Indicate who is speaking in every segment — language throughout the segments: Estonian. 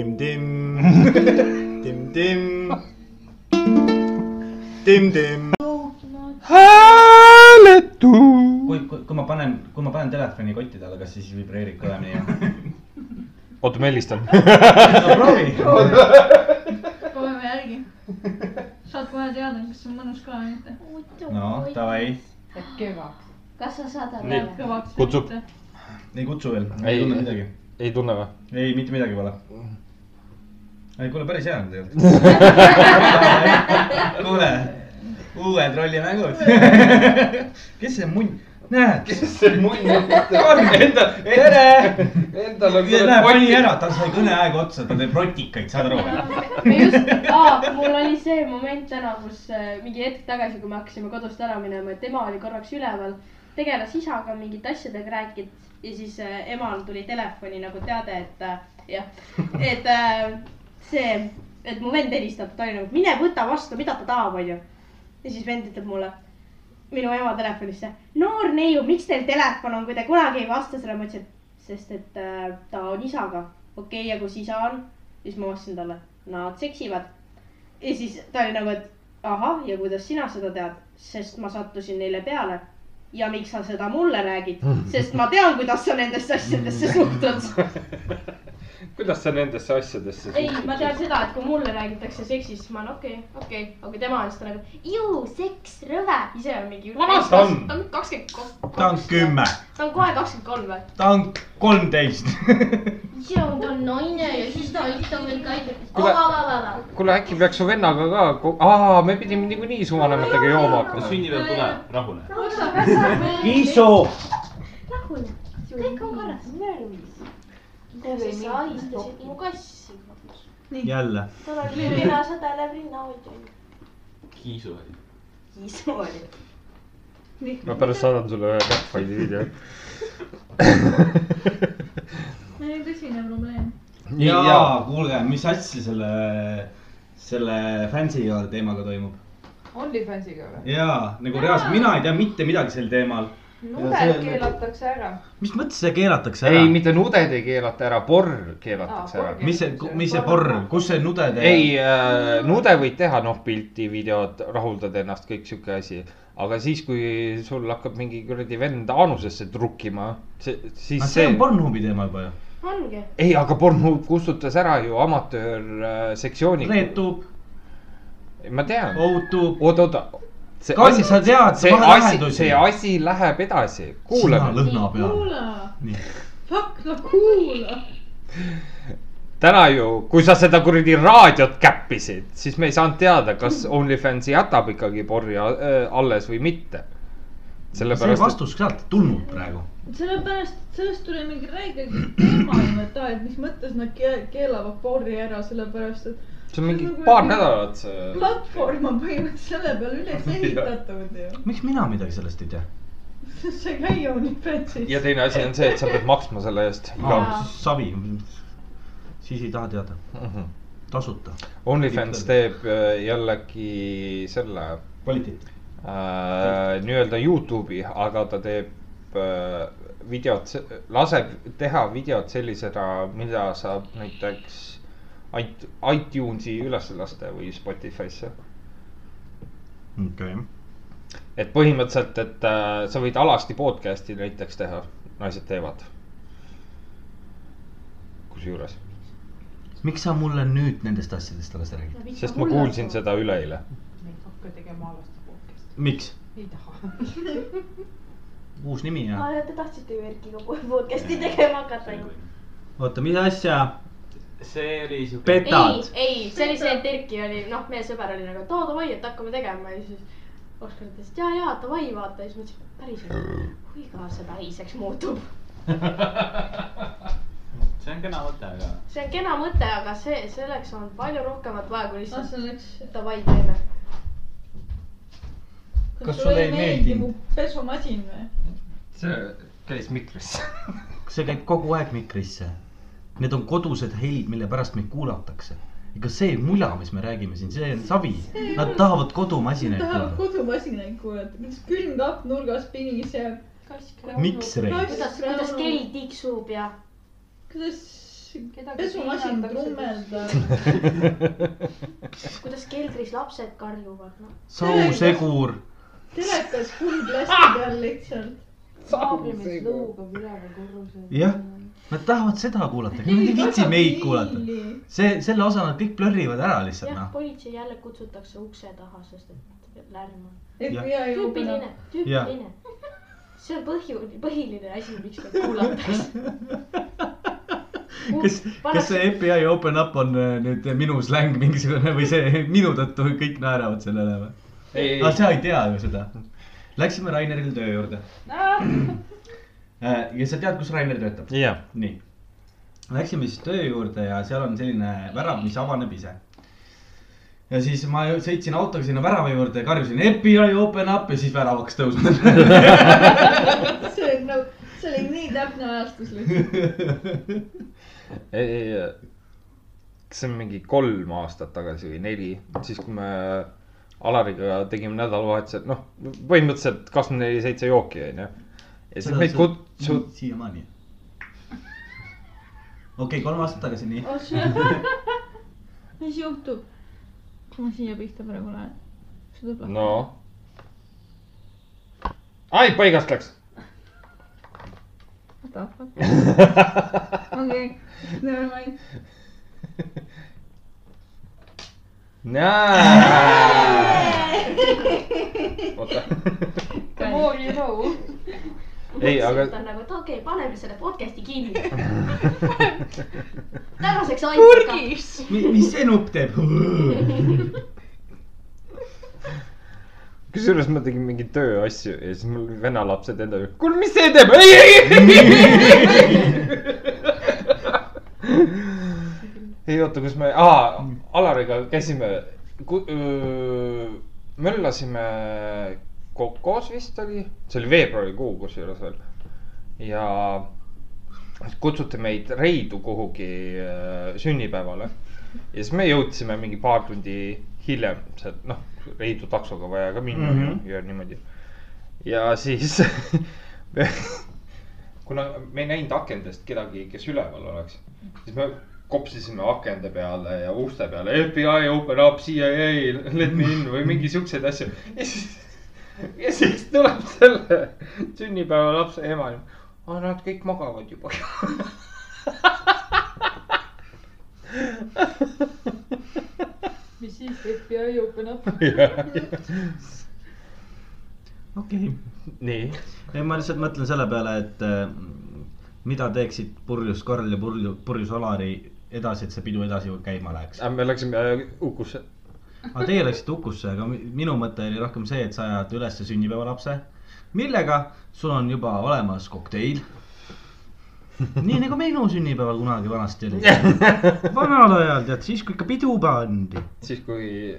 Speaker 1: dim dim dim dim dim
Speaker 2: hääletu .
Speaker 3: kui , kui , kui ma panen , kui ma panen telefoni koti talle , kas siis vibreerib kõvemini või ?
Speaker 2: oota , ma helistan .
Speaker 3: no proovi .
Speaker 4: proovime järgi . saad kohe teada , kas see on mõnus ka või mitte .
Speaker 3: no davai ,
Speaker 5: et köögaks .
Speaker 6: kas sa saad aru
Speaker 2: Nii. ?
Speaker 4: kõvaks .
Speaker 2: Kutsub. .
Speaker 3: ei kutsu veel ,
Speaker 2: Ei.
Speaker 3: ei tunne midagi .
Speaker 2: ei tunne või ?
Speaker 3: ei , mitte midagi pole . ei kuule , päris hea on tegelikult . kuule , uued rollimängud . kes see munn , näed ,
Speaker 7: kes see munn on ? enda ,
Speaker 3: tere .
Speaker 7: endal on
Speaker 3: näe , pani ära , tal sai kõneaeg otsa , ta teeb rotikaid , saad aru või ?
Speaker 5: me just , aa , mul oli see moment täna , kus äh, mingi hetk tagasi , kui me hakkasime kodust ära minema , et ema oli korraks üleval , tegeles isaga mingite asjadega , rääkis ja siis äh, emal tuli telefoni nagu teade , et äh, jah , et äh, see , et mu vend helistab , ta oli nagu mine võta vastu , mida ta tahab , onju . ja siis vend ütleb mulle , minu ema telefonisse , noor neiu , miks teil telefon on , kui te kunagi ei vasta sellele , ma ütlesin , et sest et äh, ta on isaga . okei okay, , ja kus isa on ? siis ma vastasin talle , nad seksivad . ja siis ta oli nagu , et ahah , ja kuidas sina seda tead , sest ma sattusin neile peale . ja miks sa seda mulle räägid , sest ma tean , kuidas sa nendesse asjadesse suhtud .
Speaker 2: kuidas sa nendesse asjadesse
Speaker 5: ei , ma tean seda , et kui mulle räägitakse seksist , siis ma olen okei okay, , okei okay. , aga tema on seda nagu ju seks , rõve , ise on mingi .
Speaker 2: Vanas ta on?
Speaker 5: ta on kakskümmend kolm .
Speaker 3: ta on . kümme ,
Speaker 5: ta on kohe kakskümmend kolm või ?
Speaker 3: ta on kolmteist .
Speaker 6: ise on ta naine ja siis ta ütleb veel ka , et
Speaker 2: Kuule-
Speaker 6: oba-oba-oba .
Speaker 2: kuule , äkki peaks su vennaga ka , aa , me pidime niikuinii suvanematega jooma hakkama .
Speaker 7: sünnipäev tuleb , rahune .
Speaker 3: isu ,
Speaker 6: rahune , kõik on korras . sa ahistasid mu kassi .
Speaker 3: jälle .
Speaker 6: tal oli rinnasõda läheb rinnahoidja .
Speaker 7: kiisu oli .
Speaker 5: isu oli .
Speaker 2: ma pärast saadan sulle ühe Catfighti video .
Speaker 4: meil on tõsine probleem .
Speaker 3: jaa , kuulge , mis asja selle , selle fancyga teemaga toimub ?
Speaker 5: OnlyFansiga või ?
Speaker 3: jaa , nagu reaalselt , mina ei tea mitte midagi sel teemal .
Speaker 5: nudel keelatakse ära .
Speaker 3: mis mõttes see keelatakse ära
Speaker 2: ei ,? mitte nuded ei keelata ära , porr keelatakse
Speaker 5: Aa,
Speaker 2: ära .
Speaker 5: porr.
Speaker 3: mis see , mis see porn , kus see nude teeb ?
Speaker 2: ei äh, , nude võid teha , noh , pilti , videod , rahuldad ennast , kõik sihuke asi . aga siis , kui sul hakkab mingi kuradi vend anusesse trukkima , see , siis
Speaker 3: aga Ah,
Speaker 2: see,
Speaker 3: see on
Speaker 2: see... .
Speaker 3: Pornhubi teema juba ju .
Speaker 5: ongi .
Speaker 2: ei , aga Pornhub kustutas ära ju amatöör äh, sektsiooni .
Speaker 3: Reetub ,
Speaker 2: ma tean .
Speaker 3: outub .
Speaker 2: oota , oota . see
Speaker 3: Kalli , Oh. sa tead ,
Speaker 2: see
Speaker 3: sa vahel
Speaker 2: asi ,
Speaker 3: lahendusi
Speaker 2: see . asi läheb edasi ,
Speaker 3: sina
Speaker 2: kuulame .
Speaker 3: lõhna peal .
Speaker 4: kuula ,
Speaker 3: nii ,
Speaker 4: fuck , no kuula .
Speaker 2: täna ju , kui sa seda kuradi raadiot käppisid , siis me ei saanud teada , kas
Speaker 3: Hmm.
Speaker 2: OnlyFans jätab ikkagi porri äh, alles või mitte .
Speaker 3: see
Speaker 2: sellepärast ,
Speaker 3: vastus sealt tulnud praegu .
Speaker 4: sellepärast , sellest tuli mingi räige teema , et aa , et mis mõttes nad ke- keelavad porri ära , sellepärast et
Speaker 2: et see on nagu mingi paar nädalat see .
Speaker 4: platvorm on põhimõtteliselt selle peale üles ehitatud ju .
Speaker 3: miks mina midagi sellest ei tea ?
Speaker 4: see ei käi OnlyFansis
Speaker 2: ja . teine asi on see , et sa pead maksma selle eest iga
Speaker 3: aa , savi . siis ei taha teada ,
Speaker 2: Mhm.
Speaker 3: tasuta .
Speaker 2: OnlyFans teeb äh, jällegi selle
Speaker 3: kvaliteet .
Speaker 2: äh, nii-öelda Youtube'i , aga ta teeb äh, videot , laseb teha videot sellisena , mida saab näiteks it- iTunesi üles lasta või Spotify'sse .
Speaker 3: okei okay. .
Speaker 2: et põhimõtteliselt , et äh, sa võid alasti podcast'i näiteks teha , naised teevad . kusjuures ,
Speaker 3: miks sa mulle nüüd nendest asjadest alles räägid ?
Speaker 2: sest ma kuulsin . seda üleeile .
Speaker 5: ma ei hakka tegema alast podcast'i ,
Speaker 3: miks ?
Speaker 5: ei taha .
Speaker 3: uus nimi ja .
Speaker 6: Te tahtsite ju Erkiga kohe podcast'i tegema hakata ju .
Speaker 3: oota , mis asja ?
Speaker 7: see oli siuke .
Speaker 5: ei
Speaker 3: petad ,.
Speaker 5: ei , see oli see , et Erki oli , noh , meie sõber oli nagu , et oo davai , et hakkame tegema ja siis Oskar ütles , et ja , ja davai , vaata ja siis mõtlesin , et päriselt , kui ka see päriseks muutub .
Speaker 7: see on kena mõte , aga .
Speaker 5: see on kena mõte , aga see , selleks on palju rohkemat vaja
Speaker 4: ah ,
Speaker 5: kui lihtsalt
Speaker 4: selleks .
Speaker 5: davai teeme .
Speaker 1: Kas sulle ei meeldinud? ?
Speaker 4: pesumasin või ?
Speaker 2: see käis mikrisse .
Speaker 3: see käib kogu aeg mikrisse . Need on kodused helid , mille pärast meid kuulatakse . ega see mula , mis me räägime siin , see on savi . Nad tahavad kodumasinaid
Speaker 4: tahavad
Speaker 3: kuulata .
Speaker 4: kodumasinaid kuulata , kuidas külmkapp nurgas piniseb ,
Speaker 5: kass .
Speaker 3: miks , Rein ?
Speaker 5: kuidas , kuidas kell tiksub ja
Speaker 4: kuidas
Speaker 8: Nagu
Speaker 4: pesumasin trummeldab .
Speaker 5: kuidas keldris lapsed karjuvad , noh .
Speaker 3: sausegur ,
Speaker 4: telekas kuldplasti peal lihtsalt .
Speaker 9: saabimees lõugab üleval korrusel .
Speaker 3: jah , nad tahavad seda kuulata , nad ei viitsi meid kuulata . see , selle osa nad kõik plörrivad ära lihtsalt
Speaker 5: jah ,
Speaker 3: noh .
Speaker 5: politsei jälle kutsutakse ukse taha , sest et lärm on .
Speaker 4: FBI jõuab .
Speaker 5: tüüpiline , tüüpiline . see on põhju , põhiline asi , miks neid kuulatakse .
Speaker 3: kas , kas see FBI open up on äh, nüüd minu släng mingisugune või see minu tõttu kõik naeravad sellele või ?
Speaker 2: ei ,
Speaker 3: aga
Speaker 2: ei ,
Speaker 3: sa ei tea ju seda . Läksime Raineril töö juurde .
Speaker 4: Ah,
Speaker 3: ja sa tead , kus Rainer töötab ?
Speaker 2: jah ,
Speaker 3: nii . Läksime siis töö juurde ja seal on selline värav , mis avaneb ise . ja siis ma ju- sõitsin autoga sinna värava juurde ja karjusin FBI open up ja siis väravaks tõusnud .
Speaker 4: see on nagu , see oli nii täpne ajastus lihtsalt .
Speaker 2: ei , ei , kas see on mingi kolm aastat tagasi või neli , siis kui me Alariga tegime nädalavahetusel , noh , põhimõtteliselt kakskümmend neli seitse jooki onju . ja siis meid kutsud- ,
Speaker 3: siiamaani . okei okay, , kolm aastat tagasi , nii .
Speaker 4: Oh, mis juhtub ? ma siia pihta praegu lähen . see tuleb lahti .
Speaker 2: no . ai , paigast läks .
Speaker 4: What the fuck ? okei , never mind .
Speaker 2: oota ,
Speaker 8: Come on you know .
Speaker 2: ei , aga
Speaker 5: ta on nagu , et okei okay, , paneme selle podcast'i kinni . tänaseks aitab ka .
Speaker 3: mis see nupp teeb ?
Speaker 2: kusjuures ma tegin mingeid tööasju ja siis mul vene lapsed enda juurde , kuule , mis see teeb , ei , ei , ei . ei oota , kus me , aa , Alariga käisime , möllasime Kokos vist oli , see oli veebruarikuu kusjuures veel ja siis kutsuti meid Reidu kuhugi öö, sünnipäevale ja siis me jõudsime mingi paar tundi hiljem , see noh , Reidu taksoga vaja ka minna mm
Speaker 3: Mhm.
Speaker 2: -hmm. ja niimoodi . ja siis me, kuna me ei näinud akendest kedagi , kes üleval oleks , siis me kopsisime akende peale ja uste peale FBI open up , CIA , let me in või mingi siukseid asju . ja siis , ja siis tuleb selle sünnipäeva lapse ema , nad kõik magavad juba .
Speaker 9: mis siis FBI open up ?
Speaker 3: okei .
Speaker 2: nii ,
Speaker 3: ei , ma lihtsalt mõtlen selle peale , et äh, mida teeksid purjus Karl ja purju , purjus Alari edasi , et see pidu edasi käima läheks .
Speaker 2: me läksime Ukusse .
Speaker 3: aga teie läksite hukusse , aga mi- minu mõte oli rohkem see , et sa ajad üles sünnipäevalapse , millega sul on juba olemas kokteil . nii nagu minu sünnipäeval kunagi vanasti oli . vanal ajal tead , siis kui ikka pidu pandi ,
Speaker 2: siis , kui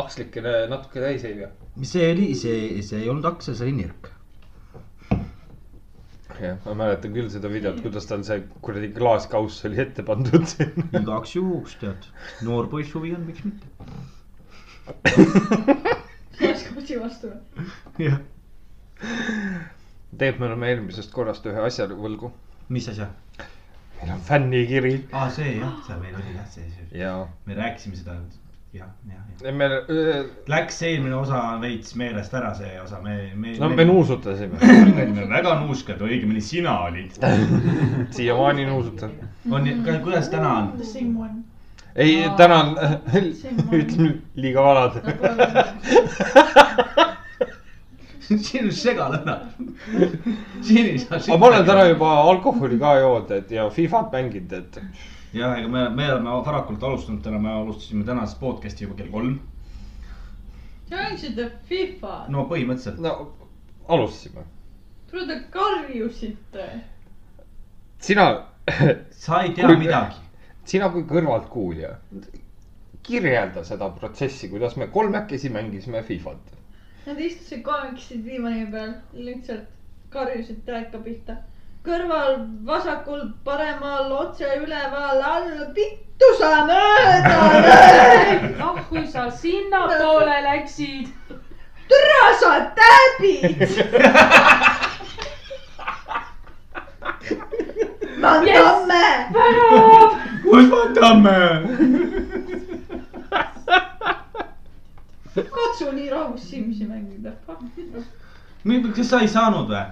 Speaker 2: akslikene natuke täis ei pea .
Speaker 3: see oli , see , see ei olnud aktsias , see oli nirk .
Speaker 2: jah , ma mäletan küll seda videot , kuidas tal see kuradi klaaskauss oli ette pandud sinna .
Speaker 3: igaks juhuks tead , noor poiss huvi on , miks mitte .
Speaker 4: oleks kotsi vastu .
Speaker 3: jah ,
Speaker 2: tegelikult me oleme eelmisest korrast ühe asja võlgu .
Speaker 3: mis asja ?
Speaker 2: meil on fännikiri .
Speaker 3: aa , see jah , see meil oli jah , see , see ,
Speaker 2: ja
Speaker 3: me rääkisime seda nüüd . jah , jah , jah .
Speaker 2: me ,
Speaker 3: Läks eelmine osa veits meelest ära , see osa , me , me .
Speaker 2: no me . nuusutasime ,
Speaker 3: olime väga nuuskad , õigemini sina olid .
Speaker 2: siiamaani nuusutan .
Speaker 3: on , kuidas täna on ?
Speaker 4: Same one .
Speaker 2: ei , täna on , ütleme liiga vanad .
Speaker 3: sinu segalõna . siin ei saa .
Speaker 2: aga ma olen täna . juba alkoholi ka joonud , et ja Fifat mänginud , et
Speaker 3: jah , ega me , me oleme varakult alustanud täna , me alustasime tänast podcast'i juba kell kolm .
Speaker 4: Te mängisite FIFA ,
Speaker 3: no põhimõtteliselt .
Speaker 2: no alustasime .
Speaker 4: kuule te karjusite .
Speaker 2: sina ,
Speaker 3: sa ei tea
Speaker 2: Kui-
Speaker 3: midagi .
Speaker 2: sina kui kõrvaltkuulja , kirjelda seda protsessi , kuidas me kolmekesi mängisime Fifat .
Speaker 4: Nad istusid kolmekesi diivani peal , lihtsalt karjusid teleka pihta . kõrval , vasakul , paremal , otse üleval , all , vittu sa mööda ,
Speaker 9: ah , kui sa sinnapoole läksid .
Speaker 4: türa sa täbid . ma Van
Speaker 9: Yes!
Speaker 4: Damme .
Speaker 9: värav ,
Speaker 3: kus võtame ?
Speaker 4: katsu nii rahus Simsi mängida .
Speaker 3: kas sa ei saanud või ?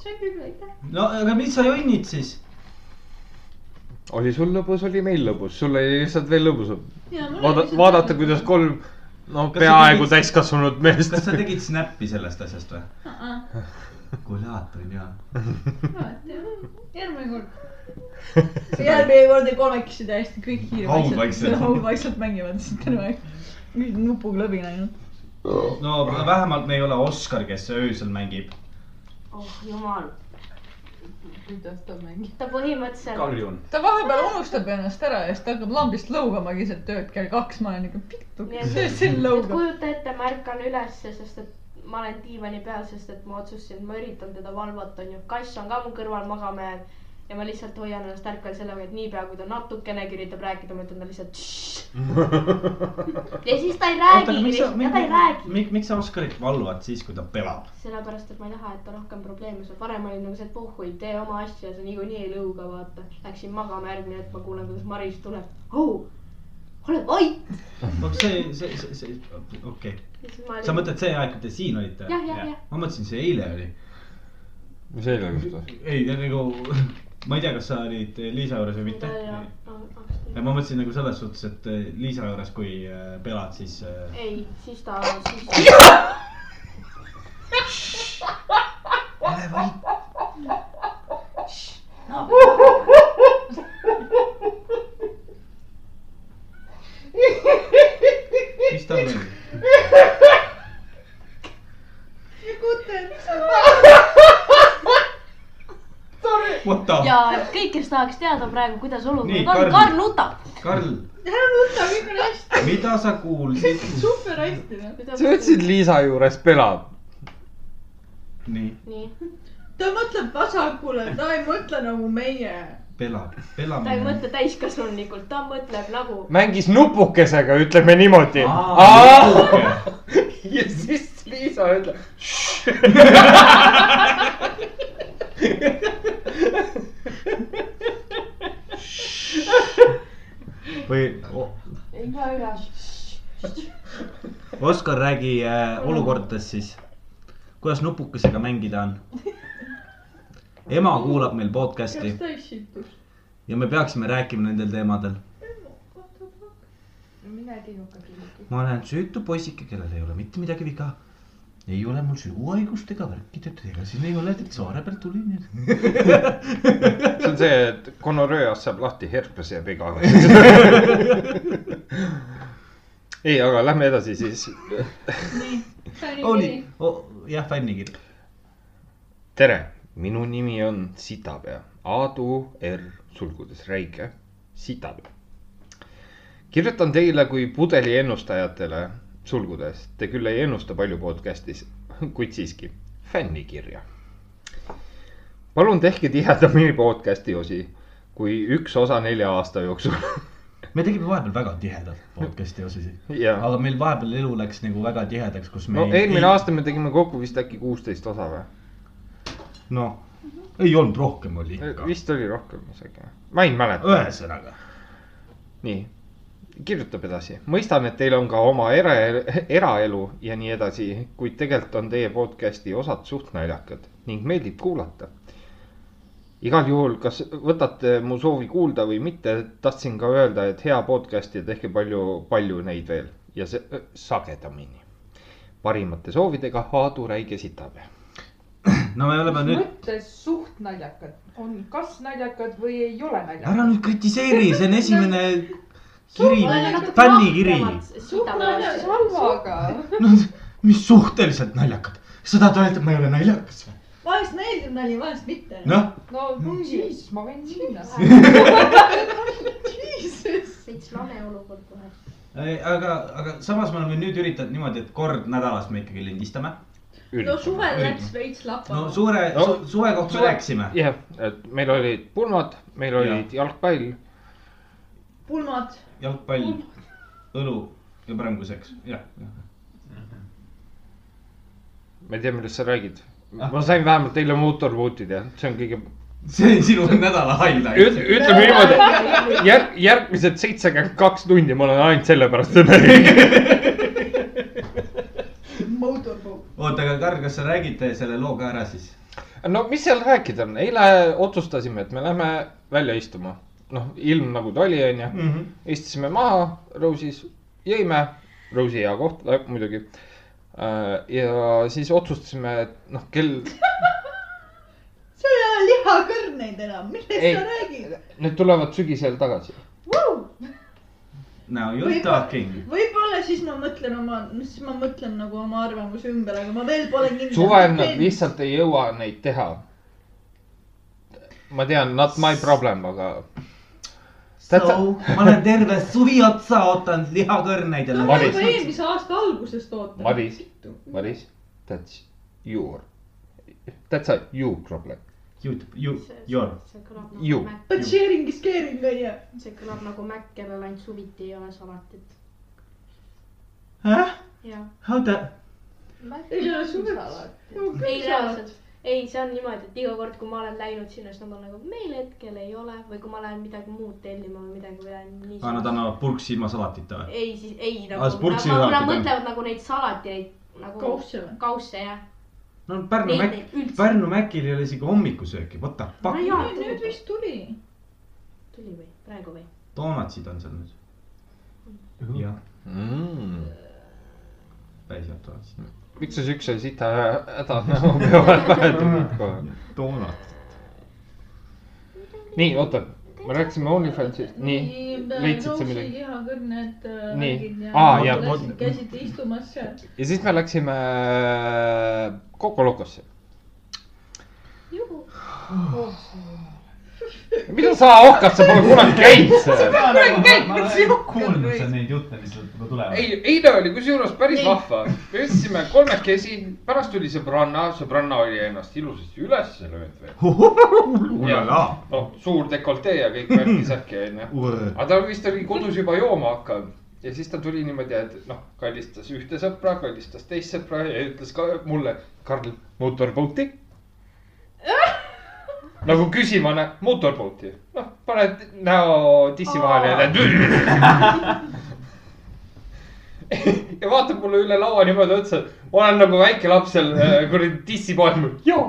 Speaker 4: see küll ei tea .
Speaker 3: no aga mis sa jonnid siis ?
Speaker 2: oli sul lõbus , oli meil lõbus , sul oli lihtsalt veel lõbusam . vaada ,
Speaker 4: vaadata
Speaker 2: vaadata , kuidas . kolm , no
Speaker 3: Kas sa
Speaker 2: peaaegu
Speaker 3: tegid-
Speaker 2: täiskasvanud meest
Speaker 3: kas sa tegid snappi sellest asjast või ? kulaator on hea .
Speaker 4: järgmine kord . järgmine kord ei kolmekesi täiesti kõik
Speaker 3: Haudvaikselt.
Speaker 4: hiirvaikselt , haudvaikselt mängivad siis terve aeg . nupuga läbi läinud .
Speaker 3: no vähemalt me ei ole Oskar , kes öösel mängib .
Speaker 5: oh jumal ,
Speaker 9: kuidas ta mängib ?
Speaker 5: ta põhimõtteliselt ,
Speaker 7: karjun .
Speaker 4: ta vahepeal unustab ennast ära ja siis ta hakkab lambist lõugama keset ööd kell kaks , ma olen nagu pitu ,
Speaker 5: Nii et-
Speaker 4: kes öösel siin
Speaker 5: et
Speaker 4: lõugab .
Speaker 5: kujuta ette , ma ärkan ülesse , sest et ma olen diivani peal , sest et ma otsustasin , ma üritan teda valvata , onju . kass on ka mu kõrval magama jäänud ja ma lihtsalt hoian ennast ärkvel sellega , et niipea kui ta natukenegi üritab rääkida , ma ütlen talle lihtsalt tššš . ja siis ta ei räägigi , ja ta ei räägi .
Speaker 3: miks , miks sa Oskarit valvad siis , kui ta pelab ?
Speaker 5: sellepärast , et ma ei taha , et ta rohkem probleeme saab . varem olin nagu see , et pohhui , tee oma asja , sa niikuinii ei lõuga , vaata . Läksin magama , järgmine hetk ma kuulen , kuidas Maris tuleb . au , ole vait .
Speaker 3: no see , see , see , see , okei okay. . sa ? mõtled see aeg , kui te siin olite ?
Speaker 5: Jah, jah, jah.
Speaker 3: ma mõtlesin , see eile oli .
Speaker 2: mis eile juhtus ?
Speaker 3: ei , nagu ma ei tea , kas sa olid eh, Liisa juures või mitte . ja ma mõtlesin nagu selles suhtes , et Liisa juures , kui äh, pelad , siis äh,
Speaker 5: ei , siis ta , siis ta .
Speaker 3: mis tal oli ?
Speaker 4: kujuta ette ,
Speaker 3: What the ?
Speaker 5: ja kõik , kes tahaks teada praegu , kuidas
Speaker 3: Nii,
Speaker 5: olukord
Speaker 3: Karl.
Speaker 5: on , Karl nutab .
Speaker 3: Karl ,
Speaker 4: ära nuta , kõik on hästi ,
Speaker 3: mida sa kuulsid ?
Speaker 4: super hästi .
Speaker 2: sa ütlesid Liisa juures pelab .
Speaker 3: nii ,
Speaker 5: nii ,
Speaker 4: ta mõtleb vasakule , ta ei mõtle nagu meie .
Speaker 3: pelab ,
Speaker 5: ta ei
Speaker 3: pelamine .
Speaker 5: mõtle täiskasvanulikult , ta mõtleb nagu .
Speaker 2: mängis nupukesega , ütleme niimoodi . ja siis Liisa ütleb .
Speaker 3: või
Speaker 9: igaühes .
Speaker 3: Oskar , räägi äh, olukordadest siis . kuidas nupukesega mängida on ? ema kuulab meil podcast'i
Speaker 4: kas ta eksitus ?
Speaker 3: ja me peaksime rääkima nendel teemadel .
Speaker 9: mina ei teinud ka kindlasti .
Speaker 3: ma olen süütu poisike , kellel ei ole mitte midagi viga . ei ole mul suguhaigust ega värkideta , ega siin ei ole , et saare pealt tulin .
Speaker 2: see on see , et gonorööast saab lahti herpes jääb igavene . ei , aga lähme edasi siis .
Speaker 3: oli , jah , fännikiri .
Speaker 2: tere , minu nimi on Sitapea , Aadu R sulgudes Räige , Sitapea . kirjutan teile kui pudeli ennustajatele sulgudes , te küll ei ennusta palju podcast'is , kuid siiski fännikirja . palun tehke tihedamini podcast'i osi kui üks osa nelja aasta jooksul
Speaker 3: me tegime vahepeal väga tihedalt podcast'i osasid ,
Speaker 2: ja
Speaker 3: aga meil vahepeal elu läks nagu väga tihedaks , kus me
Speaker 2: no eelmine . aasta me tegime kokku vist äkki kuusteist osa või ?
Speaker 3: noh , ei olnud , rohkem oli ikka .
Speaker 2: vist oli rohkem isegi , ma ei mäleta .
Speaker 3: ühesõnaga ,
Speaker 2: nii , kirjutab edasi , mõistan , et teil on ka oma era , eraelu ja nii edasi , kuid tegelikult on teie podcast'i osad suht naljakad ning meeldib kuulata . igal juhul , kas võtate mu soovi kuulda või mitte , tahtsin ka öelda , et hea podcast ja tehke palju , palju neid veel ja see, sagedamini . parimate soovidega Aadu Räige Sitapea .
Speaker 3: no me oleme nüüd ,
Speaker 9: mõttes suht naljakad , on kas naljakad või ei ole
Speaker 3: ära
Speaker 9: naljakad .
Speaker 3: nüüd kritiseeri , see on esimene kiri , fännikiri .
Speaker 5: suht naljakas .
Speaker 9: halvaga .
Speaker 3: no mis suhteliselt naljakad , sa tahad öelda , et ma ei ole naljakas või ?
Speaker 4: vahest meeldib nali , vahest mitte .
Speaker 3: noh ,
Speaker 9: no siis ma võin minna .
Speaker 5: veits lame olukord kohe .
Speaker 3: aga , aga samas me oleme nüüd üritanud niimoodi , et kord nädalas me ikkagi lindistame .
Speaker 4: no suvel
Speaker 3: Üritame.
Speaker 4: läks veits
Speaker 3: no
Speaker 4: lapama .
Speaker 3: suure
Speaker 2: No.
Speaker 3: no, , suve kohta me
Speaker 2: Suve-
Speaker 3: rääkisime .
Speaker 2: jah , et meil olid pulmad , meil olid ja. jalgpall ,
Speaker 4: pulmad ,
Speaker 3: jalgpall , õlu ja pränguseks , jah .
Speaker 2: Ah. ma ei tea , millest sa räägid . ma sain vähemalt eile mootorbootid ja see on kõige
Speaker 10: see on sinu nädala highlight .
Speaker 2: ütleme niimoodi , järg , järgmised seitsekümmend kaks tundi ma olen ainult sellepärast õnnelik .
Speaker 3: oota , aga Karl , kas sa räägid selle loo ka ära siis ?
Speaker 2: no mis seal rääkida on , eile otsustasime , et me lähme välja istuma . noh , ilm nagu ta oli , onju . istusime maha Rose'is , jõime , Rose'i hea koht äh, muidugi . ja siis otsustasime , et noh , kell ,
Speaker 4: sul ei ole lihakõrneid
Speaker 2: Ei.
Speaker 4: enam , millest sa räägid ?
Speaker 2: need tulevad sügisel tagasi .
Speaker 3: Now you are talking .
Speaker 4: võib-olla siis ma mõtlen oma , siis ma mõtlen nagu oma arvamuse ümber , aga ma veel pole kindel .
Speaker 2: suvel nad . lihtsalt ei jõua neid teha . ma tean , not my problem , aga Täitsa-
Speaker 3: So , ma olen terve suvi otsa ootanud lihakõrneid ja
Speaker 4: no ma
Speaker 2: Maris.
Speaker 4: juba eelmise aasta algusest ootan .
Speaker 2: Maris. Maris , that's your , that's a you problem .
Speaker 3: you , you , your .
Speaker 5: see kõlab
Speaker 2: Ju.
Speaker 5: nagu Mac ,
Speaker 4: But sharing is caring onju .
Speaker 5: see kõlab nagu Mac , kellel ainult suviti ei ole salatit .
Speaker 3: Huh?
Speaker 5: jah .
Speaker 3: How the ?
Speaker 4: ei ole suvel .
Speaker 5: ei , reaalselt , ei , see on niimoodi , et iga kord , kui ma olen läinud sinna , siis nad on nagu meil hetkel ei ole või kui ma lähen midagi muud tellima või midagi või lähen nii
Speaker 3: aa , nad annavad purksi ilma salatita või ?
Speaker 5: ei , siis ei nagu .
Speaker 3: Aa, siis purksi
Speaker 5: Nad nad
Speaker 3: salatid on.
Speaker 5: mõtlevad nagu neid salateid nagu .
Speaker 4: Kausse või?
Speaker 5: kausse jah .
Speaker 3: no Pärnu
Speaker 5: Neid-
Speaker 3: Mac
Speaker 5: neid üldse- ,
Speaker 3: Pärnu Macil ei ole isegi hommikusööki , what the
Speaker 5: no
Speaker 3: fuck .
Speaker 5: jaa ,
Speaker 4: nüüd vist tuli .
Speaker 5: tuli või , praegu või ?
Speaker 3: donutsid on seal nüüd . jah ,
Speaker 2: mm. .
Speaker 3: päriselt donutsid .
Speaker 2: miks sa siukse sita häda näo peale lähed kohe ?
Speaker 3: donut .
Speaker 2: nii , oota , me rääkisime Onlyfansist , nii .
Speaker 4: äh,
Speaker 2: leidsid sa midagi?
Speaker 4: lihakõrned .
Speaker 2: Nii. Aa, jah,
Speaker 3: vot-
Speaker 4: käisite istumas seal .
Speaker 2: ja siis me läksime Coco Locosse . mida sa ohkad , sa pole kunagi käinud seal .
Speaker 7: ma olen kuulnud seal neid jutte , mis sealt juba tulevad .
Speaker 2: ei , eile oli kusjuures päris vahva , me istusime kolmekesi , pärast tuli sõbranna , sõbranna oli ennast ilusasti üles löönud veel .
Speaker 3: ulala .
Speaker 2: noh , suur dekoltee ja kõik värki särki onju . aga ta vist oli kodus juba jooma hakanud ja siis ta tuli niimoodi , et noh , kallistas ühte sõpra , kallistas teist sõpra ja ütles ka mulle , Karl , mootorbooti . nagu küsima , mootorbooti , noh , paned näo tissi vahele ja teed . ja vaatab mulle üle laua niimoodi otsa , ma olen nagu väike laps seal äh, kuradi tissipoes , joo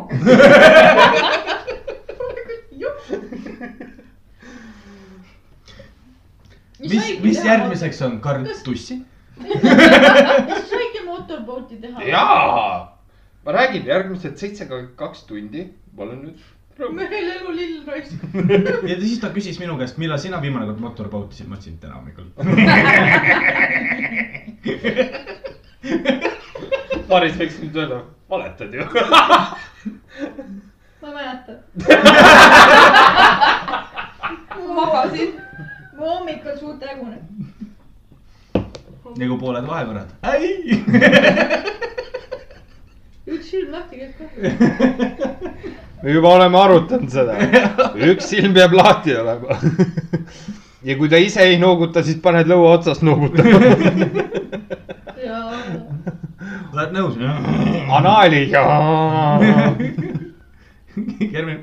Speaker 3: mis , mis ? järgmiseks on , Karl Tussi ?
Speaker 4: kas saigi motorbooti teha ?
Speaker 2: jaa , ma räägin , järgmised seitse , kaks tundi , ma olen nüüd rõõmus .
Speaker 4: meil elu lill raisk .
Speaker 3: ja siis ta küsis minu käest , millal sina viimane kord motorit pautisid , ma ütlesin täna hommikul .
Speaker 2: Maris võiks nüüd öelda , valetad ju .
Speaker 4: ma mäletan ma magasin . ma hommikul suurt hägunen .
Speaker 3: nagu pooled vahekõrvad .
Speaker 4: üks silm lahti käib kohe .
Speaker 2: me juba oleme arutanud seda , üks silm peab lahti olema . ja kui ta ise ei nooguta , siis paned lõua otsast noogutama .
Speaker 4: jaa .
Speaker 3: oled nõus ?
Speaker 2: Anali jaa .
Speaker 3: järgmine .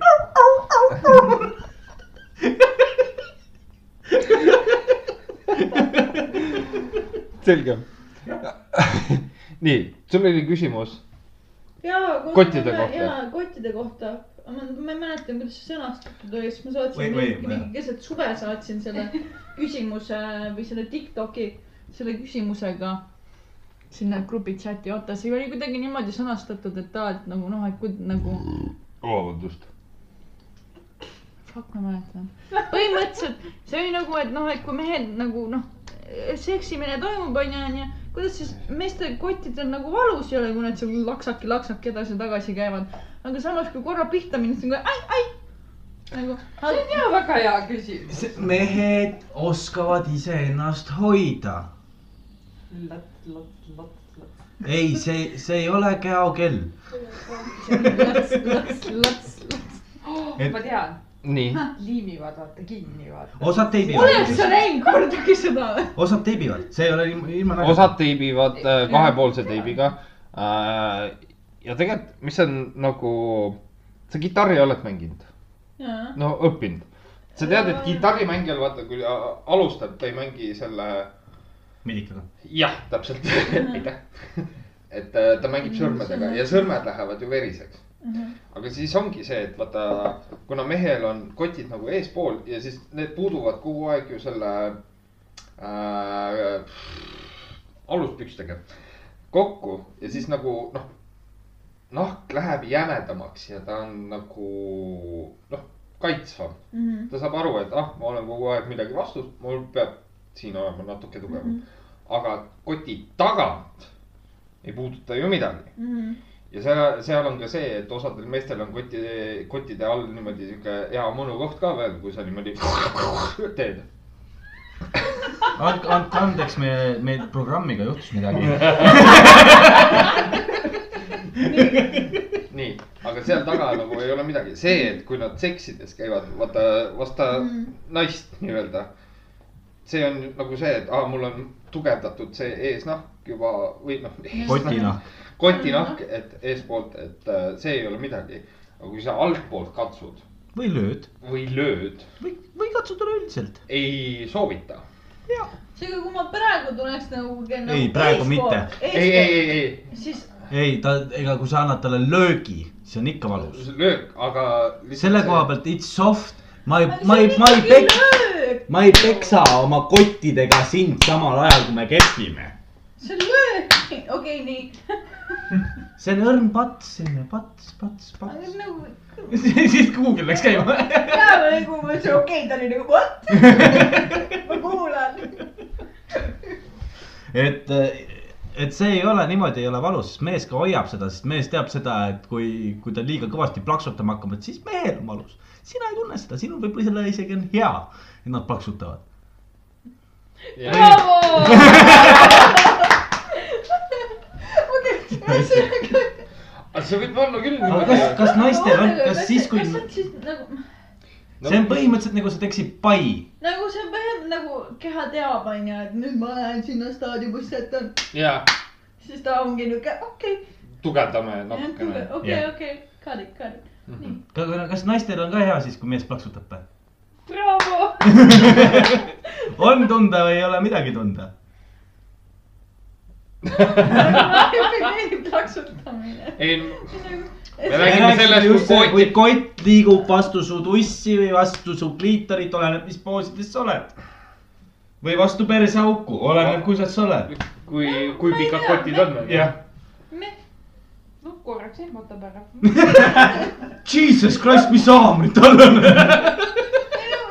Speaker 2: selge . nii , sul oli küsimus .
Speaker 4: jaa .
Speaker 2: Kottide kohta.
Speaker 4: jaa , kottide kohta . ma , ma ei mäleta , kuidas see sõnastatud oli , siis ma
Speaker 3: Või-
Speaker 4: saatsin
Speaker 3: või-
Speaker 4: mingi, mingi keset suve saatsin selle küsimuse või selle Tiktoki selle küsimusega sinna grupi chati , oota , see oli kuidagi niimoodi sõnastatud , et aa , et nagu noh , et kui nagu
Speaker 2: vabandust .
Speaker 4: fuck , ma mäletan . põhimõtteliselt see oli nagu , et noh , et kui mehed nagu noh , seksimine toimub , onju , onju , kuidas siis meeste kottidel nagu valus ei ole , kui nad seal laksaki , laksaki edasi-tagasi käivad . aga samas , kui korra pihta minna , siis on kohe ai , ai . nagu ,
Speaker 9: see on ja väga hea küsimus .
Speaker 3: mehed oskavad iseennast hoida . ei , see , see ei ole käokell .
Speaker 9: Oh, ma tean ,
Speaker 2: nii ,
Speaker 9: liimivad , vaata kinni , vaata .
Speaker 3: osad
Speaker 4: oled sa
Speaker 3: teibivad ,
Speaker 4: näinud kordagi seda või ?
Speaker 3: osad teibivad , see ei ole ilma , ilma .
Speaker 2: osad teibivad äh, kahepoolse teibiga . Äh, ja tegelikult , mis on nagu , sa kitarri oled mänginud ? no õppinud . sa tead , et kitarrimängijal vaata , kui a- alustab , ta ei mängi selle ,
Speaker 3: medikaga .
Speaker 2: jah , täpselt , aitäh . et äh, ta mängib sõrmedega ja sõrmed lähevad ju veriseks . aga siis ongi see , et vaata , kuna mehel on kotid nagu eespool ja siis need puuduvad kogu aeg ju selle äh, aluspükstega kokku ja siis nagu noh , nahk läheb jämedamaks ja ta on nagu noh , kaitsvam .
Speaker 4: mhm,
Speaker 2: ta saab aru , et ah , ma olen kogu aeg midagi vastu , mul peab siin olema natuke tugevam mm . -hmm. aga koti tagant ei puuduta ju midagi
Speaker 4: mhm.
Speaker 2: ja seal , seal on ka see , et osadel meestel on koti , kottide all niimoodi sihuke hea mõnu koht ka veel , kui sa niimoodi teed .
Speaker 3: andke , andke andeks , me , meil programmiga juhtus midagi .
Speaker 2: nii , aga seal taga nagu ei ole midagi , see , et kui nad seksides käivad , vaata , vasta mm. naist nii-öelda . see on nagu see , et aa , mul on tugevdatud see eesnahk juba või noh ,
Speaker 3: kotina .
Speaker 2: kotinahk , et eespoolt , et äh, see ei ole midagi . aga kui sa altpoolt katsud
Speaker 3: või lööd
Speaker 2: või lööd ,
Speaker 3: või , või katsud üleüldiselt .
Speaker 2: ei soovita .
Speaker 4: seega , kui ma praegu tuleks nagu .
Speaker 3: Ei, praegu mitte. .
Speaker 2: ei , ei , ei , ei ,
Speaker 4: siis
Speaker 3: ei , ta , ega kui sa annad talle löögi , see on ikka valus .
Speaker 2: löök , aga .
Speaker 3: selle koha . pealt it's soft , ma ei , ma ei , ma ei pek- ,
Speaker 4: peksa .
Speaker 3: ma ei peksa oma kottidega sind samal ajal , kui me kepime .
Speaker 4: see on löök , okei , nii .
Speaker 3: see on õrn pats , selline pats , pats ,
Speaker 4: aga see
Speaker 3: pats
Speaker 4: on . nagu ,
Speaker 7: siis Google läks käima .
Speaker 4: peaaegu nagu , ma ütlesin okei , ta oli nagu what ? ma kuulan .
Speaker 3: et , et see ei ole niimoodi , ei ole valus , sest mees ka hoiab seda , sest mees teab seda , et kui , kui ta liiga kõvasti plaksutama hakkab , et siis mehel on valus . sina ei tunne seda , sinul võib-olla selle isegi on hea , et nad plaksutavad .
Speaker 2: aga see võib olla küll
Speaker 3: aga kas ,
Speaker 2: niimoodi .
Speaker 3: kas naistel on , kas siis , kui ,
Speaker 4: kas nad siis nagu ,
Speaker 3: see on põhimõtteliselt nagu sa teeksid pai .
Speaker 4: nagu see vähem nagu keha teab , onju , et nüüd ma lähen sinna staadiumisse , et on ,
Speaker 2: jaa ,
Speaker 4: siis ta ongi niuke okei ,
Speaker 2: tugevdame natukene .
Speaker 4: okei ,
Speaker 3: Jah.
Speaker 4: okei , got it , got it .
Speaker 3: kas naistel on ka hea siis , kui mees plaksutab või ?
Speaker 4: Bravo .
Speaker 3: on tunda või ei ole midagi tunda ?
Speaker 4: mulle meeldib plaksutamine . nagu,
Speaker 2: ei , me
Speaker 3: Me
Speaker 2: räägime
Speaker 3: rääkisime
Speaker 2: sellest ,
Speaker 3: just
Speaker 2: kui
Speaker 3: see, kui
Speaker 2: kotid ,
Speaker 3: kott liigub vastu su tussi või vastu su kliitorit , oleneb , mis poosides sa oled . või vastu perseauku , oleneb , kus sa oled .
Speaker 2: kui , kui pikad kotid on .
Speaker 3: jah .
Speaker 9: no korraks ehmatab ära .
Speaker 3: Jesus Christ , mis haamrid tal on ?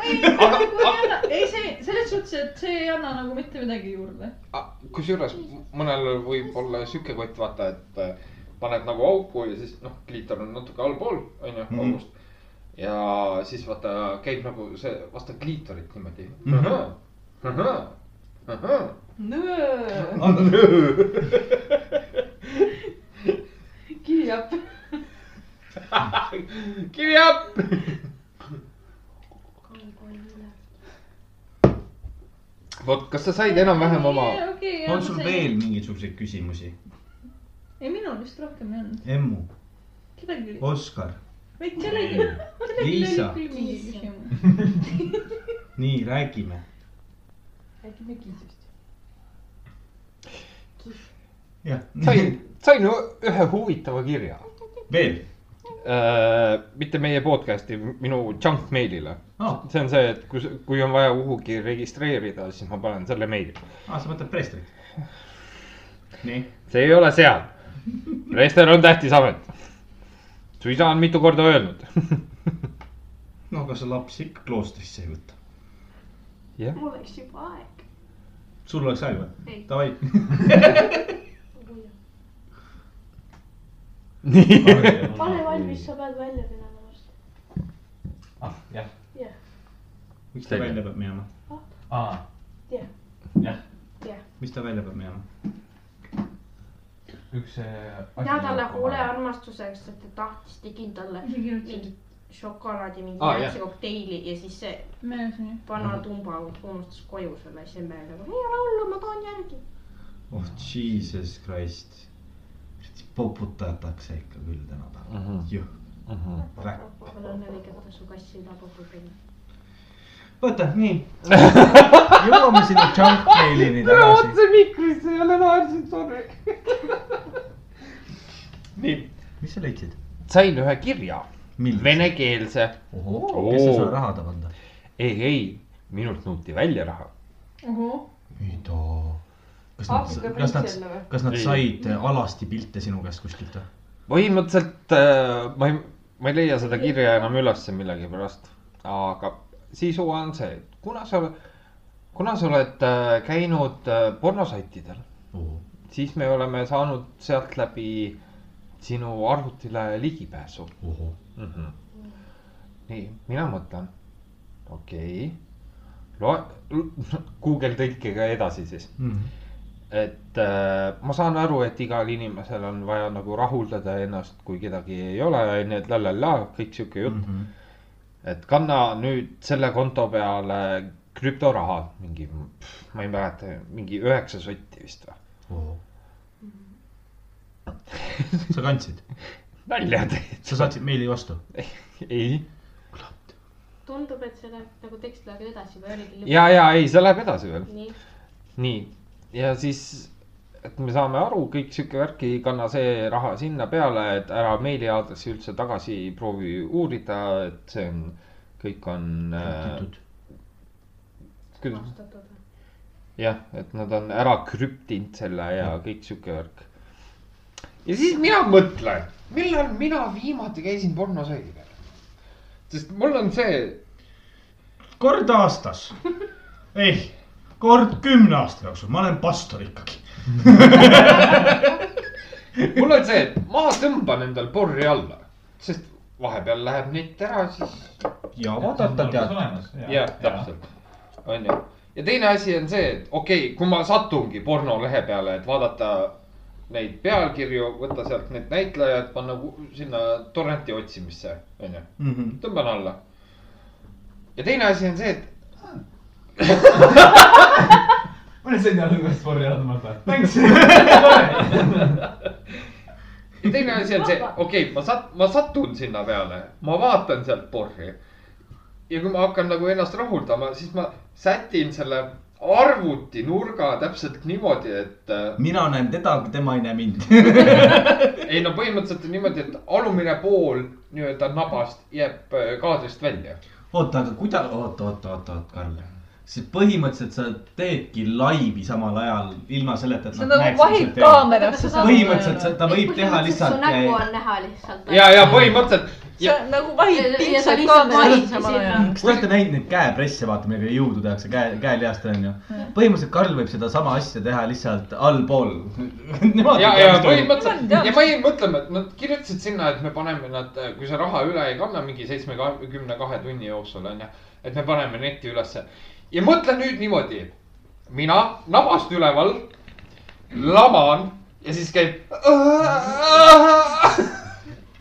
Speaker 4: ei , ei anna , ei see , selles suhtes , et see ei anna nagu mitte midagi juurde .
Speaker 2: Ah, kusjuures mõnel võib olla sihuke kott , vaata , et äh, paned nagu auku ja siis noh , kliitor on natuke allpool , onju ,
Speaker 3: Mhm.
Speaker 2: august . ja siis vaata käib nagu see vastu kliitorit niimoodi .
Speaker 3: Mhm.
Speaker 9: nöö , kirjab .
Speaker 2: kivi up . vot , kas sa said enam-vähem oma ?
Speaker 3: on sul ? veel mingisuguseid küsimusi ?
Speaker 4: ei , minul vist rohkem ei olnud .
Speaker 3: Emmu ,
Speaker 4: kedagi ,
Speaker 3: Oskar ,
Speaker 4: või kellelgi , kellelgi oli
Speaker 3: Liisa.
Speaker 4: küll mingi küsimus .
Speaker 3: nii räägime .
Speaker 9: räägime kiisust .
Speaker 3: jah ,
Speaker 2: sain , sain ü- ühe huvitava kirja .
Speaker 3: veel .
Speaker 2: mitte meie podcast'i , minu junk mailile .
Speaker 3: aa ,
Speaker 2: see on see , et kui , kui on vaja kuhugi registreerida , siis ma panen selle meili .
Speaker 3: sa mõtled preestrit ? nii ,
Speaker 2: see ei ole seal . Rester on tähtis amet . su isa on mitu korda öelnud .
Speaker 3: no aga see laps ikka kloostrisse ei võta .
Speaker 5: mul läks juba aeg .
Speaker 3: sul oleks aeg või
Speaker 5: Ei. ?
Speaker 3: Davai .
Speaker 5: pane valmis , sa pead välja minema varsti .
Speaker 7: ah , jah ,
Speaker 3: miks ta välja peab minema ?
Speaker 7: aa ,
Speaker 3: miks ta välja peab minema ?
Speaker 7: üks äh, asi
Speaker 5: ja talle
Speaker 7: jõuab
Speaker 5: hoole
Speaker 7: kohale.
Speaker 5: armastuseks , et ta tahtis , tegin talle mingit šokolaadi , mingi
Speaker 2: Aa,
Speaker 5: ah,
Speaker 2: jah.
Speaker 5: kokteili ja siis see
Speaker 4: meenusin jah .
Speaker 5: vana tumba unustas koju selle ja siis me olime , ei ole hullu , ma toon järgi .
Speaker 3: oh Jesus Christ , poputatakse ikka küll tänapäeval mm -hmm. .
Speaker 2: Mhm.
Speaker 5: mul on nelikümmend su kassi tabaputel .
Speaker 3: vaata , nii . jõuame sinna junkmailini tagasi .
Speaker 2: mikrisse jälle naersin , sorry . nii ,
Speaker 3: mis sa leidsid ?
Speaker 2: sain ühe kirja ,
Speaker 3: millest ?
Speaker 2: venekeelse .
Speaker 3: kes sa sulle raha tahab anda ?
Speaker 2: ei , ei , minult nõuti välja raha .
Speaker 3: mida ? kas
Speaker 9: Aafrika
Speaker 3: nad , kas nad
Speaker 9: printsess või? ,
Speaker 3: kas nad
Speaker 2: Ei.
Speaker 3: said alasti pilte sinu käest kuskilt või ?
Speaker 2: põhimõtteliselt äh, ma ei , ma ei leia seda kirja enam ülesse millegipärast , aga sisu on see , et kuna sa , kuna sa oled äh, käinud äh, pornosaitidel , siis me oleme saanud sealt läbi sinu arvutile ligipääsu
Speaker 3: Mm-hmm.
Speaker 2: mm . -hmm. nii , mina mõtlen , okei okay. , loe , Google tõlkega edasi siis , et äh, ma saan aru , et igal inimesel on vaja nagu rahuldada ennast , kui kedagi ei ole , onju , et la-la-la , kõik sihuke
Speaker 3: Mhm.
Speaker 2: jutt mm . -hmm.
Speaker 3: Mm-hmm.
Speaker 2: et kanna nüüd selle konto peale krüptoraha , mingi , ma ei mäleta , mingi üheksa sotti vist või ?
Speaker 3: sa kandsid ,
Speaker 2: nalja teed ?
Speaker 3: sa saatsid meili vastu .
Speaker 2: ei ,
Speaker 5: tundub , et see läheb nagu tekst läheb edasi või oligi lõpp ?
Speaker 2: ja , ja ei , see läheb edasi veel .
Speaker 5: nii ,
Speaker 2: nii , ja siis , et me saame aru , kõik sihuke värki , kanna see raha sinna peale , et ära meiliaadressi üldse tagasi proovi uurida , et see on , kõik on äh, . küll ,
Speaker 5: vastatud .
Speaker 2: jah , et nad on ära krüptinud selle ja kõik sihuke värk . ja siis mina mõtlen , millal mina viimati käisin pornosaidi peal . sest mul on see ,
Speaker 3: kord aastas . ei , kord kümne aasta jooksul , ma olen pastor ikkagi .
Speaker 2: mul on see , et ma tõmban endal porri alla , sest vahepeal läheb nett ära , siis
Speaker 3: ja vaadata tead .
Speaker 2: jah , täpselt , onju . ja teine asi on see , et okei okay, , kui ma satungi pornolehe peale , et vaadata neid pealkirju , võtta sealt need näitlejad , panna ku- sinna torrenti otsimisse , onju ,
Speaker 3: Mm-hmm.
Speaker 2: tõmban alla . ja teine asi on see , et
Speaker 7: ma olen selline alguses spordi ajal , ma arvan . Thanks .
Speaker 2: ja teine asi on see , okei okay, , ma sat- , ma satun sinna peale , ma vaatan sealt porri . ja kui ma hakkan nagu ennast rahuldama , siis ma sätin selle arvuti nurga täpselt niimoodi , et äh,
Speaker 3: mina näen teda , tema ei näe mind .
Speaker 2: ei no põhimõtteliselt on niimoodi , et alumine pool nii-öelda nabast jääb äh, kaadrist välja .
Speaker 3: oota , aga kuida- , oota , oota , oota , oota , Karl . see põhimõtteliselt sa teedki laivi samal ajal ilma selleta , et .
Speaker 4: see on nagu vahid . kaamerasse
Speaker 3: põhimõtteliselt sa- ta võib teha
Speaker 5: su
Speaker 3: lihtsalt .
Speaker 5: nägu on näha lihtsalt .
Speaker 2: ja , ja põhimõtteliselt
Speaker 4: see on nagu vahid
Speaker 5: Ja- ja sa
Speaker 4: pingsad
Speaker 5: lihtsalt vahid
Speaker 4: kaamerasse samal
Speaker 5: sinna.
Speaker 4: ajal .
Speaker 3: kas te olete näinud neid käepresse , vaata , millega jõudu tehakse käe , käelihastel onju . põhimõtteliselt Karl võib sedasama asja teha lihtsalt allpool .
Speaker 2: ja , ja .
Speaker 4: Ma tean.
Speaker 2: põhimõtteliselt ja ma jäin mõtlema , et nad kirjutasid sinna , et me paneme nad , kui sa raha üle ei kanna mingi seitsmekümne kahe tunni jooksul onju , et me paneme neti ülesse . ja mõtle nüüd niimoodi , mina nabast üleval laman ja siis käib .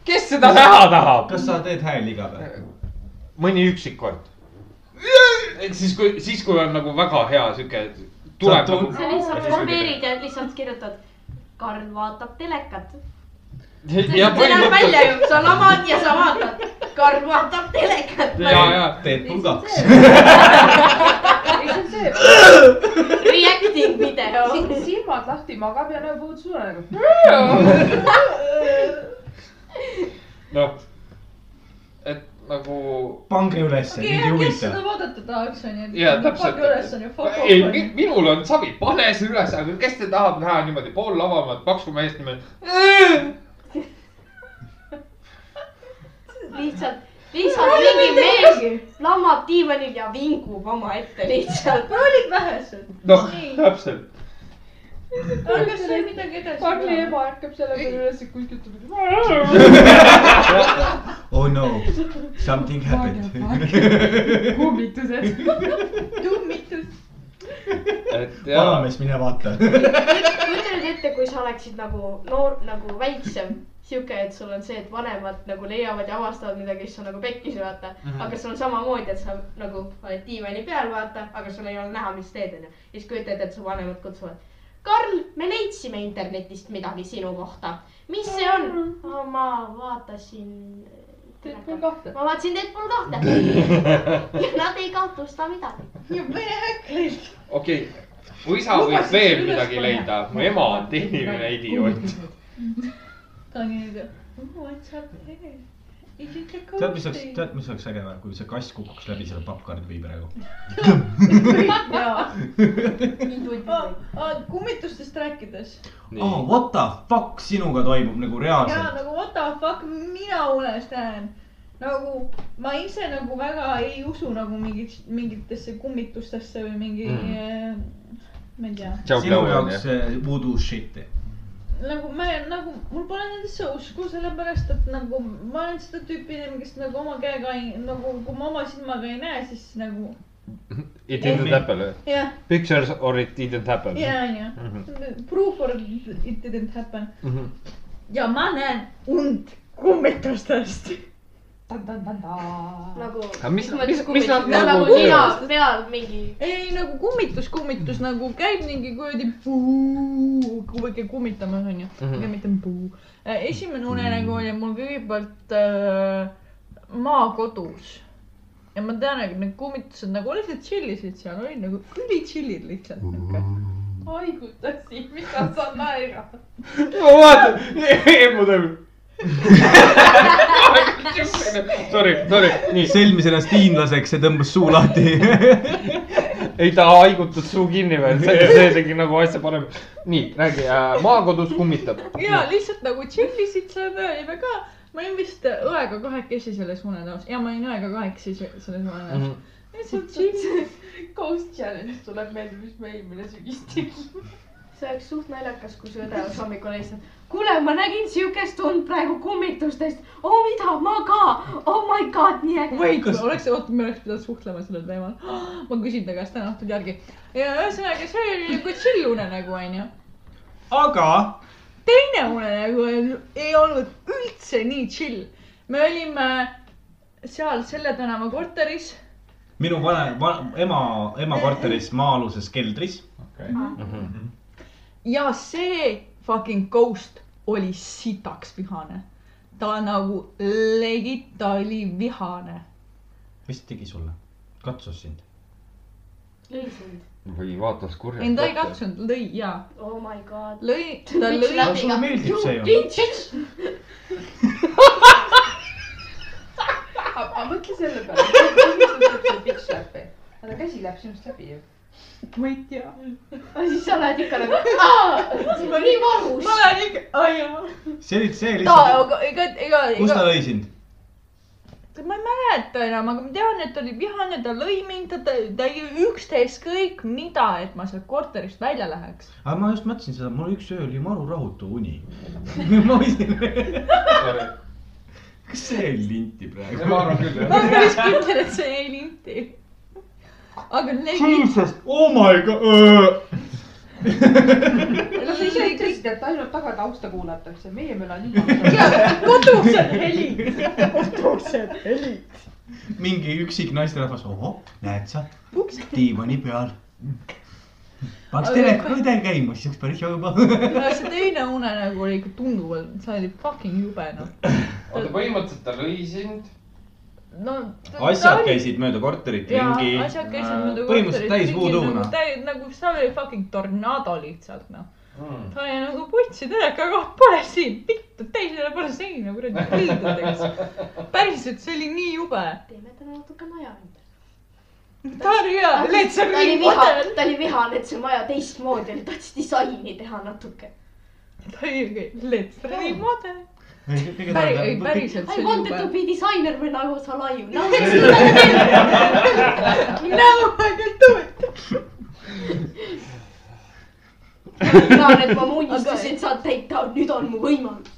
Speaker 2: kes seda näha tahab ?
Speaker 3: kas sa teed hääli iga päev ?
Speaker 2: mõni üksik kord . ehk siis , kui , siis kui on nagu väga hea sihuke , tuleb
Speaker 3: Saab
Speaker 2: nagu
Speaker 5: sa lihtsalt formeerid ja lihtsalt kirjutad . Karl vaatab telekat .
Speaker 2: ja
Speaker 5: see läheb välja
Speaker 2: põhimõtteliselt
Speaker 5: ju , sa lamad ja sa vaatad . Karl vaatab telekat .
Speaker 2: ja , ja
Speaker 3: teed pulgaks .
Speaker 9: ei , see on see ,
Speaker 5: Reacting video .
Speaker 9: silmad lahti magab ja näeb õudse unenägu .
Speaker 2: noh , et nagu
Speaker 3: pange ülesse ,
Speaker 4: okei ,
Speaker 3: mind ei
Speaker 4: kes seda
Speaker 3: huvita .
Speaker 4: vaadata tahaks , onju .
Speaker 2: ja täpselt
Speaker 4: üles on ju , fuck .
Speaker 2: ei ,
Speaker 4: off .
Speaker 2: minul on savi , pane see üles , aga kes te tahab näha niimoodi pool lavamat paksu meest niimoodi .
Speaker 5: lihtsalt , lihtsalt mingi mees lamab diivanil ja vingub omaette lihtsalt .
Speaker 4: no olid vähesed .
Speaker 2: noh , täpselt ,
Speaker 4: algas see midagi
Speaker 9: Karli
Speaker 4: edasi .
Speaker 9: ema ärkab selle peale üles ja kuskilt tuleb .
Speaker 3: Oh no , something happened .
Speaker 9: kummitused .
Speaker 4: tummitud .
Speaker 2: et ja ,
Speaker 3: vanamees , mine vaata .
Speaker 5: kujuta nüüd ette , kui sa oleksid nagu noor , nagu väiksem , sihuke , et sul on see , et vanemad nagu leiavad ja avastavad midagi , siis on nagu pekkis , vaata mm . -hmm. aga sul on samamoodi , et sa nagu oled diivani peal , vaata , aga sul ei ole näha , mis teed , onju . ja siis kujuta ette , et su vanemad kutsuvad . Karl , me leidsime internetist midagi sinu kohta . mis see on ? ma vaatasin äh,
Speaker 8: Deadpool kahte .
Speaker 5: ma vaatasin Deadpool kahte . ja nad ei kahtlusta midagi .
Speaker 4: mine häkklist .
Speaker 2: okei okay. , mu isa võib
Speaker 4: Lubasin
Speaker 2: veel
Speaker 4: selle
Speaker 2: midagi
Speaker 4: üles panna.
Speaker 2: leida , mu ema on tehniline idioot .
Speaker 4: ta on "Oh, nii , what's up here ? Is it a cold
Speaker 3: tead , mis oleks ,
Speaker 4: day?
Speaker 3: tead , mis oleks äge või , kui see kass kukuks läbi selle pappkardi praegu .
Speaker 4: jaa ,
Speaker 5: nii tundis .
Speaker 4: kummitustest rääkides .
Speaker 3: oh , what the fuck sinuga toimub nagu
Speaker 4: jaa ,
Speaker 3: reaalselt .
Speaker 4: nagu what the fuck mina unes näen . nagu ma ise nagu väga ei usu nagu mingit , mingitesse kummitustesse või mingi mm. , ma ei tea .
Speaker 3: sinu jaoks see voodoo shit'i .
Speaker 4: nagu ma nagu , mul pole nendesse usku , sellepärast et nagu ma olen seda tüüpi inimene , kes nagu oma käega ei , nagu kui ma oma silmaga ei näe , siis nagu
Speaker 2: It didn't happen .
Speaker 4: jah ,
Speaker 2: Pictures or it didn't happen .
Speaker 4: ja , ja proof or it didn't happen
Speaker 2: Mm-hmm.
Speaker 4: ja ma näen und kummitustest .
Speaker 5: nagu .
Speaker 2: Aga mis- mis- mis nad
Speaker 5: nagu
Speaker 2: nagu
Speaker 5: nina
Speaker 2: teevad?
Speaker 5: peal mingi
Speaker 4: ei nagu kummitus , kummitus nagu käib mingi kuradi kuidagi kummitamas onju ,
Speaker 2: Mhm. Mm-hmm.
Speaker 4: aga mitte puu . esimene unenägu oli mul kõigepealt äh, maakodus ja ma tean , et need kummitused nagu lihtsalt tšillisid seal , olid nagu üli tšillid lihtsalt niuke .
Speaker 9: haigutassi , mis sa saad naerda .
Speaker 2: ma
Speaker 4: Oh,
Speaker 2: vaatan , emu tuleb . Sorry , sorry , nii ,
Speaker 3: sõlmis ennast hiinlaseks ja tõmbas suu lahti .
Speaker 2: ei ta haigutas suu kinni veel , see tegi nagu asja parem . nii , räägi , maakodus kummitab .
Speaker 4: ja lihtsalt nagu tšillisid seal , me olime ka , me olime vist äh, õega kahekesi selles unenäos ja ma olin õega kahekesi se- selles unenäos .
Speaker 2: Mm-hmm.
Speaker 4: lihtsalt tšillid .
Speaker 9: Ghost Challenge tuleb meelde , mis me eelmine sügis tegime .
Speaker 5: see oleks suht naljakas , kui su õde oleks hommikul helistanud . kuule , ma nägin siukest und praegu kummitustest . oo , mida , ma ka . oh my god , nii äge .
Speaker 4: Wait , oleks , oota , me oleks pidanud suhtlema sellel teemal . ma küsin ta käest täna õhtul järgi . ja ühesõnaga , see oli nagu chill unenägu , onju .
Speaker 3: aga
Speaker 4: teine unenägu on- ei olnud üldse nii chill . me olime seal selle tänava korteris .
Speaker 3: minu vanem va, , ema , ema korteris maa-aluses keldris .
Speaker 2: Mm-hmm.
Speaker 4: ja see fucking ghost oli sitaks vihane . ta nagu legit , ta oli vihane .
Speaker 3: mis ta tegi sulle ? katsus sind ?
Speaker 5: lõi sind .
Speaker 2: või vaatas kurjalt .
Speaker 4: ei , ta ei . katsunud , lõi ja ,
Speaker 5: oh my god .
Speaker 4: lõi , ta lõi .
Speaker 3: sulle meeldib see ju ?
Speaker 9: aga mõtle selle peale , miks sa läbi , aga käsi läheb sinust läbi ju .
Speaker 4: ma ei tea .
Speaker 5: aga siis sa lähed ikka nagu , aa , nii valus
Speaker 4: ma . lähen ikka , ai jaa .
Speaker 3: see oli , see
Speaker 4: ta ,
Speaker 3: lihtsalt ,
Speaker 4: aga ega , ega ,
Speaker 3: kus ta
Speaker 4: ega ,
Speaker 3: lõi sind ?
Speaker 4: ma ei mäleta enam , aga ma tean , et ta oli vihane , ta lõi mind , ta , ta üksteist kõik mida , et ma sealt korterist välja läheks .
Speaker 3: aga ma just mõtlesin seda , mul üks öö oli maru rahutu uni . ma võisin , kas see oli linti
Speaker 10: ma
Speaker 3: praegu ?
Speaker 10: arvan küll ,
Speaker 4: ma
Speaker 10: jah .
Speaker 4: olen päris kindel , et see jäi linti . aga legit ,
Speaker 3: Jesus , oh my god .
Speaker 9: kas sa ise
Speaker 4: legit ,
Speaker 9: ütlesid , et ainult tagatausta kuulatakse , meie möla nii palju .
Speaker 4: kodus on heli , kodus on heli .
Speaker 3: mingi üksik naisterahvas , ohoh , näed sa , diivani peal . paneks teleka ka täis käima , siis oleks päris juba .
Speaker 4: see teine unenägu oli ikka tunduvalt , see oli fucking jube noh .
Speaker 2: oota , põhimõtteliselt ta lõi sind .
Speaker 4: no .
Speaker 3: asjad . käisid mööda korterit
Speaker 4: jaa ,
Speaker 3: ringi .
Speaker 4: asjad käisid mööda
Speaker 3: põhimõtteliselt täis
Speaker 4: nagu
Speaker 3: voodoo'na .
Speaker 4: täis , nagu see oli fucking tornado lihtsalt noh .
Speaker 2: Hmm.
Speaker 4: ta oli nagu putsi teleka koht pole siin , pitta teisele pole seina kuradi kõigudeks . päriselt , see oli nii jube .
Speaker 5: teeme talle natuke maja ümber .
Speaker 4: ta oli hea , let's
Speaker 5: ta oli
Speaker 4: read
Speaker 5: vihane
Speaker 4: model .,
Speaker 5: ta oli vihane , et see maja teistmoodi oli , tahtis disaini teha natuke .
Speaker 4: ta oli okei , let's read model . päri- , ei
Speaker 3: päriselt .
Speaker 4: päriselt ,
Speaker 5: I
Speaker 4: see oli
Speaker 5: wanted to
Speaker 4: jube .
Speaker 5: be designer when I was alive .
Speaker 4: no I can do it .
Speaker 5: tean , et ma mu unistuseid saan täita , nüüd on mu võimalus .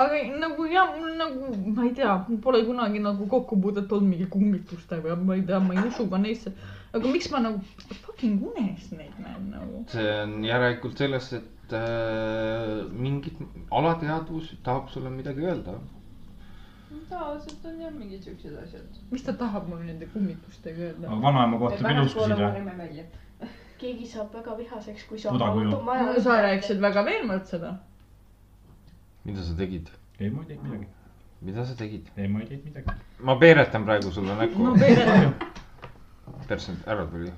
Speaker 4: aga nagu jah , mul nagu , ma ei tea , mul pole kunagi nagu kokkupuudet olnud mingi kummitustega , ma ei tea , ma ei usu ka neisse . aga miks ma nagu fucking unes neid näen nagu ?
Speaker 2: see on järelikult sellest , et äh, mingit alateadvus tahab sulle midagi öelda .
Speaker 9: tavaliselt on jah mingid siuksed asjad .
Speaker 4: mis ta tahab mul nende kummitustega öelda ?
Speaker 3: vanaema kohta pilustasid või ?
Speaker 9: uurime välja .
Speaker 5: keegi saab väga vihaseks , kui sa
Speaker 3: Toda kuju.
Speaker 5: auto maja .
Speaker 4: sa rääkisid väga veenvalt seda .
Speaker 2: mida sa tegid ?
Speaker 3: ei , ma ei teinud midagi .
Speaker 2: mida sa tegid ?
Speaker 3: ei , ma ei teinud midagi .
Speaker 2: ma peeretan praegu sulle näkku
Speaker 3: no . veereta ju .
Speaker 2: persent ära tuli .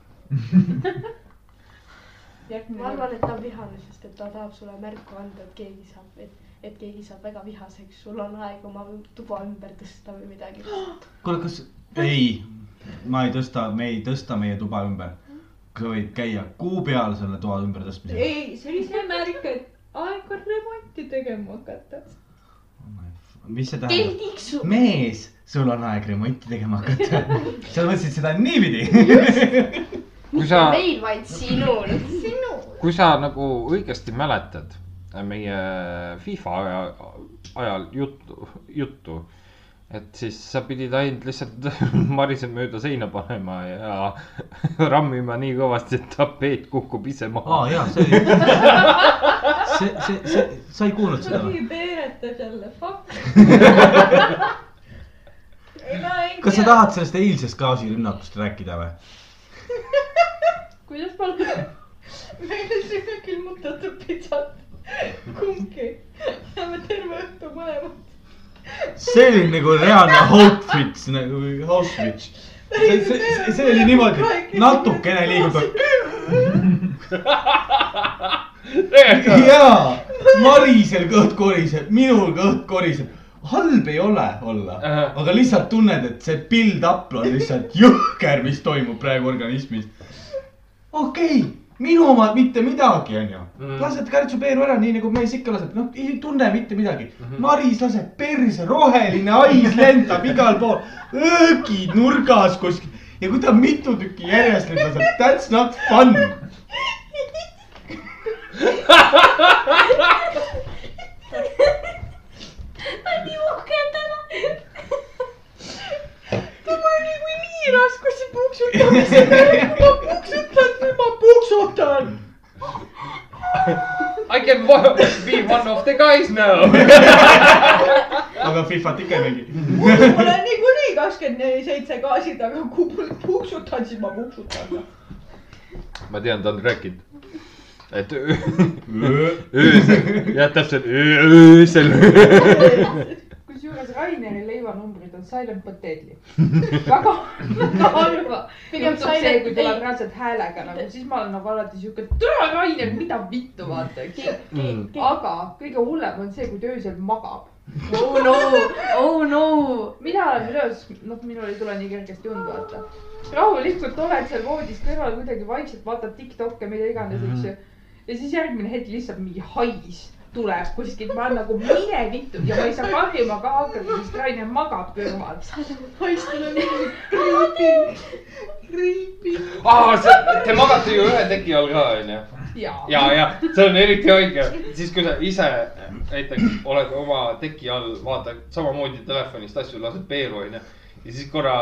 Speaker 5: ma arvan , et ta on vihane , sest et ta tahab sulle märku anda , et keegi saab , et , et keegi saab väga vihaseks , sul on aeg oma tuba ümber tõsta või midagi .
Speaker 3: kuule , kas , ei , ma ei tõsta , me ei tõsta meie tuba ümber . sa võid käia kuu peal selle toa ümbertõstmisega .
Speaker 4: ei , see oli see märk , et aeg on remonti tegema hakata .
Speaker 3: mis see tähendab ? mees , sul on aeg remonti tegema hakata . sa mõtlesid seda niipidi ?
Speaker 2: kui sa ,
Speaker 5: meil , vaid sinul .
Speaker 2: kui sa nagu õigesti mäletad äh, meie FIFA aja , ajal juttu , juttu , et siis sa pidid ainult lihtsalt Marise mööda seina panema ja rammima nii kõvasti , et tapeet kukub ise maha
Speaker 3: aa . jaa , see oli , see , see , see , sa ei kuulnud seda või ?
Speaker 4: Sofi peeretas jälle , fuck . ei , ma ei
Speaker 3: kas sa tahad sellest eilsest gaasirünnakust rääkida või ?
Speaker 8: kuidas palun ?
Speaker 4: meile süüa külmutatud pitsat , kumbki . saame terve õhtu mõlemad .
Speaker 3: see oli nagu reaalne Auschwitz nagu , Auschwitz . see , see , see oli niimoodi , natukene liigub . jaa , Marisel kõht koriseb , minul kõht koriseb . halb ei ole olla , aga lihtsalt tunned , et see build-up on lihtsalt jõhker , mis toimub praegu organismis . okei okay, , minu omad mitte midagi , onju . lased kärtsupeeru ära , nii nagu mees ikka laseb , noh , ei tunne mitte midagi . Maris laseb perse , roheline hais lendab igal pool , öögid nurgas kuskil ja kui ta mitu tükki järjest nüüd laseb , that's not fun .
Speaker 4: mul oli kui nii raskusi puuksutamisega , ma puuksutan või ma puuksutan .
Speaker 2: I can wa- be one of the guys now .
Speaker 3: aga Fifat ikka ei mängi .
Speaker 4: mul on niikuinii kakskümmend neli seitse gaasi taga , kui ma puuksutan , siis ma puuksutan .
Speaker 2: ma tean , ta on rääkinud , et öö- öösel , jah , täpselt öö- öösel .
Speaker 9: kusjuures Raineri leivanumbrid on silent but deadly . väga , väga halva . pigem
Speaker 5: Juhtub
Speaker 9: see
Speaker 5: see, ,
Speaker 9: kui
Speaker 5: kui
Speaker 9: tuleb
Speaker 5: ei-
Speaker 9: reaalselt häälega nagu , siis ma olen nagu alati siuke , tule Rainer , mida vittu vaata , eks .
Speaker 2: Mm.
Speaker 9: aga kõige hullem on see , kui ta öösel magab .
Speaker 5: Oh no , oh no .
Speaker 9: mina olen üleöös , noh , minul ei tule nii kergesti und vaata . rahulikult oled seal voodis kõrval kuidagi vaikselt vaatad Tiktok'e , mida iganes , onju . ja siis järgmine hetk lihtsalt mingi hais tuleb kuskilt , ma olen nagu mine vittu ja ma ei saa karjuma ka hakata , sest Rainer magab kõrval .
Speaker 4: haistel on mingi creeping , creeping .
Speaker 2: aa , te magate Ah, ju ühe teki all ka , onju .
Speaker 9: jaa
Speaker 2: ja , ja see on eriti haige , siis kui sa ise näiteks oled oma teki all , vaatad samamoodi telefonist asju , lased peeru , onju . ja siis korra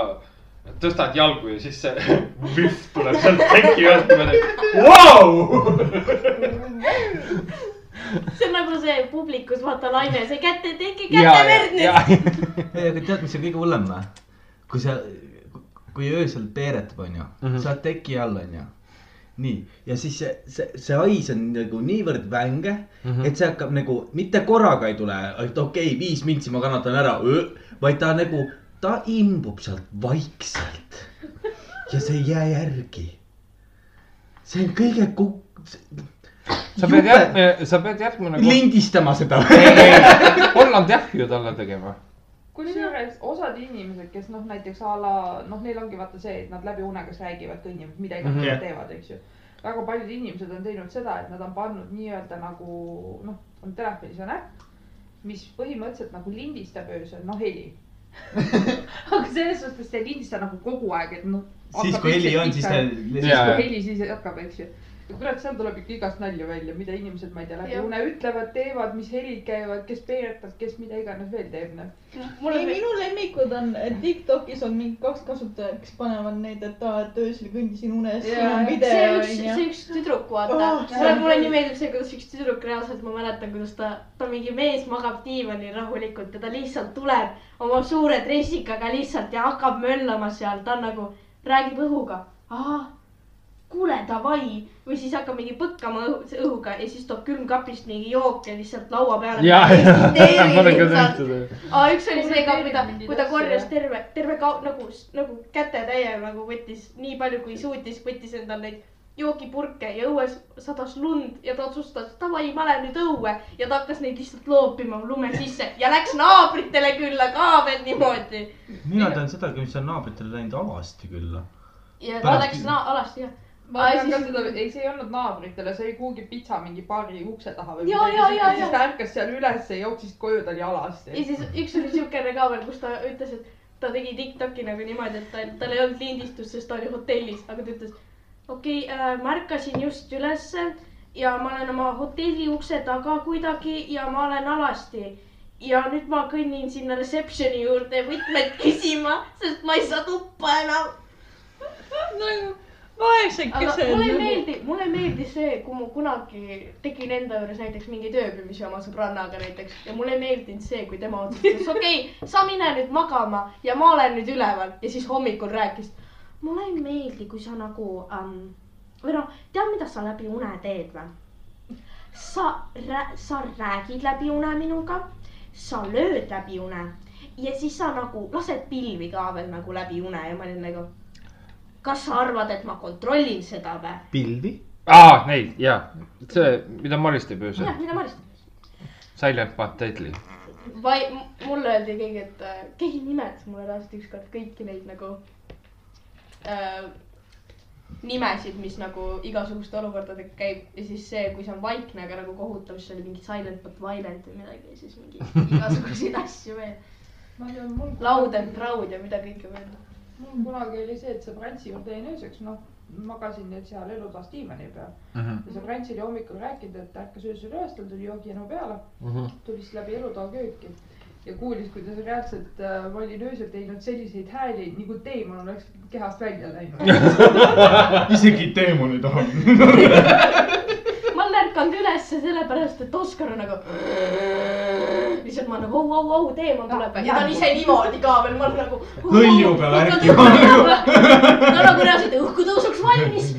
Speaker 2: tõstad jalgu ja siis see vühv tuleb sealt teki alt mööda . Vau ,
Speaker 5: see on nagu see publikus , vaata naine , see kätt ei teki ,
Speaker 2: ja
Speaker 5: käte , verd
Speaker 2: ja
Speaker 5: nüüd .,
Speaker 3: ei , aga tead , mis on kõige hullem või ? kui sa , kui öösel peeretab , onju mm , -hmm. sa oled teki all , onju . nii , ja siis see , see , see hais on nagu niivõrd vänge mm ,
Speaker 2: Mhm.
Speaker 3: -hmm. et see hakkab nagu , mitte korraga ei tule , et okei okay, , viis mintsi ma kannatan ära , vaid ta nagu , ta imbub sealt vaikselt . ja see ei jää järgi . see on kõige kuk- ,
Speaker 2: sa pead järgmine , sa pead järgmine kord .
Speaker 3: lindistama seda .
Speaker 2: Holland jahhi ju talle tegema .
Speaker 9: kusjuures osad inimesed , kes noh , näiteks a la noh , neil ongi vaata see , et nad läbi une , kas räägivad , kõnnivad , mida iganes
Speaker 3: Mhm.
Speaker 9: nad teevad , eks ju . väga paljud inimesed on teinud seda , et nad on pannud nii-öelda nagu noh , on telefonis on äpp , mis põhimõtteliselt nagu lindistab öösel , noh heli . aga selles suhtes ta ei lindista nagu kogu aeg , et noh .
Speaker 3: siis kui heli on , siis ta .
Speaker 9: siis
Speaker 2: Jaa.
Speaker 9: kui heli siis hakkab , eks ju . ja kurat , seal tuleb ikka igast nalja välja , mida inimesed , ma ei tea , läbi
Speaker 5: Jah.
Speaker 9: une ütlevad , teevad , mis helid käivad , kes peeretab , kes mida iganes veel teeb , noh .
Speaker 5: mul
Speaker 4: ei ,
Speaker 5: on ,
Speaker 4: minu lemmikud on eh, Tiktokis on mingi kaks kasutajat , kes panevad neid , et aa , et öösel kõndisin unes , siin
Speaker 9: Jaa,
Speaker 4: on
Speaker 5: see
Speaker 4: video
Speaker 5: üks , see
Speaker 4: onju .
Speaker 5: üks tüdruk , vaata
Speaker 4: Oh,
Speaker 5: oh, .
Speaker 4: see
Speaker 5: mulle
Speaker 4: on ,
Speaker 5: mulle
Speaker 4: küll.
Speaker 5: nii meeldib see , kuidas üks tüdruk reaalselt , ma mäletan , kuidas ta , ta mingi mees magab diivanil rahulikult ja ta lihtsalt tuleb oma suure dressikaga lihtsalt ja hakkab möllama seal , ta on nagu , räägib õhuga . ahah , kuule davai või siis hakkab mingi põkkama õhu, see õhuga ja siis toob külmkapist mingi jooke lihtsalt laua peale . aa , üks oli see ka , kui ta , kui ta korjas terve , terve ka- nagu , nagu kätetäie nagu võttis nii palju , kui suutis , võttis endal neid joogipurke ja õues sadas lund ja ta otsustas , davai , ma lähen nüüd õue ja ta hakkas neid lihtsalt loopima lume sisse ja läks naabritele külla ka veel niimoodi .
Speaker 3: mina tean seda , mis on naabritele läinud alasti külla .
Speaker 5: ja ta
Speaker 3: Pärast-
Speaker 5: läks na- alasti jah .
Speaker 9: ma tean ka seda , ei , see ei olnud naabritele , see oli kuhugi pitsa mingi baari ukse taha või
Speaker 5: Ja,
Speaker 9: midagi
Speaker 5: ja,
Speaker 9: sellist.
Speaker 5: ja,
Speaker 9: siis
Speaker 5: ja.
Speaker 9: ta ärkas seal üles ja jooksis koju , ta oli alasti
Speaker 5: ja . siis üks oli siukene ka veel , kus ta ütles , et ta tegi Tiktoki nagu niimoodi , et tal , tal ei olnud lindistust , sest ta oli hotellis , aga ta ütles . okei okay, äh, , ma ärkasin just ülesse ja ma olen oma hotelli ukse taga kuidagi ja ma olen alasti . ja nüüd ma kõnnin sinna reception'i juurde võtmed küsima , sest ma ei saa tuppa enam . aga
Speaker 4: nagu-
Speaker 5: mulle meeldib , mulle meeldis see , kui ma kunagi tegin enda juures näiteks mingeid ööbimisi oma sõbrannaga näiteks ja mulle ei meeldinud see , kui tema otsustas , okei okay, , sa mine nüüd magama ja ma olen nüüd üleval ja siis hommikul rääkis . mulle ei meeldi , kui sa nagu um, või noh , tead , mida sa läbi une teed või ? sa , sa räägid läbi une minuga , sa lööd läbi une ja siis sa nagu lased pilvi ka veel nagu läbi une ja ma olin nagu , kas sa arvad , et ma kontrollin seda või ?
Speaker 3: pilvi ?
Speaker 2: aa , neid ja , see , mida Maris teeb öösel
Speaker 5: jah ,, mida Maris teeb .
Speaker 2: Silent But Deadly .
Speaker 5: vai , mulle öeldi keegi , et äh, keegi nimetas mulle reaalselt ükskord kõiki neid nagu äh, nimesid , mis nagu igasuguste olukordadega käib ja siis see , kui see on vaikne , aga nagu kohutav , siis oli mingi silent but violent või midagi ja siis mingi igasuguseid asju veel .
Speaker 9: ma tean , mul
Speaker 5: Loud and proud ja mida kõike veel .
Speaker 9: mul kunagi oli see , et sõbrantsi juurde jäin ööseks , noh , magasin nüüd seal elutoas diivani peal . ja sõbrants oli hommikul rääkinud , et ärkas öösel üles , tal tuli joogienu peale ,
Speaker 2: Mhm.
Speaker 9: tuli siis läbi elutoa kööki ja kuulis , kuidas reaalselt äh, ma olin öösel teinud selliseid hääli , nagu teemal oleks kehast välja läinud .
Speaker 7: isegi teemon ei taha .
Speaker 5: ma olen ärkanud ülesse sellepärast , et Oskar on nagu . lihtsalt ma olen nagu au , au , au , teema tuleb ja ta on ise niimoodi ka veel , ma olen nagu .
Speaker 7: Hõlju peal ärkima. .
Speaker 5: ta on nagu reaalselt õhku tõusuks valmis .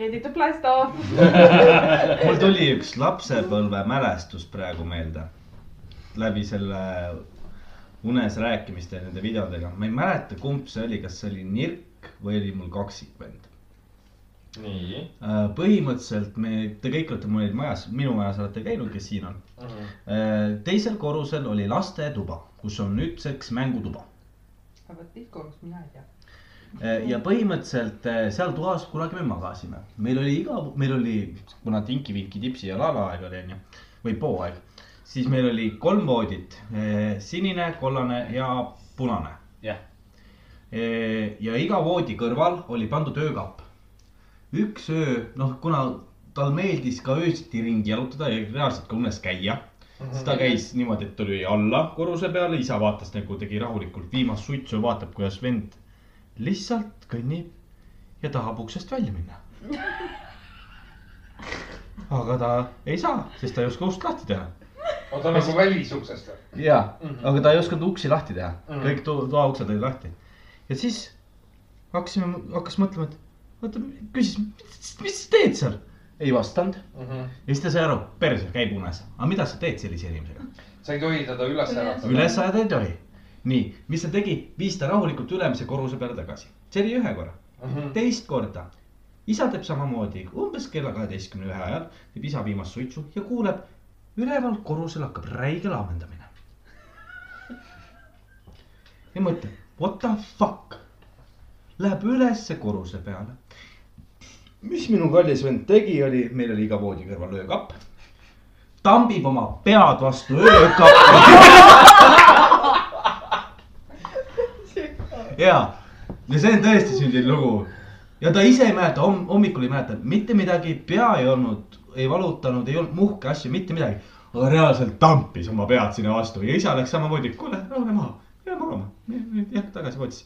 Speaker 9: Ready to blast off .
Speaker 3: mul tuli üks lapsepõlve mälestus praegu meelde . läbi selle unes rääkimiste ja nende videodega , ma ei mäleta , kumb see oli , kas see oli Nirk või oli mul kaksikvend .
Speaker 10: nii .
Speaker 3: põhimõtteliselt me , te kõik olete mul majas , minu majas olete käinud , kes siin on . teisel korrusel oli lastetuba , kus on nüüdseks mängutuba .
Speaker 9: aga vot teist korrust mina ei tea .
Speaker 3: Eh, ja põhimõtteliselt eh, seal toas kunagi me magasime , meil oli iga , meil oli , kuna Tinki-Vinki tipsi ja Lala aeg oli onju või pooaeg , siis meil oli kolm voodit , sinine , kollane ja punane .
Speaker 2: jah ,
Speaker 3: ja iga voodi kõrval oli pandud öökapp . üks öö , noh , kuna tal meeldis ka öösiti ringi jalutada ja reaalselt ka unes käia , siis ta käis niimoodi , et tuli alla korruse peale , isa vaatas nagu tegi rahulikult viimast suitsu , vaatab , kuidas vend lihtsalt kõnnib ja tahab uksest välja minna . aga ta ei saa , sest ta ei oska ust lahti teha .
Speaker 2: oota nagu välisuksest või ? Mhm.
Speaker 3: ja , aga ta ei osanud uksi lahti teha mm , -hmm. kõik to- toauksed olid lahti . ja siis hakkasime , hakkas mõtlema , et oota , küsis , mis sa teed seal ? ei vastanud
Speaker 2: Mhm.
Speaker 3: ja siis ta sai aru , perse käib unes , aga mida sa teed sellise inimesega ?
Speaker 2: sa ei tohi teda üles äratada .
Speaker 3: üles ajada ei tohi . nii , mis ta tegi , viis ta rahulikult ülemise korruse peale tagasi , see oli ühe korra
Speaker 2: Mhm.
Speaker 3: teist korda . isa teeb samamoodi , umbes kella kaheteistkümne ühe ajal teeb isa viimast suitsu ja kuuleb , üleval korrusel hakkab räige laamendamine . ja mõtleb , what the fuck . Läheb ülesse korruse peale . mis minu kallis vend tegi , oli , meil oli iga voodi kõrval öökapp . tambib oma pead vastu öökappi . ja , ja see on tõesti sündinud lugu . ja ta ise ei mäleta , hommikul ei mäleta mitte midagi , pea ei olnud , ei valutanud , ei olnud muhke asju , mitte midagi . aga reaalselt tampis oma pead sinna vastu ja isa läks samamoodi , kuule , rahune maha , jää magama , jah , tagasi voodisse .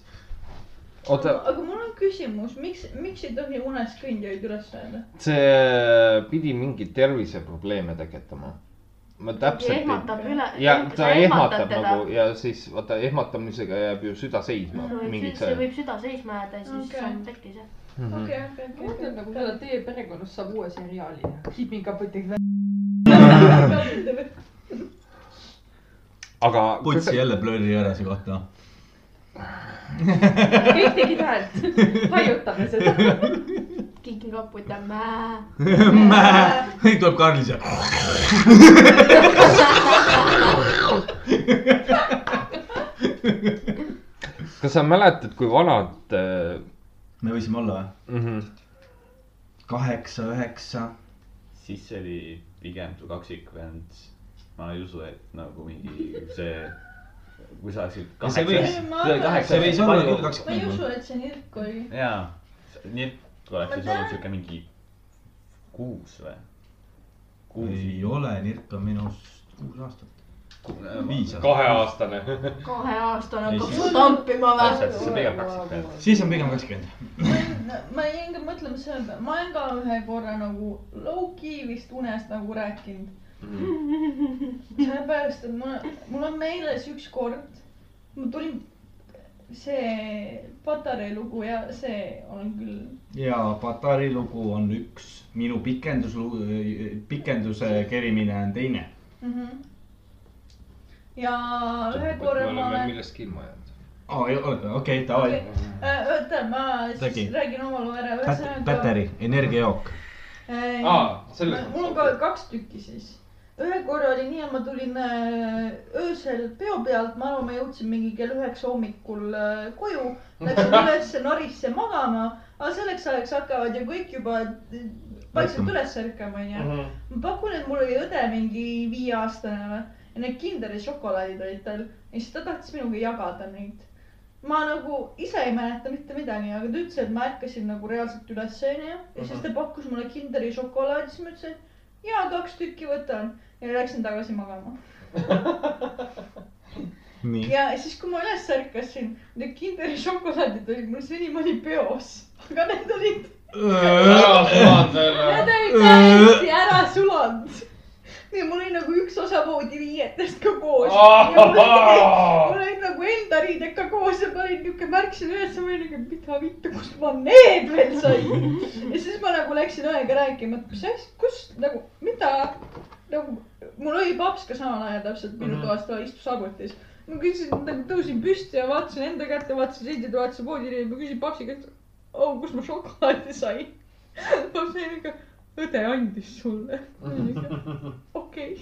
Speaker 2: oota ,
Speaker 4: aga mul on küsimus , miks , miks ei tohi unes kõndjaid üles öelda ?
Speaker 2: see pidi mingeid terviseprobleeme tekitama . ma täpselt ei .
Speaker 5: ehmatab üle .
Speaker 2: ja ta ehmatab nagu . ja siis vaata ehmatamisega jääb ju süda seisma
Speaker 5: see
Speaker 2: mingit
Speaker 5: see
Speaker 2: see .
Speaker 5: võib süda seisma jääda ja siis
Speaker 4: Okei.
Speaker 5: on tekkis jah .
Speaker 4: okei , okei ,
Speaker 9: ma mõtlen nagu seda , et teie perekonnas saab uue seriaali . Keeping up with the
Speaker 4: okei .
Speaker 2: aga .
Speaker 3: putsi jälle blurri ära see koht noh .
Speaker 9: kõik tegid häält , haiutame seda .
Speaker 5: Kicking up with the man .
Speaker 3: kõik tuleb Karl siia .
Speaker 2: kas sa mäletad , kui vanad äh,
Speaker 3: me võisime olla või ?
Speaker 2: mm ? -hmm.
Speaker 3: kaheksa , üheksa .
Speaker 10: siis see oli pigem su kaksikvend . ma ei usu , et nagu mingi see , kui sa oleksid
Speaker 3: Ja see võis-
Speaker 10: kaheksa .
Speaker 3: see võis olla küll
Speaker 4: ma ei usu
Speaker 3: kakskümmend .
Speaker 4: et see nirk oli .
Speaker 10: jaa , nii et oleks
Speaker 4: Ma
Speaker 10: siis
Speaker 4: tean.
Speaker 10: olnud siuke mingi kuus või ?
Speaker 3: ei ole , Nirk on minust kuus aastat .
Speaker 10: Äh,
Speaker 3: viis aastat .
Speaker 2: kaheaastane .
Speaker 5: kaheaastane
Speaker 3: Ei,
Speaker 5: hakkab
Speaker 3: siis-
Speaker 5: sul tampima või ?
Speaker 10: täpselt , siis on pigem kaksikvend .
Speaker 3: siis on pigem kakskümmend .
Speaker 4: ma jäin ka mõtlema selle peale , ma olen ka ühe korra nagu low-key vist unest nagu rääkinud . sellepärast , et mul , mul on meeles üks kord , ma tulin , see Patarei lugu ja see on küll ,
Speaker 3: ja Patari lugu on üks , minu pikendus , pikenduse kerimine on teine .
Speaker 4: mhmh . ja ühe korra ma olen ,
Speaker 2: millestki ilma jäänud .
Speaker 3: aa , olete , okei , davai .
Speaker 4: Äh, oota , ma
Speaker 3: Räägi.
Speaker 4: siis räägin oma loo ära . äh,
Speaker 3: Päteri , energiajook .
Speaker 2: aa , selles
Speaker 4: mul on ka kaks tükki siis . ühe korra oli nii , et ma tulin äh, öösel peo pealt , ma arvan , ma jõudsin mingi kell üheksa hommikul äh, koju , läksin ülesse Norisse magama , aga selleks ajaks hakkavad ju kõik juba äh, vaikselt
Speaker 3: Ärkama.
Speaker 4: üles ärkama , onju .
Speaker 2: Mhm.
Speaker 4: ma pakun , et mul oli õde mingi viieaastane või ja need Kinderi šokolaadid olid tal ja siis ta tahtis minuga jagada neid . ma nagu ise ei mäleta mitte midagi , aga ta ütles , et ma ärkasin nagu reaalselt üles onju ja siis ta pakkus mulle Kinderi šokolaadi , siis ma ütlesin , et jaa , kaks tükki võtan ja läksin tagasi magama .
Speaker 3: nii .
Speaker 4: ja siis , kui ma üles ärkasin , need Kinderi šokolaadid olid mul senimaani peos , aga need olid , need olid täiesti ära sulanud . ja mul oli nagu üks osa voodi viietest ka koos ja mul oli mul olid nagu enda riided ka koos ja ma olin niuke , ma ärkasin üles , ma olin niuke , mida vittu , kust ma need veel sain . ja siis ma nagu läksin õega rääkima , et mis asja , kus nagu , mida nagu , mul oli paps ka samal ajal täpselt minu toas , ta istus arvutis . ma küsisin , nagu tõusin püsti ja vaatasin enda kätte , vaatasin seisjad , vaatasin voodiriideid , ma küsisin papsi käest , oo , kus ma šokolaadi sain . paps oli niuke , õde andis sulle . okei .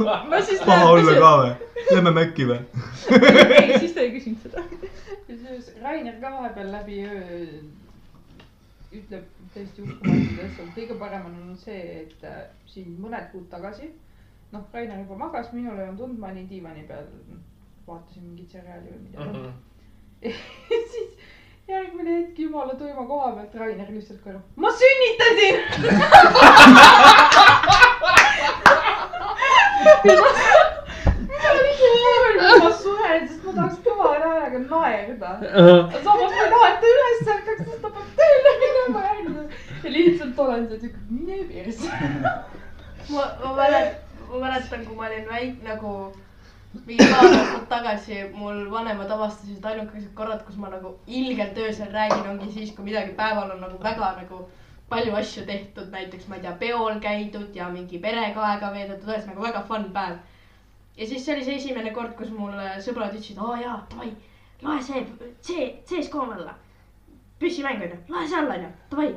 Speaker 4: ma siis .
Speaker 3: või ? Lähme Mäkki või ?
Speaker 4: ei , siis ta ei küsinud seda .
Speaker 9: Rainer ka vahepeal läbi öö ütleb täiesti uskumatuid asju , kõige parem on olnud see , et äh, siin mõned kuud tagasi , noh , Rainer juba magas , minul ei olnud und , ma olin diivani peal , vaatasin mingit seriaali või midagi mm . -hmm. siis järgmine hetk jumala tuima koha pealt Rainer lihtsalt korra , ma sünnitasin ma suren , sest ma tahaks kõva häälega naerda .
Speaker 2: mhm.
Speaker 9: aga samas ma ei taha , et ta üles ärkaks , sest ta peab tööle minema järgmine . ja lihtsalt olen seal siuke , mine perse .
Speaker 5: ma , ma mäletan , ma mäletan , kui ma olin väik- , nagu mingi paar aastat tagasi , mul vanemad avastasid et ainukesed korrad , kus ma nagu ilgelt öösel räägin , ongi siis , kui midagi päeval on nagu väga nagu palju asju tehtud , näiteks ma ei tea , peol käidud ja mingi perega aega veedetud , ühesõnaga väga fun päev . ja siis see oli see esimene kord , kus mul äh, sõbrad ütlesid , aa jaa , davai , loe see , see , see skoon alla . püssimäng onju , loe see alla onju , davai .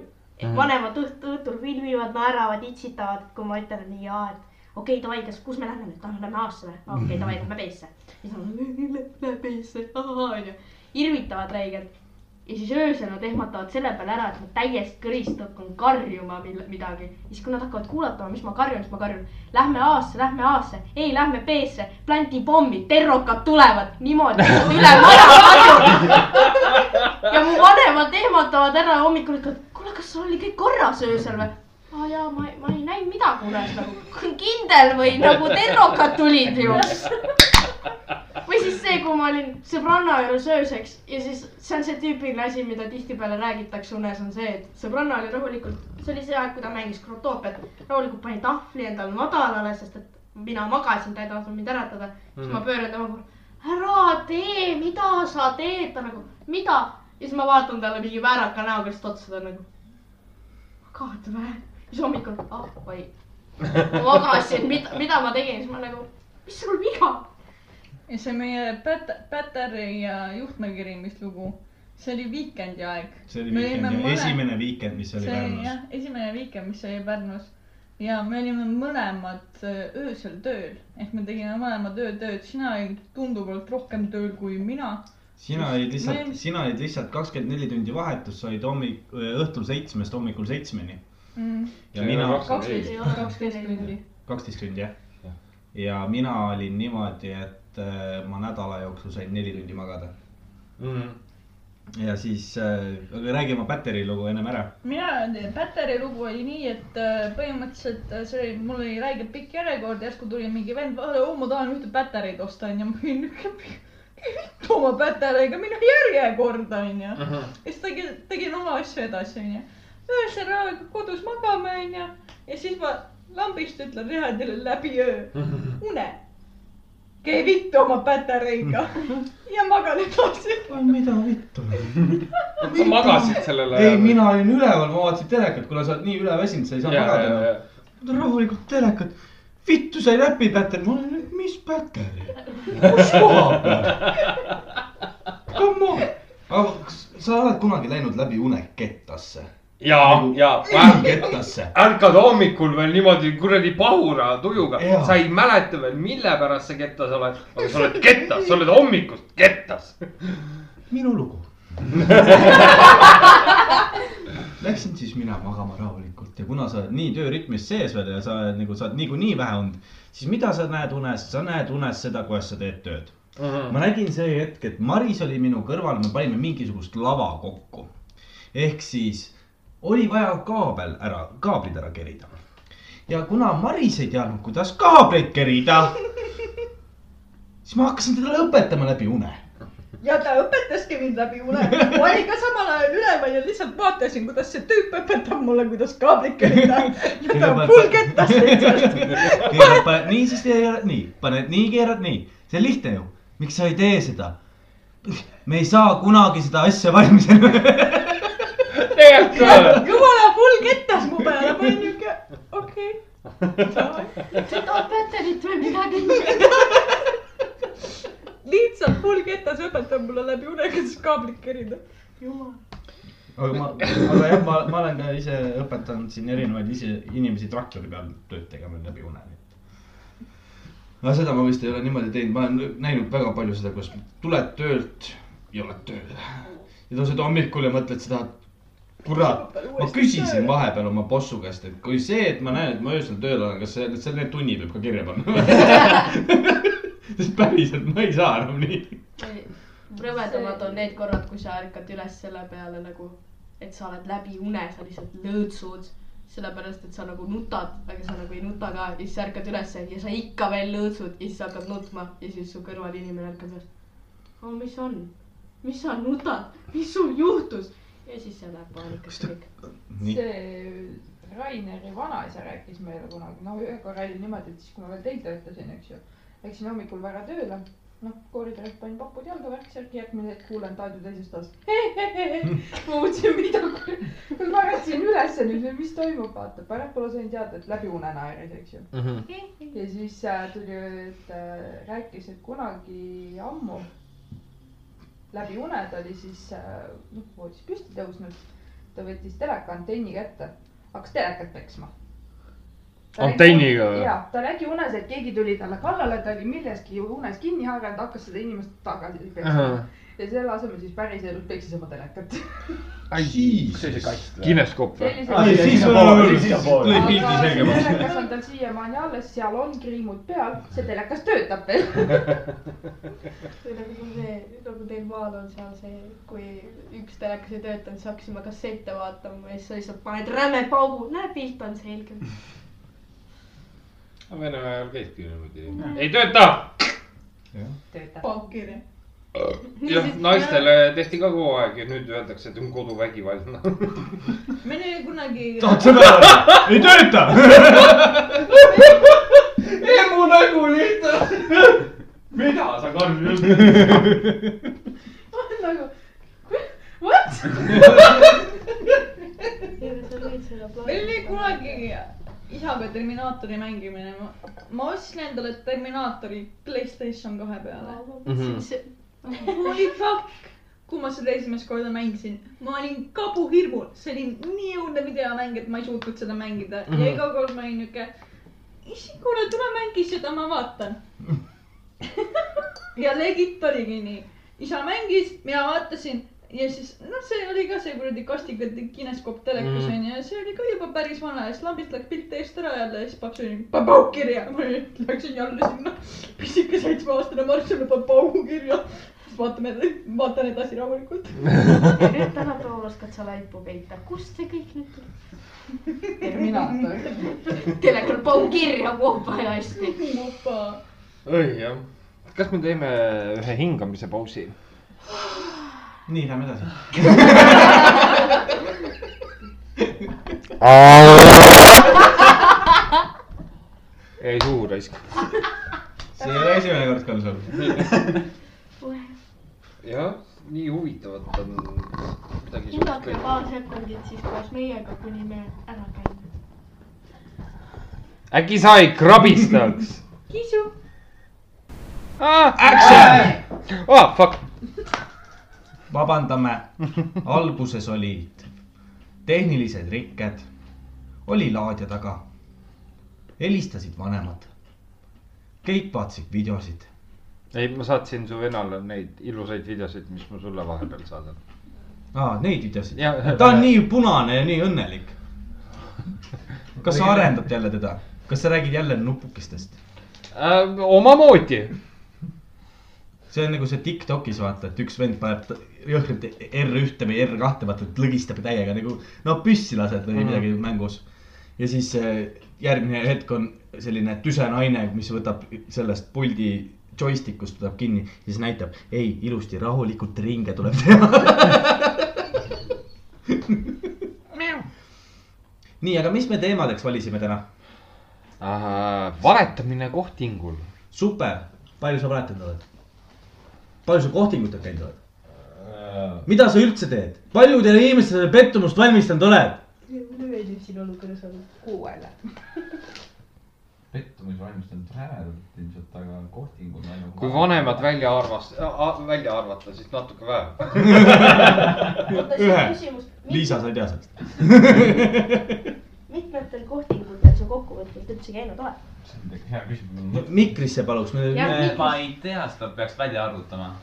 Speaker 5: vanemad õht- , õhtul filmivad , naeravad , itsitavad , kui ma ütlen nii , aa , et okei okay, , davai , kas , kus me lähme nüüd , ah lähme A-sse või , okei okay, , davai , lähme B-sse . siis nad , lähme B-sse , ahaa onju , irvitavad räigelt ja siis öösel nad ehmatavad selle peale ära , et ma täiesti kõrist hakkan karjuma mille- midagi . ja siis , kui nad hakkavad kuulatama , mis ma karjun , siis ma karjun . Lähme A-sse , lähme A-sse , ei , lähme B-sse , plantipommid , terrokad tulevad , niimoodi lihtsalt üle maja karjun . ja mu vanemad ehmatavad ära ja hommikul ütlevad , kuule , kas sul oli kõik korras öösel või ? aa jaa , ma , ma ei näinud midagi unes nagu , kindel või nagu terrokad tulid ju või siis see , kui ma olin sõbranna juures ööseks ja siis see on see tüüpiline asi , mida tihtipeale räägitakse unes , on see , et sõbranna oli rahulikult , see oli see aeg , kui ta mängis krotoopiat , rahulikult pani tahvli endale madalale , sest et mina magasin , ta ei tahtnud mind äratada . siis ma pööran tema poole , ära tee , mida sa teed , ta nagu , mida , ja siis ma vaatan talle mingi vääraka näoga lihtsalt otsa ta on nagu . God man , siis hommikul , ah oi . ma magasin , mida , mida ma tegin , siis ma nagu , mis sul viga on ?
Speaker 4: ja see meie Pät- , Päteri ja juhtmekiri , mis lugu , see oli Weekend'i aeg .
Speaker 3: see oli
Speaker 4: Me olime
Speaker 3: Weekend ,
Speaker 4: mõle-
Speaker 3: esimene Weekend , mis oli
Speaker 4: see oli
Speaker 3: Pärnus
Speaker 4: jah , esimene Weekend , mis oli Pärnus ja me olime mõlemad äh, öösel tööl ehk me tegime mõlemad öötööd , sina olid tunduvalt rohkem tööl kui mina .
Speaker 3: sina olid lihtsalt
Speaker 4: Me- ,
Speaker 3: sina olid lihtsalt kakskümmend neli tundi vahetus , sa olid hommik , õhtul seitsmest hommikul seitsmeni ja
Speaker 2: See
Speaker 3: mina
Speaker 2: on kaks-
Speaker 4: kaksteist , kaksteist tundi .
Speaker 3: kaksteist tundi jah . ja mina olin niimoodi , et äh, ma nädala jooksul sain neli tundi magada
Speaker 2: mm. .
Speaker 3: ja siis äh, , aga räägi oma Päteri lugu ennem ära .
Speaker 4: mina , Päteri lugu oli nii , et äh, põhimõtteliselt äh, see oli , mul oli räige pikk järjekord , järsku tuli mingi vend , oo ma tahan ühte Päterit osta onju , ma olin niuke , mis oma Päteriga , minu järjekord onju . ja siis tegin , tegin oma asju edasi , onju . öösel ajal kodus magame , onju . ja siis ma lambist ütlen Rihardile läbi öö une . käi vittu oma pätareiga ja magan edasi .
Speaker 3: mida vittu ?
Speaker 2: sa magasid sellele
Speaker 3: ei ,. mina olin üleval , ma vaatasin telekat , kuna sa oled nii üleväsinud , sa ei saa magada enam . ma tahan rahulikult telekat . vittu sai läpi päter , ma olen , mis päter ? kus koha peal ? Come on . aga kas sa oled kunagi läinud läbi unekettasse ?
Speaker 2: ja , ja ,
Speaker 3: Nagu unekettasse .
Speaker 2: ärkad hommikul veel niimoodi kuradi pahura tujuga
Speaker 3: Jaa. ,
Speaker 2: sa ei mäleta veel , mille pärast sa kettas oled , aga sa oled kettas , sa oled hommikust kettas .
Speaker 3: minu lugu Läksin siis mina magama rahulikult ja kuna sa oled nii töörütmis sees veel ja sa oled nagu , sa oled niikuinii vähe olnud , siis mida sa näed unes , sa näed unes seda , kuidas sa teed tööd . ma nägin see hetk , et Maris oli minu kõrval , me panime mingisugust lava kokku . ehk siis oli vaja kaabel ära , kaablid ära kerida . ja kuna Maris ei teadnud , kuidas kaableid kerida , siis ma hakkasin teda õpetama läbi une .
Speaker 4: ja ta õpetaski mind läbi une . ma olin ka samal ajal üleval ja lihtsalt vaatasin , kuidas see tüüp õpetab mulle , kuidas kaablit kerida . ja ta on full kettas lihtsalt .
Speaker 3: keerad , paned nii , siis keerad nii , paned nii , keerad nii , see on lihtne ju , miks sa ei tee seda ? me ei saa kunagi seda asja valmis .
Speaker 2: tegelikult ka .
Speaker 4: jumala full kettas mu peale , ma olin niuke , okei okay. .
Speaker 5: seda Peterit või midagi .
Speaker 4: lihtsalt full ketas õpetab mulle läbi une , kuidas kaablit kerida .
Speaker 3: aga ma , aga jah , ma , ma olen ka ise õpetanud siin erinevaid ise inimesi traktori peal tööd tegema läbi une . aga seda ma vist ei ole niimoodi teinud , ma olen näinud väga palju seda , kus tuled töölt ja oled tööl . ja tõused hommikul ja mõtled seda , kurat , ma küsisin vahepeal oma bossu käest , et kui see , et ma näen , et ma öösel tööl olen , kas see , selle tunni peab ka kirja panna ? sest päriselt ma ei saa enam nii .
Speaker 5: rõvedamad on need korrad , kui sa ärkad üles selle peale nagu , et sa oled läbi une , sa lihtsalt lõõtsud , sellepärast et sa nagu nutad , aga sa nagu ei nuta ka ja siis sa ärkad üles ja sa ikka veel lõõtsud ja siis sa hakkad nutma ja siis su kõrval inimene ärkab üles . no mis on , mis sa nutad , mis sul juhtus ja siis see läheb paanikasse kõik .
Speaker 3: nii ,
Speaker 9: see Raineri vanaisa rääkis meile kunagi , no ühe korra oli niimoodi , et siis kui ma veel teil töötasin , eks ju , läksin hommikul vara tööle , noh koridoris panin papud jalga , värk-särk , järgmine hetk kuulen Taidu teisest otsast . ma mõtlesin , mida , kui ma ärkasin ülesse nüüd , mis toimub , vaata , päevakulu sain teada , et läbi une naeris , eks ju . ja siis äh, tuli , et äh, rääkis , et kunagi ammu läbi une ta oli siis äh, noh , voodis püsti tõusnud , ta võttis teleka antenni kätte , hakkas telekat peksma .
Speaker 2: Antenniga või?
Speaker 9: jah , ta nägi unes , et keegi tuli talle kallale , ta oli milleski unes kinni haaranud , hakkas seda inimest tagasi
Speaker 2: Mhm.
Speaker 9: peksma ja selle asemel siis päriselus peksis oma telekat .
Speaker 10: see oli kast või ?
Speaker 2: kineskoop või ?
Speaker 3: Ai, Ah, siis
Speaker 9: Sellised-
Speaker 3: on-
Speaker 10: Lõi
Speaker 9: aga
Speaker 3: pildi
Speaker 9: see
Speaker 3: selgemaks.
Speaker 9: telekas on tal siiamaani alles , seal on kriimud peal , see telekas töötab veel .
Speaker 5: nagu sul see , nagu teil maal on seal see , kui üks telekas ei töötanud , siis hakkasime kassette vaatama ja siis sa lihtsalt paned räme paugu , näe pilt on selge .
Speaker 2: Vene ajal käiski niimoodi . ei tööta .
Speaker 9: töötab .
Speaker 4: paukiri .
Speaker 2: jah , naistele tehti ka kogu aeg ja nüüd öeldakse , et on koduvägivaldne .
Speaker 4: meil oli kunagi ,
Speaker 3: tahad sõna öelda ? ei tööta
Speaker 2: emu nägu lihtsalt . mida sa , Karl , just ?
Speaker 9: nagu ,
Speaker 5: seda
Speaker 4: meil oli kunagi isaga Terminaatori mängimine , ma , ma ostsin endale Terminaatori Playstation kahe peale . Holy fuck , kui ma seda esimest korda mängisin , ma olin kabuhirmul , see oli nii õudne videomäng , et ma ei suutnud seda mängida mm -hmm. ja iga kord ma olin niuke , issand kuule , tule mängi seda , ma vaatan . ja legit oligi nii , isa mängis , mina vaatasin ja siis noh , see oli ka see kuradi kastikate kineskoop telekas onju mm. ja see oli ka juba päris vana ja siis lambist läks pilt eest ära jälle ja siis paps oli papau kirja , ma olin- läksin jälle sinna pisike seitsmeaastane Mart sulle papau kirja siis vaatame , vaatan edasi rahulikult .
Speaker 5: ja nüüd tänapäeval oskad sa laipu peita , kust see kõik nüüd tuli ?
Speaker 9: Terminaator .
Speaker 5: telekal paun kirja , puhka ja hästi .
Speaker 4: opa ,
Speaker 2: oi jah . kas me teeme ühe hingamise pausi ?
Speaker 3: nii , lähme edasi .
Speaker 2: ei suu raisk .
Speaker 3: see ei ole esimene kord ka sul .
Speaker 2: jah , nii huvitavat on midagi
Speaker 5: hinnake paar sekundit siis koos meiega , kuni me ära käime .
Speaker 2: äkki sa ei krabistaks ?
Speaker 4: kisu .
Speaker 2: Action ! aa , ah, fuck .
Speaker 3: vabandame , alguses olid tehnilised rikked , oli laadja taga , helistasid vanemad , kõik vaatasid videosid .
Speaker 2: ei , ma saatsin su venale neid ilusaid videosid , mis ma sulle vahepeal saadan .
Speaker 3: aa , neid videosid
Speaker 2: Ja- ,
Speaker 3: ta on nii punane ja nii õnnelik . kas sa arendad jälle teda , kas sa räägid jälle nupukestest ?
Speaker 2: Ähm, omamoodi .
Speaker 3: see on nagu see Tiktokis vaata , et üks vend paneb t- jõhkralt R1-te või R2-te vaata , et lõgistab täiega nagu no püssi lased või
Speaker 2: Mhm.
Speaker 3: midagi mängus . ja siis eh, järgmine hetk on selline tüse naine , mis võtab sellest puldi joystickust võtab kinni ja siis näitab , ei ilusti rahulikult ringe tuleb teha . nii , aga mis me teemadeks valisime täna ?
Speaker 2: valetamine kohtingul .
Speaker 3: super , palju sa valetanud oled ? palju sa kohtingut teinud oled ?
Speaker 7: Äh,
Speaker 3: mida sa üldse teed , paljudele inimestele pettumust valmistanud oled ?
Speaker 9: mulle meeldib siin olukorras olla kuuele .
Speaker 7: pettumus valmistanud rämedalt ilmselt , aga kohtingul .
Speaker 2: kui vanemad . välja arvas- , Äh, välja arvata , siis natuke vähe .
Speaker 3: Ühe.
Speaker 5: küsimus ,
Speaker 3: Liisa , sa ei tea sellest .
Speaker 5: mitmetel kohtingutel sa kokkuvõtvalt üldse käinud oled ?
Speaker 7: see on hea küsimus .
Speaker 3: mikrisse paluks , me ,
Speaker 8: Jah,
Speaker 3: me ,
Speaker 10: ma ei tea , seda peaks välja arvutama .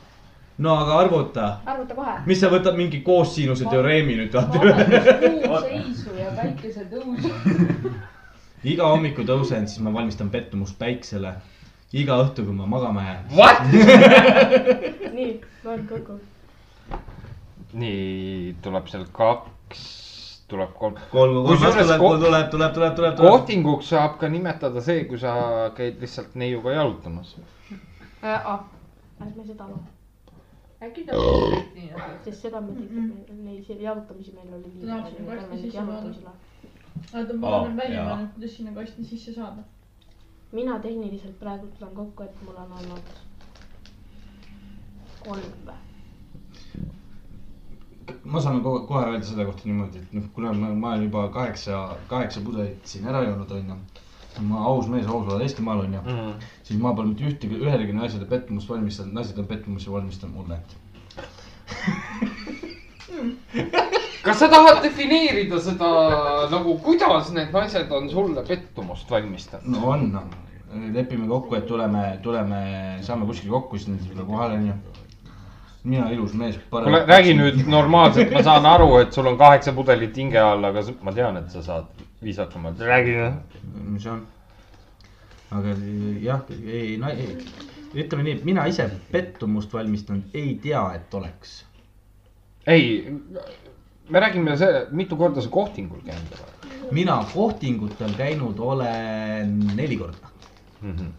Speaker 3: no aga arvuta ,
Speaker 5: arvuta kohe .
Speaker 3: mis sa võtad mingi koossiinuse teoreemi nüüd vaata üle .
Speaker 9: kuu seisu ja päikesetõusu .
Speaker 3: iga hommiku tõusen , siis ma valmistan pettumust päiksele . iga õhtu , kui ma magama jään .
Speaker 2: What ?
Speaker 5: nii , loen kokku .
Speaker 2: nii , tuleb seal kaks , tuleb kolm .
Speaker 3: kolm , kolm ,
Speaker 2: Kusjuures
Speaker 3: tuleb ,
Speaker 2: ko-
Speaker 3: tuleb , tuleb , tuleb , tuleb , tuleb .
Speaker 2: kohtinguks saab ka nimetada see , kui sa käid lihtsalt neiuga jalutamas .
Speaker 9: ah.
Speaker 5: ärme seda loe ,
Speaker 9: äkki ta on nii , et
Speaker 5: sest seda me tegime , neil siin jalutamisi meil oli
Speaker 4: Tahaks
Speaker 5: nii
Speaker 4: varsti sisse
Speaker 5: palju .
Speaker 4: oota , ma
Speaker 10: Aa,
Speaker 2: Ah,
Speaker 4: tulen välja
Speaker 10: jaa. ,
Speaker 4: kuidas sinna kasti sisse saada .
Speaker 5: mina tehniliselt praegu tulen kokku , et mul on olnud kolm või ?
Speaker 3: ma saan kohe, kohe öelda selle kohta niimoodi , et noh , kuna ma, ma olen juba kaheksa , kaheksa pudelit siin ära joonud , onju . ma aus mees , aus olen Eestimaal onju mm. , siis ma pole mitte ühtegi , ühelegi naisele pettumust valmistanud , naised on pettumusi valmistanud mulle .
Speaker 2: kas sa tahad defineerida seda nagu , kuidas need naised on sulle pettumust valmistanud ?
Speaker 3: no on no. , lepime kokku , et tuleme , tuleme , saame kuskil kokku , siis nad ei tule kohale onju . mina ilus mees .
Speaker 2: kuule , räägi nüüd . normaalselt , ma saan aru , et sul on kaheksa pudelit hinge all , aga s- ma tean , et sa saad viisakamalt , räägi .
Speaker 3: mis on ? aga jah , ei , ei , ütleme nii , et mina ise pettumust valmistanud ei tea , et oleks
Speaker 2: ei , me räägime see , mitu korda sa kohtingul käinud oled
Speaker 3: mina kohtingutel käinud olen neli korda .
Speaker 2: mm . -hmm.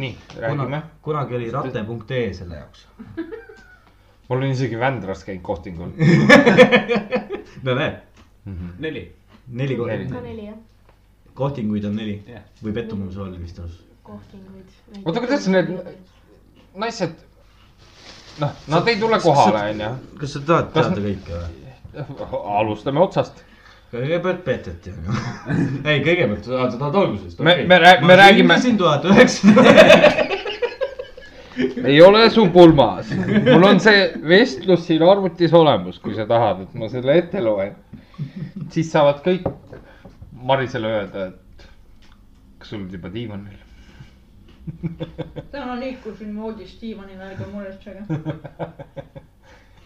Speaker 2: nii , räägime .
Speaker 3: kunagi oli rate.ee selle jaoks .
Speaker 2: ma olen isegi Vändras käinud kohtingul
Speaker 3: no näed ,
Speaker 2: mm . -hmm.
Speaker 10: neli .
Speaker 3: neli
Speaker 2: Neli.
Speaker 3: korda ,
Speaker 5: ka neli jah ,
Speaker 3: kohtinguid on neli
Speaker 10: Jah.
Speaker 3: või pettumus oli vist aus .
Speaker 5: kohtinguid .
Speaker 2: Oota, kuidas sa need- naised , noh , nad ei tule kohale , onju .
Speaker 3: kas sa tahad
Speaker 2: Kas-
Speaker 3: teada kõike või ?
Speaker 2: alustame otsast .
Speaker 3: kõigepealt peteti , onju . ei , kõigepealt , sa sa tahad algusest ?
Speaker 2: Me- me rää- me räägime-
Speaker 3: ma sündisin tuhat üheksasada .
Speaker 2: ei ole su pulmas , mul on see vestlus siin arvutis olemas , kui sa tahad , et ma selle ette loen . siis saavad kõik Marisele öelda , et kas sul olid juba diivanil .
Speaker 4: täna liikusin voodist diivanile , ärge muretsege .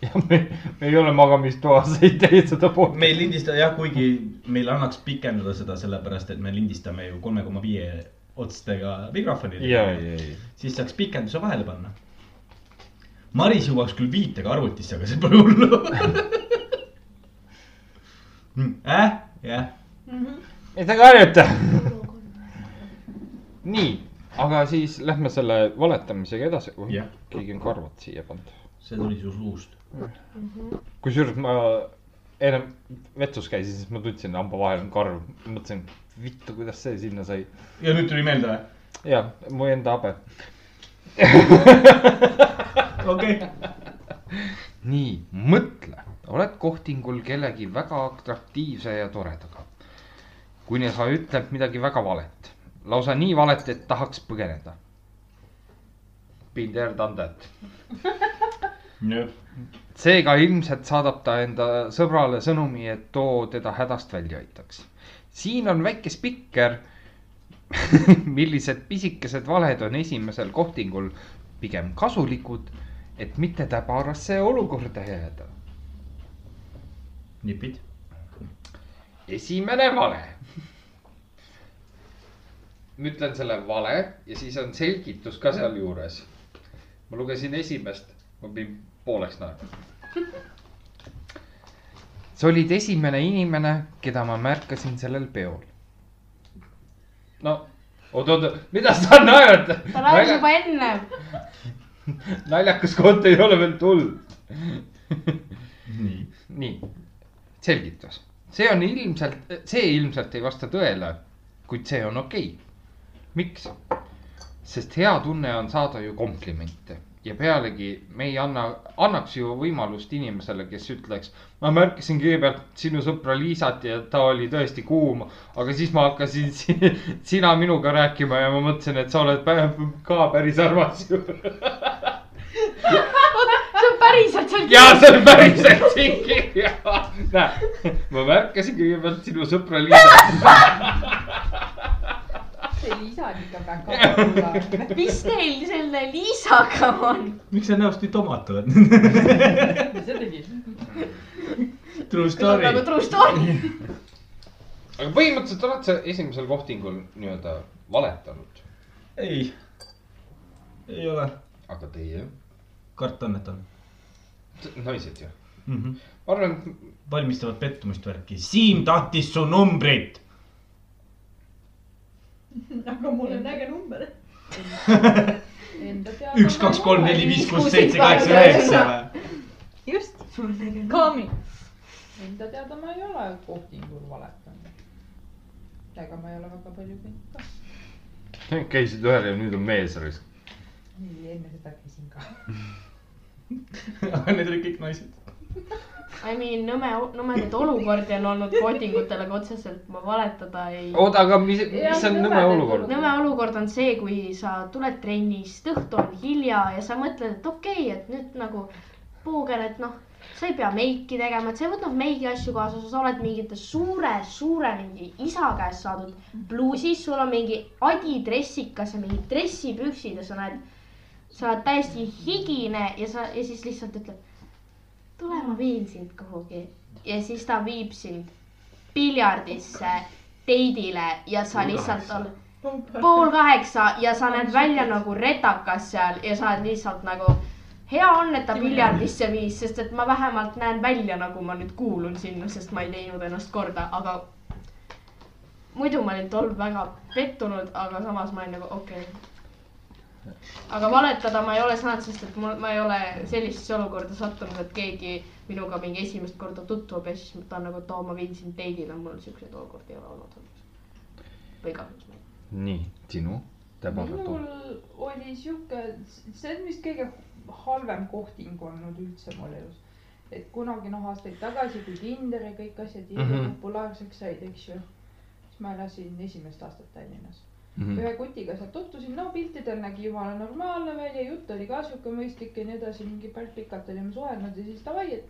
Speaker 2: ja me , me ei ole magamistoas , ei tee seda
Speaker 3: me
Speaker 2: poolt .
Speaker 3: ei lindista jah , kuigi meil annaks pikendada seda sellepärast , et me lindistame ju kolme koma viie otstega
Speaker 2: ja ,
Speaker 3: mikrofonidega .
Speaker 2: ja , ja .
Speaker 3: siis saaks pikenduse vahele panna . Maris jõuaks küll viitega arvutisse , aga see pole hullu Mm, äh, jah ,
Speaker 2: ei , ta karjuta . nii , aga siis lähme selle valetamisega edasi , kui
Speaker 3: Jah.
Speaker 2: keegi on karvad siia pannud .
Speaker 3: see tuli su suust .
Speaker 2: kusjuures ma ennem vetsus käisin , siis ma tundsin , hamba vahel on karv , mõtlesin , vittu , kuidas see sinna sai .
Speaker 3: ja nüüd tuli meelde või ?
Speaker 2: ja mu enda habe .
Speaker 3: okei okay. .
Speaker 2: nii , mõtle , oled kohtingul kellegi väga atraktiivse ja toredaga . kuni sa ütled midagi väga valet , lausa nii valet , et tahaks põgeneda . Binder Tandet .
Speaker 3: jah ,
Speaker 2: seega ilmselt saadab ta enda sõbrale sõnumi , et too teda hädast välja aitaks . siin on väike spikker . millised pisikesed valed on esimesel kohtingul pigem kasulikud , et mitte täbarasse olukorda jääda .
Speaker 3: nipid .
Speaker 2: esimene vale . ma ütlen selle vale ja siis on selgitus ka sealjuures . ma lugesin esimest , ma pidin pooleks naerma . sa olid esimene inimene , keda ma märkasin sellel peol . no oot-oot , mida sa naerad ?
Speaker 11: ta laulis juba enne .
Speaker 2: naljakas koht ei ole veel tulnud .
Speaker 3: nii .
Speaker 2: nii , selgitus , see on ilmselt , see ilmselt ei vasta tõele , kuid see on okei okay. . miks ? sest hea tunne on saada ju komplimente ja pealegi me ei anna , annaks ju võimalust inimesele , kes ütleks , ma märkasin kõigepealt sinu sõpra Liisat ja ta oli tõesti kuum , aga siis ma hakkasin si sina minuga rääkima ja ma mõtlesin , et sa oled pä- ka päris armas ju .
Speaker 11: see on päriselt seal
Speaker 2: ja see on päriselt siin kirjas . näe , ma märkasin kõigepealt sinu sõpra Liisa .
Speaker 9: see lisa on ikka väga hull .
Speaker 11: mis teil selle Liisaga on ?
Speaker 3: miks sa näost nii tomat oled ?
Speaker 9: mis sa tegid ?
Speaker 3: True
Speaker 11: see on
Speaker 3: story .
Speaker 11: nagu true story .
Speaker 2: aga põhimõtteliselt oled sa esimesel kohtingul nii-öelda valetanud ,
Speaker 3: ei , ei ole ,
Speaker 2: aga teie
Speaker 3: karta annetan
Speaker 2: T- naised ju ,
Speaker 3: mm . -hmm.
Speaker 2: ma arvan , et
Speaker 3: valmistavad pettumist värki , Siim tahtis su numbrit .
Speaker 4: aga mul on äge number .
Speaker 3: üks , kaks , kolm , neli , viis , kuus , seitse , kaheksa , üheksa või ?
Speaker 4: just , sul on äge number . Kami .
Speaker 9: Enda teada ma ei ole kohtingul valetanud . ega ma ei ole väga palju käinud ka .
Speaker 2: käisid ühel ja nüüd on mees risk .
Speaker 9: nii , enne seda käisin ka .
Speaker 3: Need olid kõik naised .
Speaker 11: I mean nõme , nõmedaid olukordi on olnud kohtingutel , aga otseselt ma valetada ei .
Speaker 2: oota , aga mis , mis on nõme olukord ?
Speaker 11: nõme olukord on see , kui sa tuled trennist , õhtu on hilja ja sa mõtled , et okei okay, , et nüüd nagu puugen , et noh , sa ei pea meiki tegema , et sa ei võtnud meigi asju kaasa , sa oled mingite suure , suure mingi isa käest saadud pluusis , sul on mingi adidressikas ja mingid dressipüksid ja sa näed , sa oled täiesti higine ja sa ja siis lihtsalt ütled , tule ma viin sind kuhugi ja siis ta viib sind piljardisse teidile ja sa lihtsalt oled pool kaheksa ja sa näed välja nagu retakas seal ja sa oled lihtsalt nagu , hea on , et ta piljardisse viis , sest et ma vähemalt näen välja , nagu ma nüüd kuulun sinna , sest ma ei teinud ennast korda , aga muidu ma olin tol väga pettunud , aga samas ma olin nagu okei okay. . aga valetada ma ei ole saanud , sest et mul , ma ei ole sellisesse olukorda sattunud , et keegi minuga mingi esimest korda tutvub ja siis ta on nagu , et oo , ma viin sind teidile , mul siukseid olukordi ei ole olnud . või kahjuks ma ei .
Speaker 2: nii , sinu täpselt
Speaker 9: minul
Speaker 2: on .
Speaker 9: oli sihuke , see on vist kõige halvem kohting olnud üldse mul elus . et kunagi noh , aastaid tagasi , kui Tinder ja kõik asjad mm
Speaker 2: Mhm.
Speaker 9: -hmm. populaarseks said , eks ju , siis ma elasin esimest aastat Tallinnas .
Speaker 2: Mhm.
Speaker 9: ühe kutiga sealt tutvusin , no piltidel nägi jumala normaalne välja , jutt oli ka sihuke mõistlik ja nii edasi , mingi päris pikalt olime suhelnud ja siis davai , et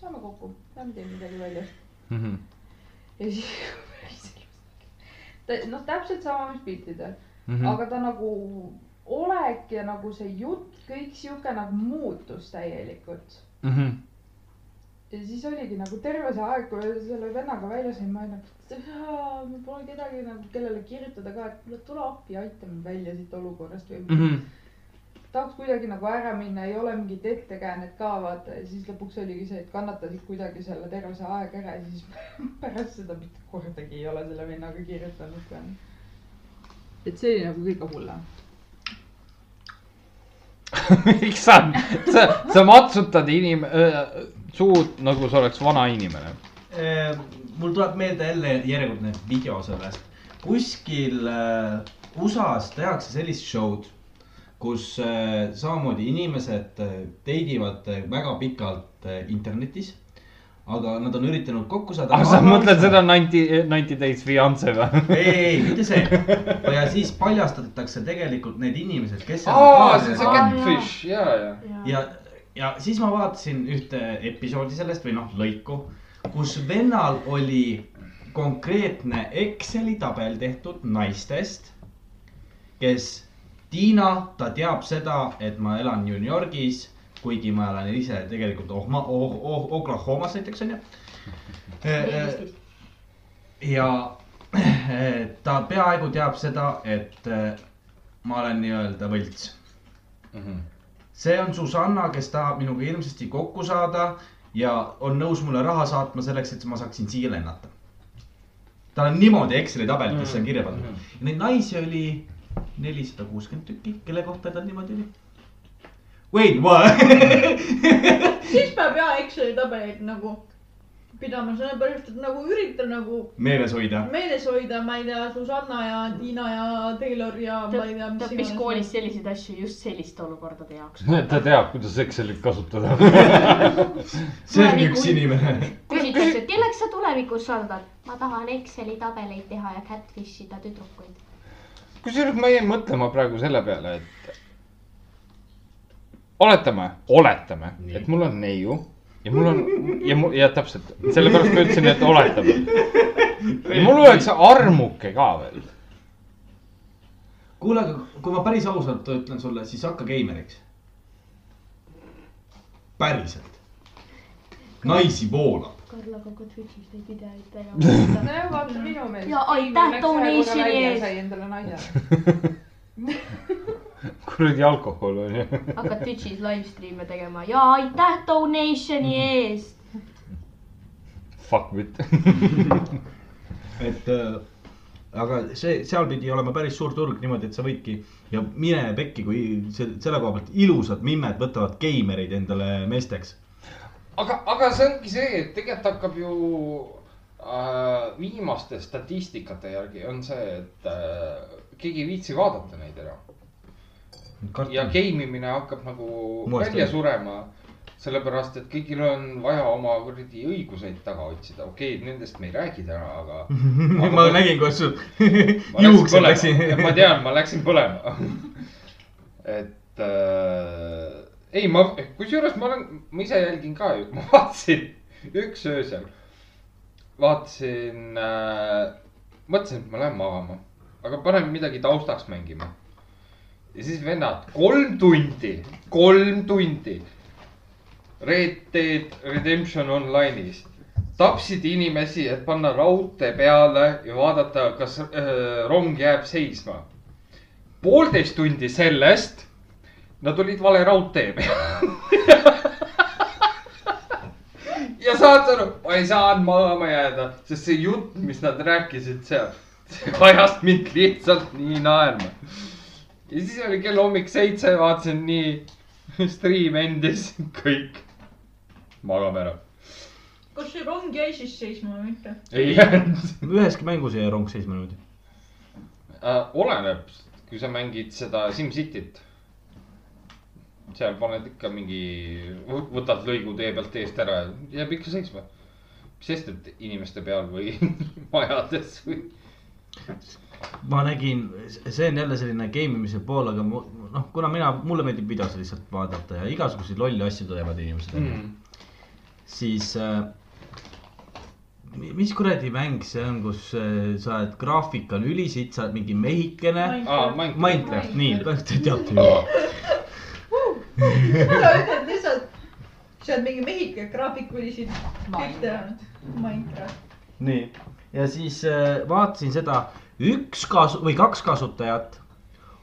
Speaker 9: saame kokku , lähme teeme midagi väljas .
Speaker 2: Mhm.
Speaker 9: ja siis Ta- noh , täpselt sama , mis piltidel
Speaker 2: Mhm.
Speaker 9: aga ta nagu olek ja nagu see jutt , kõik sihuke nagu muutus täielikult .
Speaker 2: Mhm.
Speaker 9: ja siis oligi nagu terve see aeg , kui selle vennaga välja sain , ma olin nagu , et jaa, mul pole kedagi nagu , kellele kirjutada ka , et kuule , tule appi , aita mind välja siit olukorrast või mm
Speaker 2: Mhm.
Speaker 9: tahaks kuidagi nagu ära minna , ei ole mingit ettekäänet ka vaata ja siis lõpuks oligi see , et kannatasid kuidagi selle terve see aeg ära ja siis pärast seda mitte kordagi ei ole selle vennaga kirjutanud ka . et see oli nagu kõige hullem .
Speaker 2: miks sa , sa , sa matsutad inim- ,
Speaker 10: äh,
Speaker 2: suud nagu sa oleks vana inimene .
Speaker 3: Ehm, mul tuleb meelde jälle järjekordne video sellest . kuskil äh, USA-s tehakse sellist show'd , kus äh, samamoodi inimesed äh, teidivad äh, väga pikalt äh, internetis . aga nad on üritanud kokku saada .
Speaker 2: aga Ah, sa mõtled seda Ninety , Ninety Days Fiance või ?
Speaker 3: ei , ei , mitte see . ja siis paljastatakse tegelikult need inimesed , kes .
Speaker 2: aa , see on see Catfish , ja , ja .
Speaker 3: ja , ja siis ma vaatasin ühte episoodi sellest või noh , lõiku , kus vennal oli konkreetne Exceli tabel tehtud naistest , kes , Tiina , ta teab seda , et ma elan New Yorgis , kuigi ma elan ise tegelikult Ohma- oh, , oh, Oklahomas näiteks onju . äh, ja äh, ta peaaegu teab seda , et eh, ma olen nii-öelda võlts see on Susanna , kes tahab minuga hirmsasti kokku saada ja on nõus mulle raha saatma selleks , et ma saaksin siia lennata . tal on niimoodi Exceli tabelites see on kirja pandud ja neid naisi oli nelisada kuuskümmend tükki , kelle kohta tal niimoodi oli ? Wait what ?
Speaker 4: siis peab ja Exceli tabeleid nagu pidama , sellepärast et nagu üritan nagu
Speaker 3: meeles hoida .
Speaker 4: meeles hoida , ma ei tea , Susanna ja Tiina ja Taylor ja ma ei tea ,
Speaker 5: ta
Speaker 4: mis
Speaker 5: õppis . koolis selliseid asju just selliste olukordade jaoks .
Speaker 2: ta teab , kuidas Excelit kasutada .
Speaker 3: see on üks inimene .
Speaker 5: küsitakse , kelleks sa tulevikus saadad ? ma tahan Exceli tabeleid teha ja catfish ida tüdrukuid .
Speaker 2: kusjuures ma jäin mõtlema praegu selle peale , et oletame , oletame ,
Speaker 3: Nii.
Speaker 2: et mul on neiu ja mul on ja mul ja täpselt sellepärast ma ütlesin , et oletame . ja mul oleks armuke ka veel .
Speaker 3: kuule , aga kui ma päris ausalt ütlen sulle , siis hakka geimeriks . päriselt . naisi voolab .
Speaker 5: Karl aga ka Twitch'is neid videoid teha .
Speaker 9: nojah , vaata minu meelest .
Speaker 5: Ja aitäh, Tony Ishiri eest.
Speaker 9: sai endale naise .
Speaker 2: kuradi alkohol on ju .
Speaker 5: hakkad Twitch'is live stream'e tegema ja aitäh donation'i eest .
Speaker 2: Fuck with .
Speaker 3: et äh, aga see , seal pidi olema päris suur turg niimoodi , et sa võidki ja mine pekki , kui se- selle koha pealt ilusad mimmed võtavad geimereid endale meesteks .
Speaker 2: aga , aga see ongi see , et tegelikult hakkab ju äh, viimaste statistikate järgi on see , et äh, keegi ei viitsi vaadata neid enam ja geimimine hakkab nagu
Speaker 3: Moest
Speaker 2: Moest välja
Speaker 3: välja.
Speaker 2: surema . sellepärast , et kõigil on vaja oma kuradi õiguseid taga otsida , okei okay, , nendest me ei räägi täna , aga .
Speaker 3: ma nägin , kuidas sul
Speaker 2: ma läksin
Speaker 3: juuksed
Speaker 2: põlema , ma
Speaker 3: läksid .
Speaker 2: tean , ma läksin põlema . et äh, ei , ma , kusjuures ma olen , ma ise jälgin ka ju , ma vaatasin üks öösel , vaatasin äh, , mõtlesin , et ma lähen magama , aga panen midagi taustaks mängima . ja siis vennad , kolm tundi , kolm tundi Red Dead Redemption Online'is tapsid inimesi , et panna raudtee peale ja vaadata , kas äh, rong jääb seisma . poolteist tundi sellest nad olid vale raudtee peal ja saad sa aru , ma ei saanud magama jääda , sest see jutt , mis nad rääkisid seal , see ajas mind lihtsalt nii naerma . ja siis oli kell hommik seitse , vaatasin nii , stream endis , kõik , magame ära .
Speaker 4: kas see rong jäi siis seisma või mitte ?
Speaker 2: ei jäänud .
Speaker 3: üheski mängus jäi rong seisma niimoodi .
Speaker 2: äh, . oleneb , kui sa mängid seda SimCityt . seal paned ikka mingi , võtad lõigu tee pealt eest ära , jääb ikka seisma . mis sest , et inimeste peal või majades või .
Speaker 3: ma nägin , see on jälle selline game imise pool , aga mu- noh , kuna mina , mulle meeldib videosid lihtsalt vaadata ja igasuguseid lolle asju teevad inimesed mm. , siis äh, . mis kuradi mäng see on , kus äh, sa oled , graafik on ülisitt , sa oled mingi mehikene .
Speaker 2: aa , Minecraft .
Speaker 3: Minecraft , nii , te teate ju .
Speaker 4: ära ütle lihtsalt , sa oled mingi mehike , graafik oli siin , kõik teavad . Minecraft .
Speaker 3: nii , ja siis äh, vaatasin seda , üks kasu- või kaks kasutajat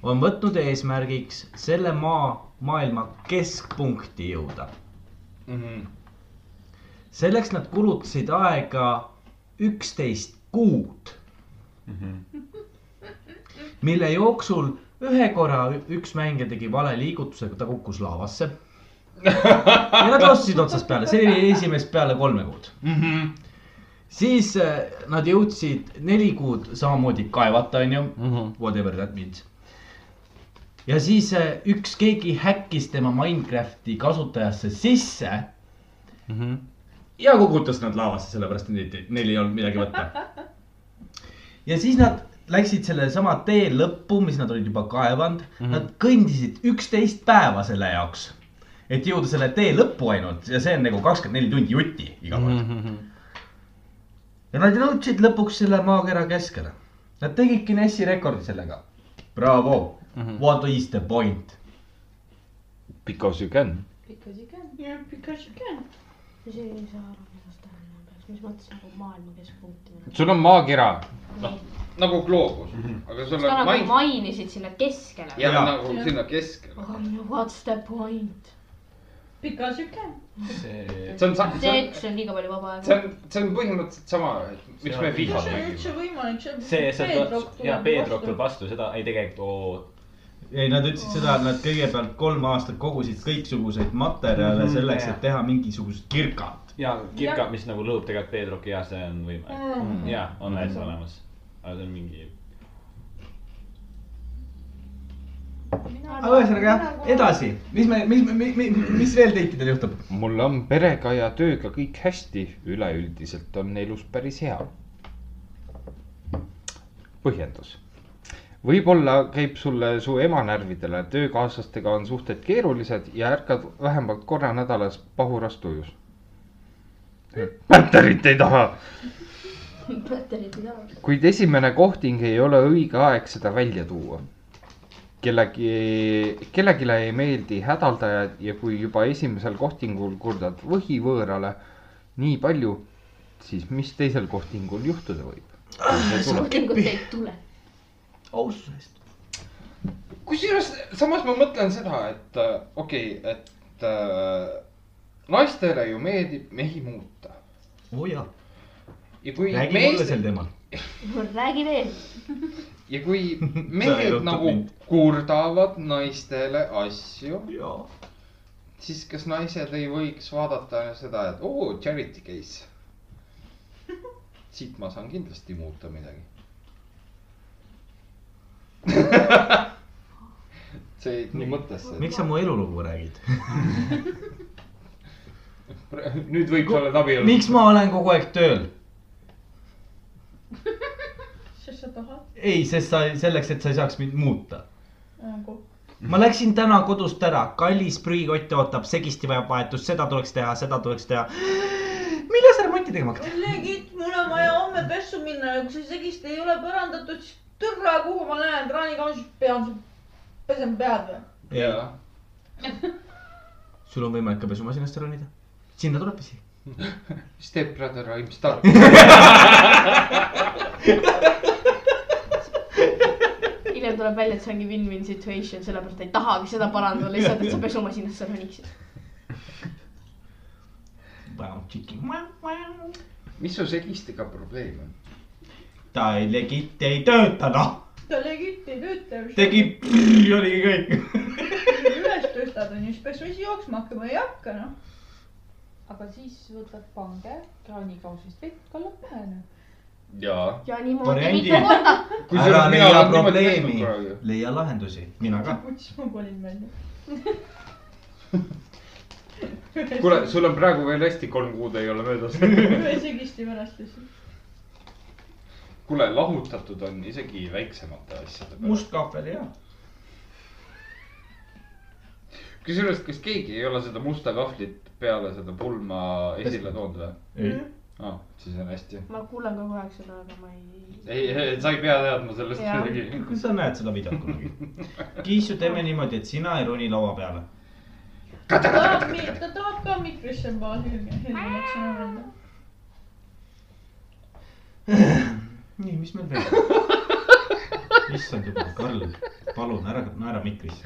Speaker 3: on võtnud eesmärgiks selle maa , maailma keskpunkti jõuda .
Speaker 2: Mhm.
Speaker 3: selleks nad kulutasid aega üksteist kuud , mille jooksul ühe korra ü- üks mängija tegi vale liigutuse , ta kukkus laavasse . ja nad alustasid otsast peale , see oli esimest peale kolme kuud . Mhm. siis eh, nad jõudsid neli kuud samamoodi kaevata , onju , whatever that means . ja siis eh, üks , keegi häkkis tema Minecrafti kasutajasse sisse ja kukutas nad laevasse , sellepärast et neid- neil ei olnud midagi võtta . ja siis nad läksid sellesama tee lõppu , mis nad olid juba kaevanud mm , -hmm. nad kõndisid üksteist päeva selle jaoks , et jõuda selle tee lõppu ainult ja see on nagu kakskümmend neli tundi jutti iga kord mm . -hmm. ja nad jõudsid lõpuks selle maakera keskele . Nad tegid Guinessi rekordi sellega . Bravo mm , -hmm. what is the point ?
Speaker 2: Because you can .
Speaker 9: Because you can .
Speaker 4: jah , because you can .
Speaker 5: isegi ei saa aru , mida see tähendab , mis mõttes nagu maailma keskpunkti .
Speaker 2: sul on maakera , noh nagu gloobus , aga sul
Speaker 5: sa
Speaker 2: on
Speaker 5: nagu
Speaker 2: Minecraft
Speaker 5: mainisid sinna keskele .
Speaker 2: ja
Speaker 3: Jaa.
Speaker 2: nagu sinna keskele .
Speaker 5: What's the point ?
Speaker 4: Because you can .
Speaker 10: see ,
Speaker 2: see on , see
Speaker 5: see
Speaker 2: on ,
Speaker 5: ütles , on liiga palju vaba
Speaker 2: see
Speaker 5: aega .
Speaker 2: on , see on põhimõtteliselt sama , et miks me
Speaker 10: Iga
Speaker 4: kas
Speaker 2: FIFA
Speaker 4: see on
Speaker 10: mängib.
Speaker 4: üldse võimalik , see on .
Speaker 10: see , see , ja Pedrok tuleb . vastu seda , ei tegelikult , oo ,
Speaker 3: ei , nad ütlesid seda , et nad kõigepealt kolm aastat kogusid kõiksuguseid materjale
Speaker 10: Mhm,
Speaker 3: selleks ,
Speaker 10: jah.
Speaker 3: et teha mingisugust kirkat .
Speaker 10: ja kirka , mis nagu lõõb tegelikult Pedroki ja see on võimalik . ja , on täitsa olemas . aga see on mingi ,
Speaker 3: aga ühesõnaga jah , edasi , mis me , mis , mis , mis veel teikidel juhtub ?
Speaker 2: mul on perega ja tööga kõik hästi , üleüldiselt on elus päris hea . põhjendus . võib-olla käib sulle su ema närvidele , töökaaslastega on suhted keerulised ja ärkad vähemalt korra nädalas pahuras tujus . batterit ei taha ,
Speaker 5: mõtteid ei saa .
Speaker 2: kuid esimene kohting ei ole õige aeg seda välja tuua . kellegi , kellelegi ei meeldi hädaldajad ja kui juba esimesel kohtingul kurdad võhi võõrale nii palju , siis mis teisel kohtingul juhtuda võib ?
Speaker 5: suhtingut ei tule .
Speaker 3: austusest .
Speaker 2: kusjuures samas ma mõtlen seda , et äh, okei okay, , et äh, naistele ju meeldib mehi muuta
Speaker 3: oo oh, jaa ,
Speaker 2: ja kui
Speaker 3: räägi mulle
Speaker 2: mees
Speaker 3: sel teemal .
Speaker 5: räägi veel .
Speaker 2: ja kui mehed
Speaker 3: erutab
Speaker 2: nagu
Speaker 3: mind.
Speaker 2: kurdavad naistele asju
Speaker 3: jaa .
Speaker 2: siis kas naised ei võiks vaadata seda , et oo , charity case . siit ma saan kindlasti muuta midagi . see jäi nii mõttesse .
Speaker 3: miks sa mu elulugu räägid ?
Speaker 2: nüüd võib sa oled abielus .
Speaker 3: miks ma olen kogu aeg tööl ?
Speaker 4: sest sa tahad
Speaker 3: ei , sest sa , selleks , et sa ei saaks mind muuta .
Speaker 4: nagu .
Speaker 3: ma läksin täna kodust ära , kallis prügikott ootab , segisti vajab vahetust , seda tuleks teha , seda tuleks teha . millal sa remonti tegema hakkad ?
Speaker 4: kolleegid , mul on vaja homme pessu minna ja kui see segist ei ole parandatud , siis tõrra , kuhu ma lähen , kraanikausist pean , pesen pead või ?
Speaker 2: jaa ,
Speaker 3: sul on võimalik ka pesumasinast ära ronida . sinna tuleb pesi .
Speaker 2: Step Brother I m Star .
Speaker 5: hiljem tuleb välja , et see ongi win-win situation , sellepärast ta ei tahagi seda parandada , lihtsalt , et sa pesumasinasse roniksid .
Speaker 2: mis su segistega probleem on ?
Speaker 3: ta ei legit ei tööta noh ,
Speaker 4: ta legit ei tööta .
Speaker 3: tegi . prrr, oligi kõik .
Speaker 4: üles tõstad onju , siis peaks vesi jooksma hakkama , ei hakka noh .
Speaker 9: aga siis võtad pange kraanikausist vett ,
Speaker 4: noh.
Speaker 9: kallad pähe .
Speaker 2: jaa .
Speaker 5: ja niimoodi
Speaker 3: Variandi.
Speaker 5: mitu korda .
Speaker 3: ära leia probleemi , leia lahendusi , mina ka .
Speaker 4: kuts ma panin välja .
Speaker 2: kuule , sul on praegu veel hästi , kolm kuud ei ole möödas .
Speaker 4: ühe sügisti pärast lihtsalt .
Speaker 2: kuule , lahutatud on isegi väiksemate asjade peale .
Speaker 12: must kaap oli hea .
Speaker 2: kusjuures , kas keegi ei ole seda musta kahvlit peale seda pulma esile toonud või ?
Speaker 12: ei ,
Speaker 2: aa , siis on hästi .
Speaker 11: ma kuulan ka kogu aeg seda , aga ma ei .
Speaker 2: ei , ei , sa ei pea teadma sellest
Speaker 11: Jaa.
Speaker 2: midagi .
Speaker 3: kas sa näed seda videot kunagi ? Kiissu , teeme niimoodi , et sina ei roni laua peale .
Speaker 4: ta tahab , ta tahab ka mikrisse baasi helmeks arendada .
Speaker 3: nii , mis meil veel on ? issand jumal , Karl , palun ära naera mikrisse .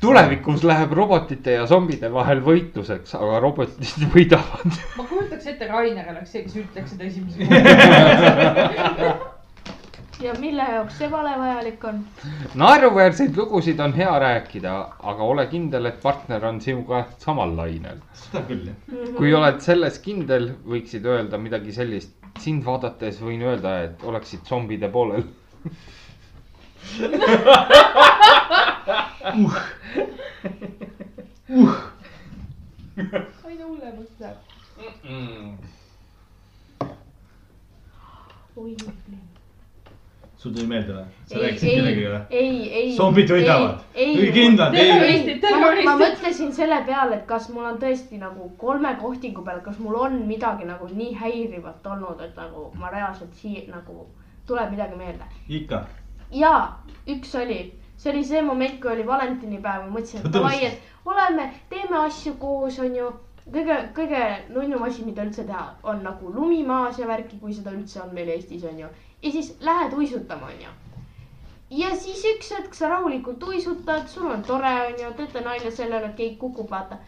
Speaker 2: tulevikus läheb robotite ja zombide vahel võitluseks , aga robotid võidavad .
Speaker 9: ma kujutaks ette , Rainer oleks see , kes ütleks seda esimese korda .
Speaker 11: ja mille jaoks see vale vajalik on ?
Speaker 2: naeruväärseid lugusid on hea rääkida , aga ole kindel , et partner on sinuga samal lainel .
Speaker 3: seda küll , jah .
Speaker 2: kui oled selles kindel , võiksid öelda midagi sellist . sind vaadates võin öelda , et oleksid zombide poolel .
Speaker 9: aina hullemaks läheb .
Speaker 11: oi ,
Speaker 3: sul tuli meelde või ? sa
Speaker 11: ei ,
Speaker 3: rääkisid
Speaker 11: ei
Speaker 3: kellegagi või ?,
Speaker 11: ei , ei .
Speaker 3: Zombid võidavad.
Speaker 11: ei
Speaker 3: Tuli , kindlalt, ei.
Speaker 9: Terroristid, terroristid.
Speaker 11: ma mõtlesin selle peale , et kas mul on tõesti nagu kolme kohtingu peale , kas mul on midagi nagu nii häirivat olnud , et nagu ma reaalselt sii- nagu tuleb midagi meelde .
Speaker 3: ikka .
Speaker 11: ja üks oli , see oli see moment , kui oli valentinipäev , ma mõtlesin , et davai , et oleme , teeme asju koos , onju . kõige , kõige nunnum asi , mida üldse teha , on nagu lumi maas ja värki , kui seda üldse on meil Eestis , onju . ja siis lähed uisutama , onju . ja siis üks hetk sa rahulikult uisutad , sul on tore , onju , teete nalja sellele , et keegi kukub , vaata .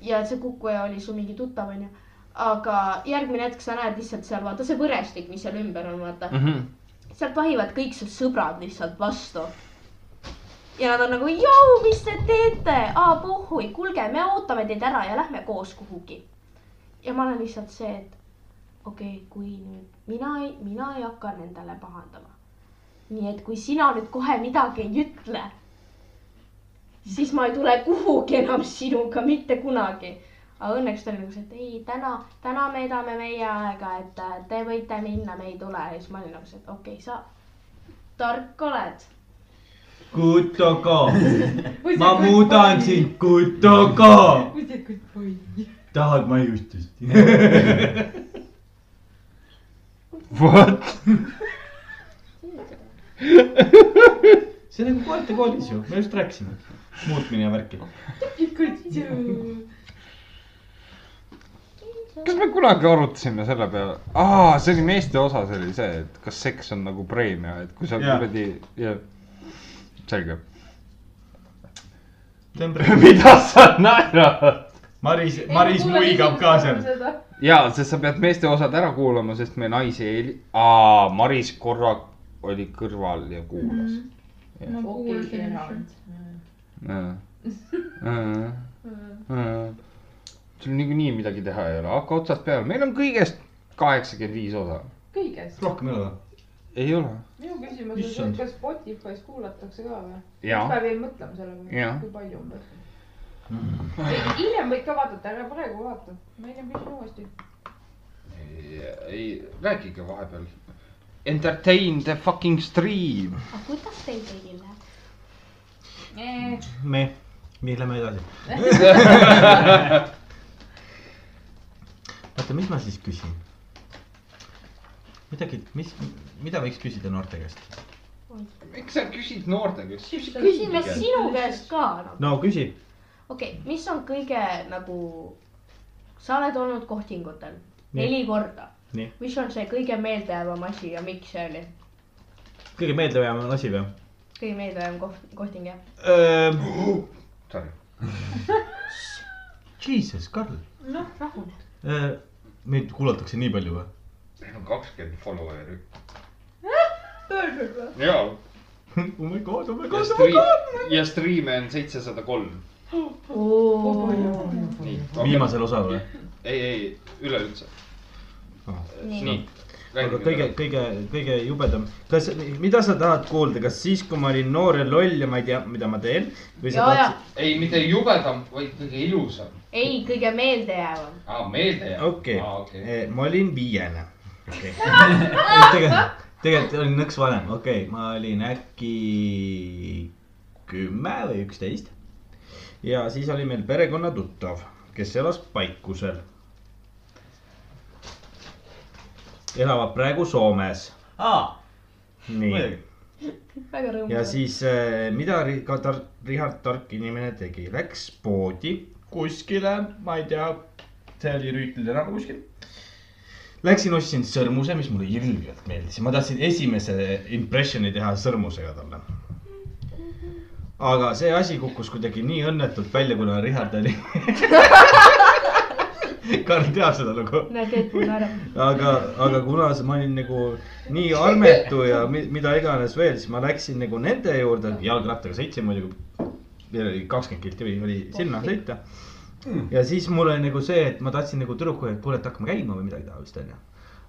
Speaker 11: ja see kukkuja oli su mingi tuttav , onju aga järgmine hetk sa näed lihtsalt seal vaata see võrestik , mis seal ümber on , vaata .
Speaker 2: Mhm.
Speaker 11: sealt vahivad kõik su sõbrad lihtsalt vastu . ja nad on nagu , jõu , mis te teete , aa puhui , kuulge , me ootame teid ära ja lähme koos kuhugi . ja ma olen lihtsalt see , et okei okay, , kui nüüd mina ei , mina ei hakka nendele pahandama . nii et kui sina nüüd kohe midagi ei ütle , siis ma ei tule kuhugi enam sinuga mitte kunagi aga õnneks ta oli nagu see , et ei , täna , täna me edame meie aega , et äh, te võite minna , me ei tule ja siis ma olin nagu see , et okei okay, , sa tark oled .
Speaker 3: Kutoko , ma muudan . sind , Kutoko .
Speaker 9: kuskilt poiss .
Speaker 3: tahad maiustust ?
Speaker 2: What ?
Speaker 3: see on nagu koerte koolis ju , me just rääkisime . muutmine ja värki .
Speaker 2: kas me kunagi arutasime selle peale , aa , see oli meeste osas oli see , et kas seks on nagu preemia , et kui sa
Speaker 3: Jaa.
Speaker 2: kuradi , jah , selge .
Speaker 3: mida ?
Speaker 2: mida sa naerad ?
Speaker 3: Maris , Maris muigab ka seal .
Speaker 2: ja , sest sa pead meeste osad ära kuulama , sest me naisi ei , aa , Maris korra oli kõrval ja kuulas
Speaker 4: ma kuulsin lihtsalt .
Speaker 2: mm . -hmm. sul niikuinii midagi teha ei ole , hakka otsast peale , meil on kõigest kaheksakümmend viis osa .
Speaker 9: kõigest .
Speaker 2: Noh,
Speaker 3: rohkem ei ole .
Speaker 2: ei ole ?
Speaker 9: minu küsimus on ,
Speaker 3: Issand.
Speaker 9: kas Spotify's kuulatakse ka või ?
Speaker 2: jaa ,
Speaker 9: peab jäi mõtlema selle peale
Speaker 2: Jaa. ,
Speaker 9: kui palju on võtnud .
Speaker 3: Mm.
Speaker 9: hiljem võid ka vaadata , ära praegu vaata . ma hiljem küsin uuesti .
Speaker 2: ei , rääkige vahepeal . Entertain the fucking stream .
Speaker 11: aga kuidas teil kõigil läheb ? Eh,
Speaker 3: me , me lähme edasi . oota , mis ma siis küsin ? midagi , mis , mida võiks küsida noorte käest ?
Speaker 2: miks sa küsid noorte käest ?
Speaker 11: küsime sinu käest ka nagu. .
Speaker 3: no küsi .
Speaker 11: okei okay, , mis on kõige nagu , sa oled olnud kohtingutel
Speaker 3: Nii.
Speaker 11: neli korda
Speaker 3: Nii. .
Speaker 11: mis on see kõige meeldejäävam asi ja miks see oli
Speaker 3: kõige meeldejäävam asi või ?
Speaker 11: kõige meeldejäävam koht , kohting jah ?
Speaker 3: Ehm,
Speaker 2: Sorry .
Speaker 3: Jesus , Karl .
Speaker 9: noh , rahu .
Speaker 3: meid kuulatakse nii palju või ?
Speaker 2: meil on kakskümmend follower'i .
Speaker 9: pöördud või ?
Speaker 2: jaa .
Speaker 3: oh my god , oh my
Speaker 2: ja
Speaker 3: god , oh my
Speaker 2: stream
Speaker 3: god .,
Speaker 2: ja stream'e on seitsesada kolm . nii .
Speaker 3: viimasel osal või ?
Speaker 2: ei , ei , üleüldse .
Speaker 3: Ah.
Speaker 11: Nii.
Speaker 2: nii ,
Speaker 3: aga kõige , kõige , kõige jubedam . kas , mida sa tahad kuulda , kas siis , kui ma olin noor ja loll ja ma ei tea , mida ma teen või sa
Speaker 5: ja , ja
Speaker 3: tahad ?
Speaker 2: ei , mitte jubedam , vaid kõige ilusam .
Speaker 5: ei , kõige meeldejäävam .
Speaker 2: aa , meelde jääb .
Speaker 3: okei
Speaker 2: Aa, okei. ,
Speaker 3: Eh, ma olin viiene . tegelikult , tegelikult olin nõks vanem , okei okay, , ma olin äkki kümme või üksteist . ja siis oli meil perekonnatuttav , kes elas Paikusel . elavad praegu Soomes ,
Speaker 7: aa ,
Speaker 3: nii
Speaker 7: muidugi .
Speaker 5: väga
Speaker 3: ja
Speaker 5: rõõmus .
Speaker 3: siis äh, mida ri- ka tar- , Richard tark inimene tegi , läks poodi kuskile , ma ei tea , see oli Rüütli tänav nagu kuskil . Läksin ostsin sõrmuse , mis mulle ilgelt meeldis , ma tahtsin esimese impressioni teha sõrmusega talle . aga see asi kukkus kuidagi nii õnnetult välja , kuna Richard oli . Karl teab seda lugu
Speaker 5: näed , Keit mul naerab .
Speaker 3: aga , aga kuna see- ma olin nagu nii armetu ja mi, mida iganes veel , siis ma läksin nagu nende juurde , jalgrattaga sõitsin muidugi . meil oli kakskümmend kilti või oli sinna sõita . ja siis mul oli nagu see , et ma tahtsin nagu tüdrukuga , et kuule , et hakkame käima või midagi taolist , onju .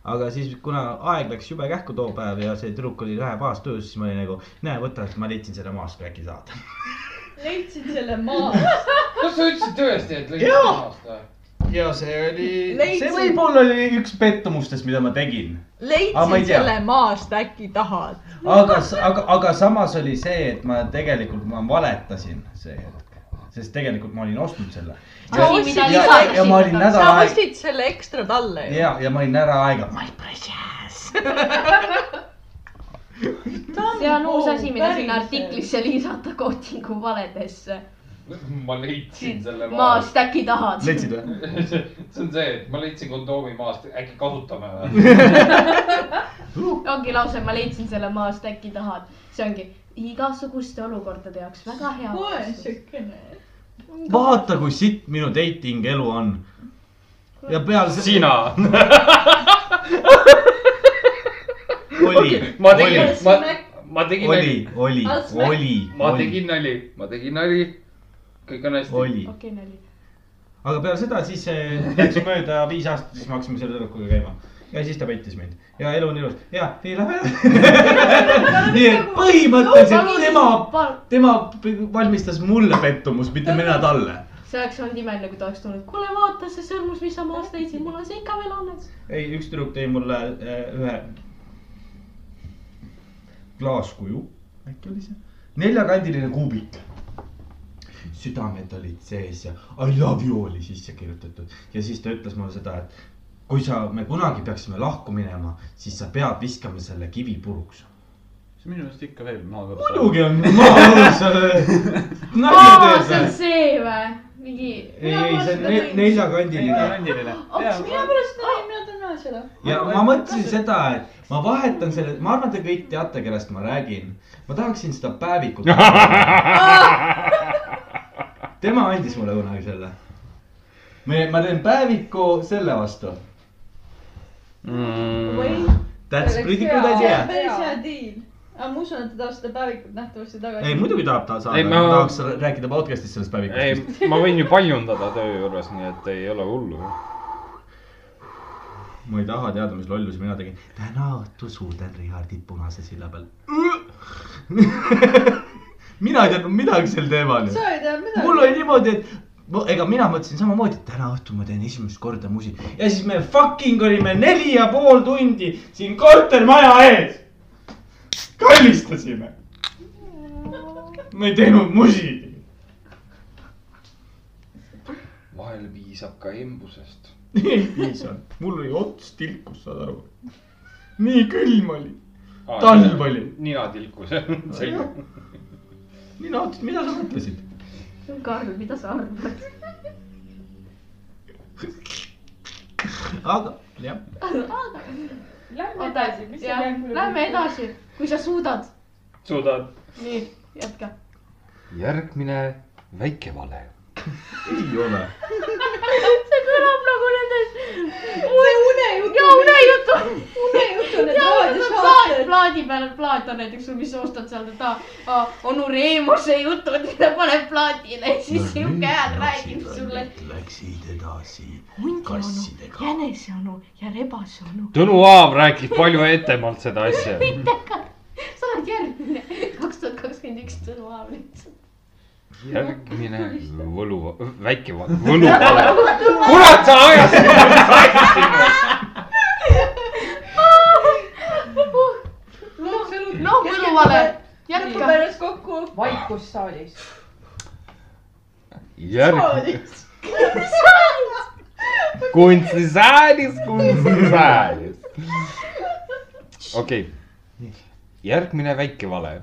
Speaker 3: aga siis , kuna aeg läks jube kähku too päev ja see tüdruk oli vähe pahas tujus , siis ma olin nagu , näe , võta , ma leidsin selle maast , kui äkki saad .
Speaker 4: leidsid selle maa .
Speaker 1: kas sa ütlesid tõesti , et lõid
Speaker 3: Jaa.
Speaker 1: maast või ?
Speaker 3: ja see oli
Speaker 9: Leidsin-
Speaker 7: see võib-olla oli üks pettumustest , mida ma tegin .
Speaker 3: Ah,
Speaker 7: Aga ma ei
Speaker 9: leidsin
Speaker 7: tea.
Speaker 9: selle maast , äkki tahad ?
Speaker 3: aga ,
Speaker 7: aga , aga samas oli see , et ma tegelikult , ma valetasin see hetk , sest tegelikult ma olin ostnud selle .
Speaker 9: Sa
Speaker 5: asi ,
Speaker 9: ostsid
Speaker 5: mida
Speaker 9: ja-
Speaker 5: lisatakse .
Speaker 7: ja ma olin nädal-
Speaker 9: sa
Speaker 7: Nädal aeg-
Speaker 9: ostsid selle ekstra talle ju .
Speaker 7: ja , ja ma olin ära aega , my precious .
Speaker 5: see on uus
Speaker 4: nagu
Speaker 5: asi , mida sinna . artiklisse lisata kootingu valedesse .
Speaker 2: ma leidsin selle maast .
Speaker 5: maast äkki tahad .
Speaker 3: leidsid või ?
Speaker 2: see on see , et ma leidsin kondoomi maast , äkki kasutame või ?
Speaker 5: ongi lause , ma leidsin selle maast , äkki tahad . see ongi igasuguste olukordade jaoks väga hea .
Speaker 4: kohe siukene .
Speaker 3: vaata , kui sitt minu dating elu on . ja peale se-
Speaker 2: sina .
Speaker 3: oli ,
Speaker 2: ma tegin , ma , ma tegin nali ,
Speaker 3: oli , oli ,
Speaker 4: Asme.
Speaker 3: oli ,
Speaker 2: ma
Speaker 3: oli ,
Speaker 2: tegin nali , ma tegin nali . kõik on hästi .
Speaker 3: oli ,
Speaker 5: okei , nali .
Speaker 3: aga peale seda siis eh, läks mööda viis aastat , siis me hakkasime selle tüdrukuga käima ja siis ta pettis mind ja elu on ilus ja ei lähe ära . nii et põhimõtteliselt tema , tema p- valmistas mulle pettumust , mitte mina talle .
Speaker 5: see oleks olnud imeline , kui ta oleks tulnud , kuule vaata see sõrmus , mis sa maast leidsid , mul on see ikka veel alles .
Speaker 3: ei , üks tüdruk tõi mulle eh, ühe klaaskuju , äkki oli see , neljakandiline kuubik . südamed olid sees ja I love you oli sisse kirjutatud ja siis ta ütles mulle seda , et kui sa , me kunagi peaksime lahku minema , siis sa pead viskama selle kivi puruks .
Speaker 10: see minu arust ikka veel maaga .
Speaker 3: muidugi on maa-alus nalja
Speaker 5: aa ,
Speaker 3: teed
Speaker 5: see on
Speaker 3: või ?
Speaker 5: see või ? mingi .
Speaker 3: ei , ei , see on ne- neljakandiline
Speaker 7: kandiline .
Speaker 4: kas mina pärast
Speaker 9: Ah.
Speaker 4: nägin , mina tahan näha seda .
Speaker 3: ja ma mõtlesin seda , et ma vahetan selle , ma arvan , te kõik teate , kellest ma räägin . ma tahaksin seda päevikut . tema andis mulle kunagi selle . me , ma teen päeviku selle vastu . That's
Speaker 2: Mm.
Speaker 9: See oleks
Speaker 3: pretty good
Speaker 9: hea.
Speaker 3: idea .
Speaker 4: päris hea deal . aga ma usun , et ta tahab seda päevikut nähtavasti tagasi .
Speaker 3: ei , muidugi tahab ta saada ,
Speaker 2: Ei, ma-
Speaker 3: ma tahaks rääkida podcast'is sellest
Speaker 2: ei
Speaker 3: päevikust .,
Speaker 2: ma võin ju paljundada töö juures , nii et ei ole hullu .
Speaker 3: ma ei taha teada , mis lollusi mina tegin . täna õhtul suudlen Richardit punase silla peal . mina ei teadnud midagi sel teemal ju
Speaker 4: sa ei tea midagi .
Speaker 3: mul oli niimoodi , et ma, ega mina mõtlesin samamoodi , et täna õhtul ma teen esimest korda musi ja siis me fucking olime neli ja pool tundi siin kortermaja ees . kallistasime . me ei teinud musi .
Speaker 2: vahel piisab ka embusest .
Speaker 3: ei piisanud , mul oli ots tilkus , saad aru . nii külm oli , Talv oli.
Speaker 2: nina tilkus .
Speaker 3: mina mõtlesin , mida sa mõtlesid ?
Speaker 5: Karl , mida sa arvad ?
Speaker 3: aga jah ,
Speaker 9: Lähme edasi , mis see järgmine
Speaker 5: Lähme . edasi , kui sa suudad .
Speaker 2: suudad .
Speaker 5: nii , jätka .
Speaker 2: järgmine väike vale .
Speaker 3: ei ole .
Speaker 5: see kõlab nagu nendes
Speaker 4: see unejutu .
Speaker 5: ja unejutu .
Speaker 4: unejutu need
Speaker 5: ja ,
Speaker 4: raadiosaated .
Speaker 5: plaat plaadi peal plaat on näiteks sul , mis sa ostad sealt , et aa, aa , onu Reemuse jutud ja ta paneb plaadile ja siis siuke hääl räägib sulle .
Speaker 3: Läksid edasi
Speaker 5: hundi onu ,
Speaker 3: kassidega .
Speaker 5: jänese onu ja rebase onu .
Speaker 2: Tõnu Aav rääkis palju etemalt seda asja .
Speaker 5: sa oled järgmine , kaks tuhat kakskümmend üks Tõnu Aav lihtsalt .
Speaker 2: järgmine võlu , väike va- võluvale . kurat , sa ajasid mulle sassi .
Speaker 5: no võluvale ,
Speaker 4: lõpuks
Speaker 5: jätka .
Speaker 4: pärast kokku .
Speaker 9: vaikus saalis .
Speaker 2: järg- . kunstisaalis , kunstisaalis . okei okay. , järgmine väike vale .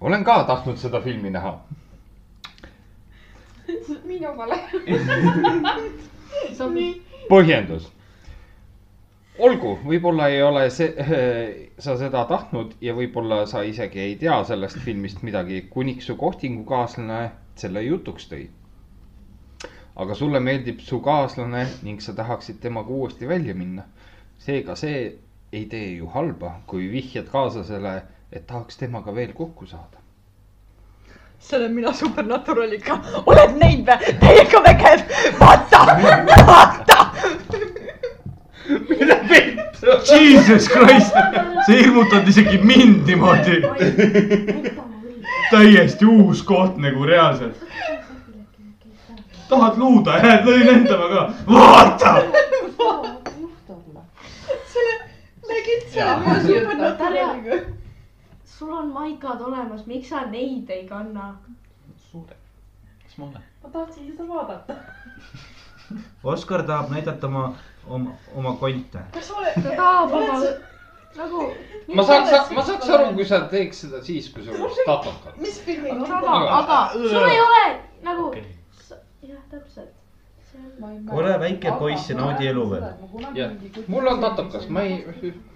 Speaker 2: olen ka tahtnud seda filmi näha .
Speaker 9: minu vale .
Speaker 2: põhjendus . olgu , võib-olla ei ole see , sa seda tahtnud ja võib-olla sa isegi ei tea sellest filmist midagi , kuniks su kohtingukaaslane selle jutuks tõi . aga sulle meeldib su kaaslane ning sa tahaksid temaga uuesti välja minna . seega see ei tee ju halba , kui vihjad kaaslasele , et tahaks temaga veel kokku saada .
Speaker 11: see olen mina Supernaturaliga , oled näinud või ? täiega vägev , vaata , vaata .
Speaker 3: Jesus Christ , see hirmutanud isegi mind niimoodi . täiesti uus koht nagu reaalselt . tahad luuda , jääd lõi lendama ka , vaata .
Speaker 4: nägid selle minu Supernaturaliga ?
Speaker 5: sul on maikad olemas , miks sa neid ei kanna ?
Speaker 10: suure , kas ma olen ?
Speaker 9: ma tahtsin seda vaadata .
Speaker 3: Oskar tahab näidata oma , oma , oma konte .
Speaker 5: ta tahab oma nagu
Speaker 13: ma saaks , ma saaks aru , kui sa teeks seda siis , kui sa oled statukal .
Speaker 4: mis filmiga ?
Speaker 5: sama , aga sul ei ole nagu
Speaker 10: Okei.
Speaker 5: sa- jah , täpselt .
Speaker 3: Ole väike poiss ja naudi elu veel.
Speaker 13: Jah. mul on tatokas , ma ei ,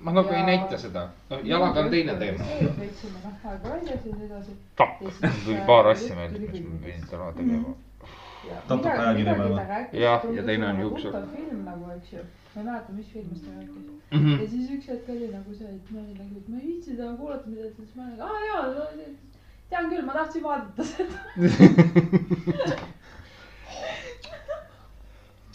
Speaker 13: ma nagu ei näita seda . noh , jalaga on teine teema .
Speaker 9: võtsime noh aega väljas ja nii edasi .
Speaker 2: tuli paar asja meelde , mis ma pidin täna tegema .
Speaker 3: Tatuka ajakiri peale.
Speaker 2: Jah, ja teine on juuksur.
Speaker 9: film nagu , eks ju . ma ei mäleta , mis filmist ta rääkis .
Speaker 13: Mhm.
Speaker 9: ja siis üks hetk oli nagu see , et ma olin nagu , et ma ei viitsi seda kuulata , mida ta ütles , ma olin , aa jaa no, , tean küll , ma tahtsin vaadata seda .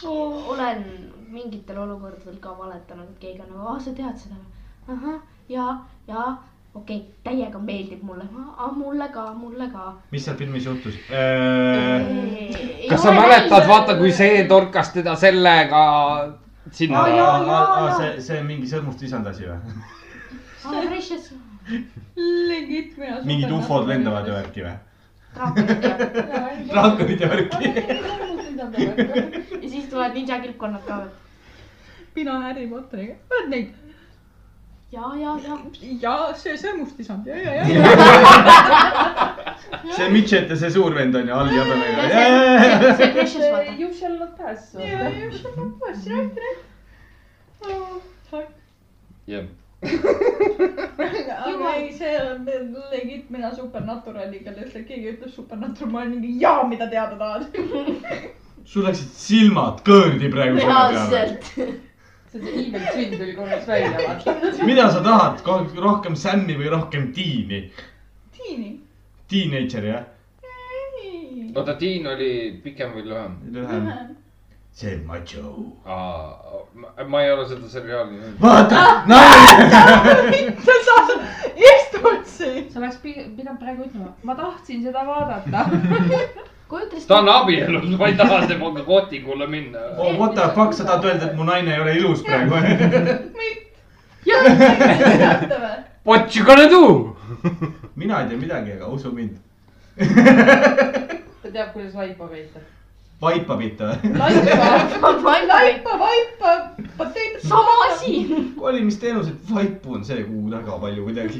Speaker 5: olen mingitel olukordadel ka valetanud , et keegi on nagu , aa , sa tead seda või ? ahah , ja , ja okei okay, , täiega meeldib mulle , mulle ka , mulle ka .
Speaker 3: mis seal filmis juhtus ? Äh,
Speaker 2: kas sa mäletad , vaata , kui see torkas teda sellega sinna
Speaker 5: Aa, jaa, jaa, jaa.
Speaker 3: see , see mingi sõrmust visanud asi või ?
Speaker 5: aa , precious .
Speaker 4: legit mina .
Speaker 3: mingid ufod lendavad ju . äkki või ?
Speaker 5: ja
Speaker 3: draakonid ja värki .
Speaker 9: nagu,
Speaker 5: siis tulevad ninja kilpkonnad ka veel .
Speaker 4: mina Harry Potteriga , oled neid ?
Speaker 5: ja , ja , ja .
Speaker 4: ja see sõrmustisand ja , ja , ja .
Speaker 3: see midžet ja see suur vend on ju all jabemega .
Speaker 5: see precious vaata .
Speaker 9: You shall not pass .
Speaker 13: jah ,
Speaker 4: aga ei , see on legit mina Supernaturaliga , lihtsalt keegi ütleb Supernatural , ma olen mingi jaa , mida teada tahad .
Speaker 3: sul läksid silmad kõõrdi praegu selle peale .
Speaker 5: reaalselt .
Speaker 9: see Steven Twin tuli korraks välja , vaata .
Speaker 3: mida sa tahad , rohkem sämmi või rohkem tiini ?
Speaker 4: Tiini .
Speaker 3: Teenager jah ?
Speaker 2: oota , Tiin oli pikem või lühem ?
Speaker 3: lühem . see macho .
Speaker 2: ma ei ole seda seriaali näinud .
Speaker 3: vaata , naine .
Speaker 4: sa saad , istud siin .
Speaker 9: sa oleks pi- pidanud praegu ütlema , ma tahtsin seda vaadata .
Speaker 5: kujutas .
Speaker 2: ta on abielus , ma ei taha temaga kohtikule minna .
Speaker 3: oh what the fuck , sa tahad öelda , et mu naine ei ole ilus praegu ?
Speaker 2: What you gonna do ?
Speaker 3: mina ei tea midagi , aga usu mind .
Speaker 9: ta teab , kuidas vaipa peita .
Speaker 3: vaipa pihta või ?
Speaker 4: laipa , vaipa , pateet .
Speaker 5: sama asi .
Speaker 3: valimisteenused , vaipu on see kuu väga palju kuidagi .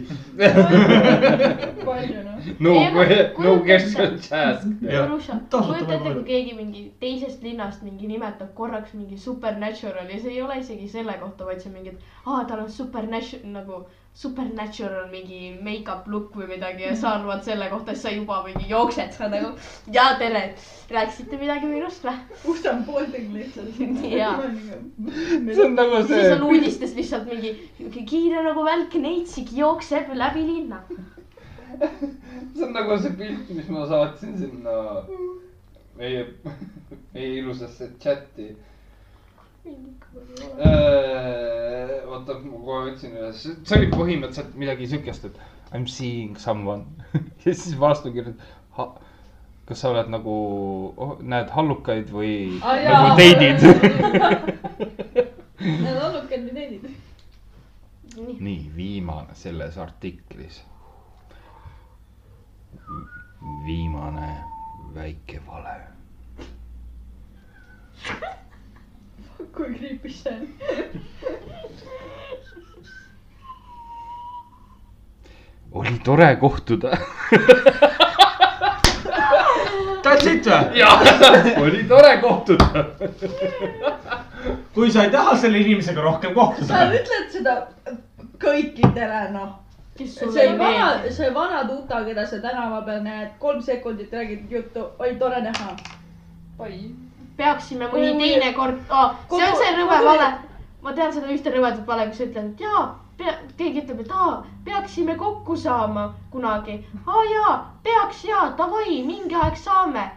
Speaker 4: palju noh .
Speaker 2: no
Speaker 5: Ei, , aga
Speaker 2: no
Speaker 5: kujuta
Speaker 2: question
Speaker 5: ette.
Speaker 2: task .
Speaker 3: Tasuta
Speaker 5: kujuta ette ,
Speaker 3: võib-olla.
Speaker 5: kui keegi mingi teisest linnast mingi nimetab korraks mingi supernatural ja see ei ole isegi selle kohta , vaid see on mingi , et aa , tal on supernatural nagu supernatural mingi make-up look või midagi ja sa arvad selle kohta , siis sa juba mingi jooksed , sa nagu ja tere , rääkisite midagi räägime minust või ?
Speaker 4: Usan Bolding lihtsalt .
Speaker 5: jaa .
Speaker 2: see on nagu
Speaker 5: siis
Speaker 2: see
Speaker 5: on , uudistes lihtsalt mingi , mingi kiire nagu välk neitsik jookseb läbi linna .
Speaker 2: see on nagu see pilt , mis ma saatsin sinna meie , meie ilusasse chati . oota , ma kohe otsin üles , see oli põhimõtteliselt midagi siukest , et I m seeing someone ja siis vastu kirjutab , kas sa oled nagu , näed hallukaid või
Speaker 9: Aa,
Speaker 2: nagu
Speaker 9: Ah, jaa.
Speaker 2: teidid .
Speaker 4: Need allukad või teenid ?
Speaker 2: nii , viimane selles artiklis . viimane väike vale
Speaker 4: kui kriipis see on .
Speaker 2: oli tore kohtuda .
Speaker 3: That's it või ?
Speaker 2: oli tore kohtuda .
Speaker 3: kui sa ei taha selle inimesega rohkem kohtuda
Speaker 4: sa . ütled seda kõikidele , noh .
Speaker 5: kes sulle
Speaker 4: see
Speaker 5: ei meeldi .
Speaker 4: vana , see vana tuta , keda sa tänava peal näed , kolm sekundit räägid juttu , oli tore näha .
Speaker 9: oi ,
Speaker 5: peaksime mõni
Speaker 4: Kui-
Speaker 5: teine kord oh, , see on
Speaker 4: Kogu-
Speaker 5: see rõve
Speaker 4: kogu-
Speaker 5: vale . ma tean seda ühte rõvedat vale , kus ütlen , et jaa , pea , keegi ütleb , et aa , peaksime kokku saama kunagi . aa jaa , peaks jaa , davai , mingi aeg saame .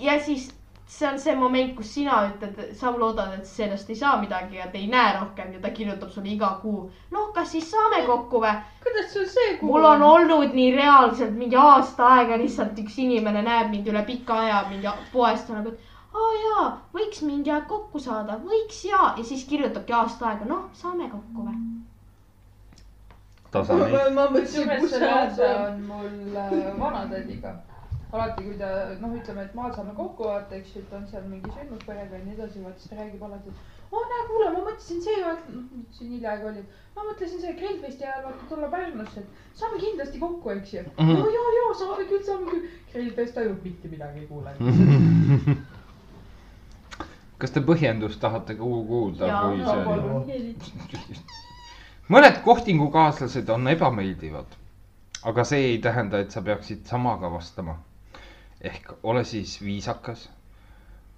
Speaker 5: ja siis see on see moment , kus sina ütled , sa loodad , et sellest ei saa midagi ja te ei näe rohkem ja ta kirjutab sulle iga kuu . noh , kas siis saame kokku või ?
Speaker 4: kuidas sul see kuu
Speaker 5: mul on olnud nii reaalselt mingi aasta aega lihtsalt üks inimene näeb mind üle pika aja mingi poest on nagu , et aa jaa , võiks mingi aeg kokku saada , võiks ja , ja siis kirjutabki aasta aega , noh , saame kokku või .
Speaker 2: tasane .
Speaker 4: ma mõtlesin ,
Speaker 9: kusjuures
Speaker 4: kus
Speaker 9: see
Speaker 4: sa
Speaker 9: lause
Speaker 4: oled .
Speaker 9: on mul äh, vanatädiga . alati , kui ta noh , ütleme , et maal saame kokku vaata , eks ju , et on seal mingi sündmus perega ja nii edasi , vaata siis ta räägib alati , et oo näe , kuule , ma mõtlesin see , siin hiljaaegu oli , ma mõtlesin see grillfesti ajal vaata tulla Pärnusse , et saame kindlasti kokku , eks ju .
Speaker 2: Mhm.
Speaker 9: no ja , ja saame küll , saame küll . grillfest tajub mitte midagi , kuule .
Speaker 2: Mhm. kas te põhjendust tahate ku- kuulda
Speaker 5: Jaa,
Speaker 2: või
Speaker 9: no
Speaker 2: see oli ?
Speaker 9: Noh, palun .
Speaker 2: mõned kohtingukaaslased on ebameeldivad , aga see ei tähenda , et sa peaksid samaga vastama . ehk ole siis viisakas .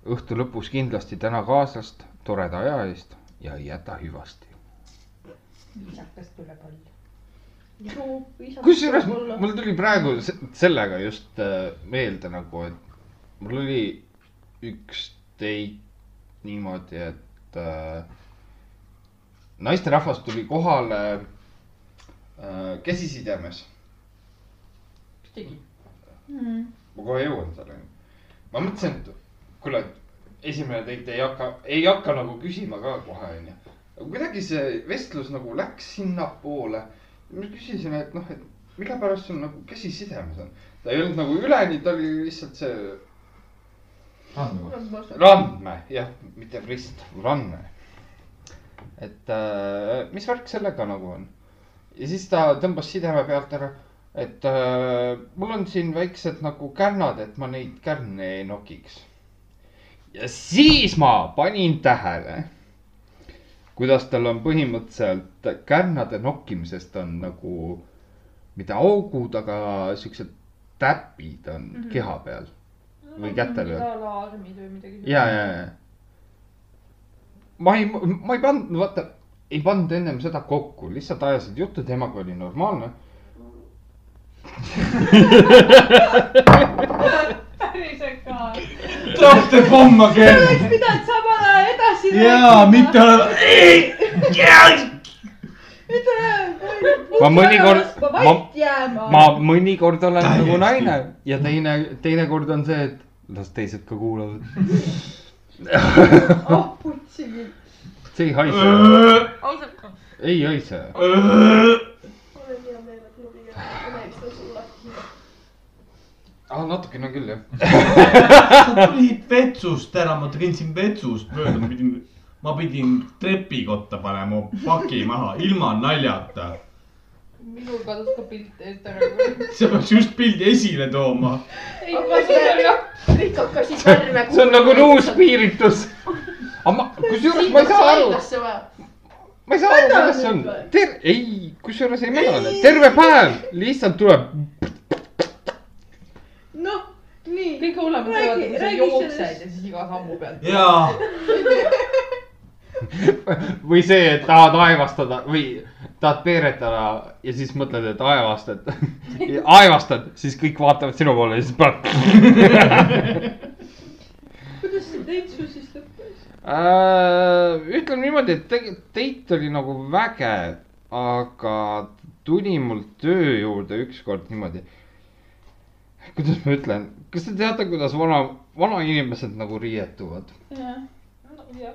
Speaker 2: õhtu lõpus kindlasti täna kaaslast toreda aja eest ja ei jäta hüvasti .
Speaker 9: viisakas tuleb olla .
Speaker 2: kusjuures mul tuli praegu se- sellega just äh, meelde nagu , et mul oli üks date niimoodi , et äh, naisterahvas tuli kohale äh, käsisidemes .
Speaker 9: mis tegi ?
Speaker 2: ma kohe jõuan selleni . ma mõtlesin , et kuule , et esimene date ei hakka , ei hakka nagu küsima ka kohe onju . aga kuidagi see vestlus nagu läks sinnapoole . ma küsisin , et noh , et mille pärast sul nagu käsi sidemes on . ta ei olnud nagu üleni , ta oli lihtsalt see
Speaker 7: nagu-
Speaker 2: randme , jah , mitte rist , randme . et äh, mis värk sellega nagu on ? ja siis ta tõmbas sideme pealt ära , et äh, mul on siin väiksed nagu kärnad , et ma neid kärne ei nokiks . ja siis ma panin tähele , kuidas tal on põhimõtteliselt kärnade nokkimisest on nagu mitte augud , aga siuksed täpid on mm -hmm. keha peal või kätel või ?
Speaker 9: alarmid või midagi .
Speaker 2: ja , ja , ja . ma ei , ma ei pannud , vaata , ei pannud ennem seda kokku , lihtsalt ajasid juttu , temaga oli normaalne .
Speaker 4: päriselt ka .
Speaker 7: tahate pomma keerata ?
Speaker 4: pidanud samal ajal edasi
Speaker 7: jaa , mitte olla .
Speaker 2: ma mõnikord , ma ,
Speaker 4: vait jääma .
Speaker 2: ma mõnikord olen nagu naine ja teine , teinekord on see , et las teised ka kuulavad .
Speaker 4: oh , putsi küll .
Speaker 2: see ei haise , ei haise .
Speaker 5: mul on hea meel , et mul ei ole üheksa sulle .
Speaker 2: aa , natukene on küll jah .
Speaker 3: sa tulid vetsust ära , ma trintsin vetsust mööda , ma pidin , ma pidin trepikotta panema paki maha ilma naljata .
Speaker 9: minul kadus ka pilt eest ära
Speaker 3: sa peaks just pildi esile tooma .
Speaker 9: ei , ma siis oli jah ,
Speaker 5: kõik hakkasid värve .
Speaker 2: see on nagu uus piiritus . aga ma , kusjuures ma ei saa aru ,
Speaker 5: aru .
Speaker 2: ma ei saa aru , kuidas see on . ter- , ei , kusjuures ei mädane , terve päev lihtsalt tuleb
Speaker 4: noh , nii ,
Speaker 9: kõik hullemad
Speaker 4: Räägi-
Speaker 9: teevad , kui sa
Speaker 4: räägi
Speaker 9: jooksed
Speaker 4: sellest.
Speaker 9: ja siis iga sammu pealt .
Speaker 3: jaa ,
Speaker 2: või see , et tahad aevastada või tahad peeretada ja siis mõtled , et aevastad . aevastad , siis kõik vaatavad sinu poole ja siis paned
Speaker 4: kuidas see teid sul siis lõppes ?
Speaker 2: äh, . ütleme niimoodi , et tegelikult teit oli nagu vägev , aga tuli mul töö juurde ükskord niimoodi . kuidas ma ütlen , kas te teate , kuidas vana , vanainimesed nagu riietuvad ?
Speaker 9: jah ,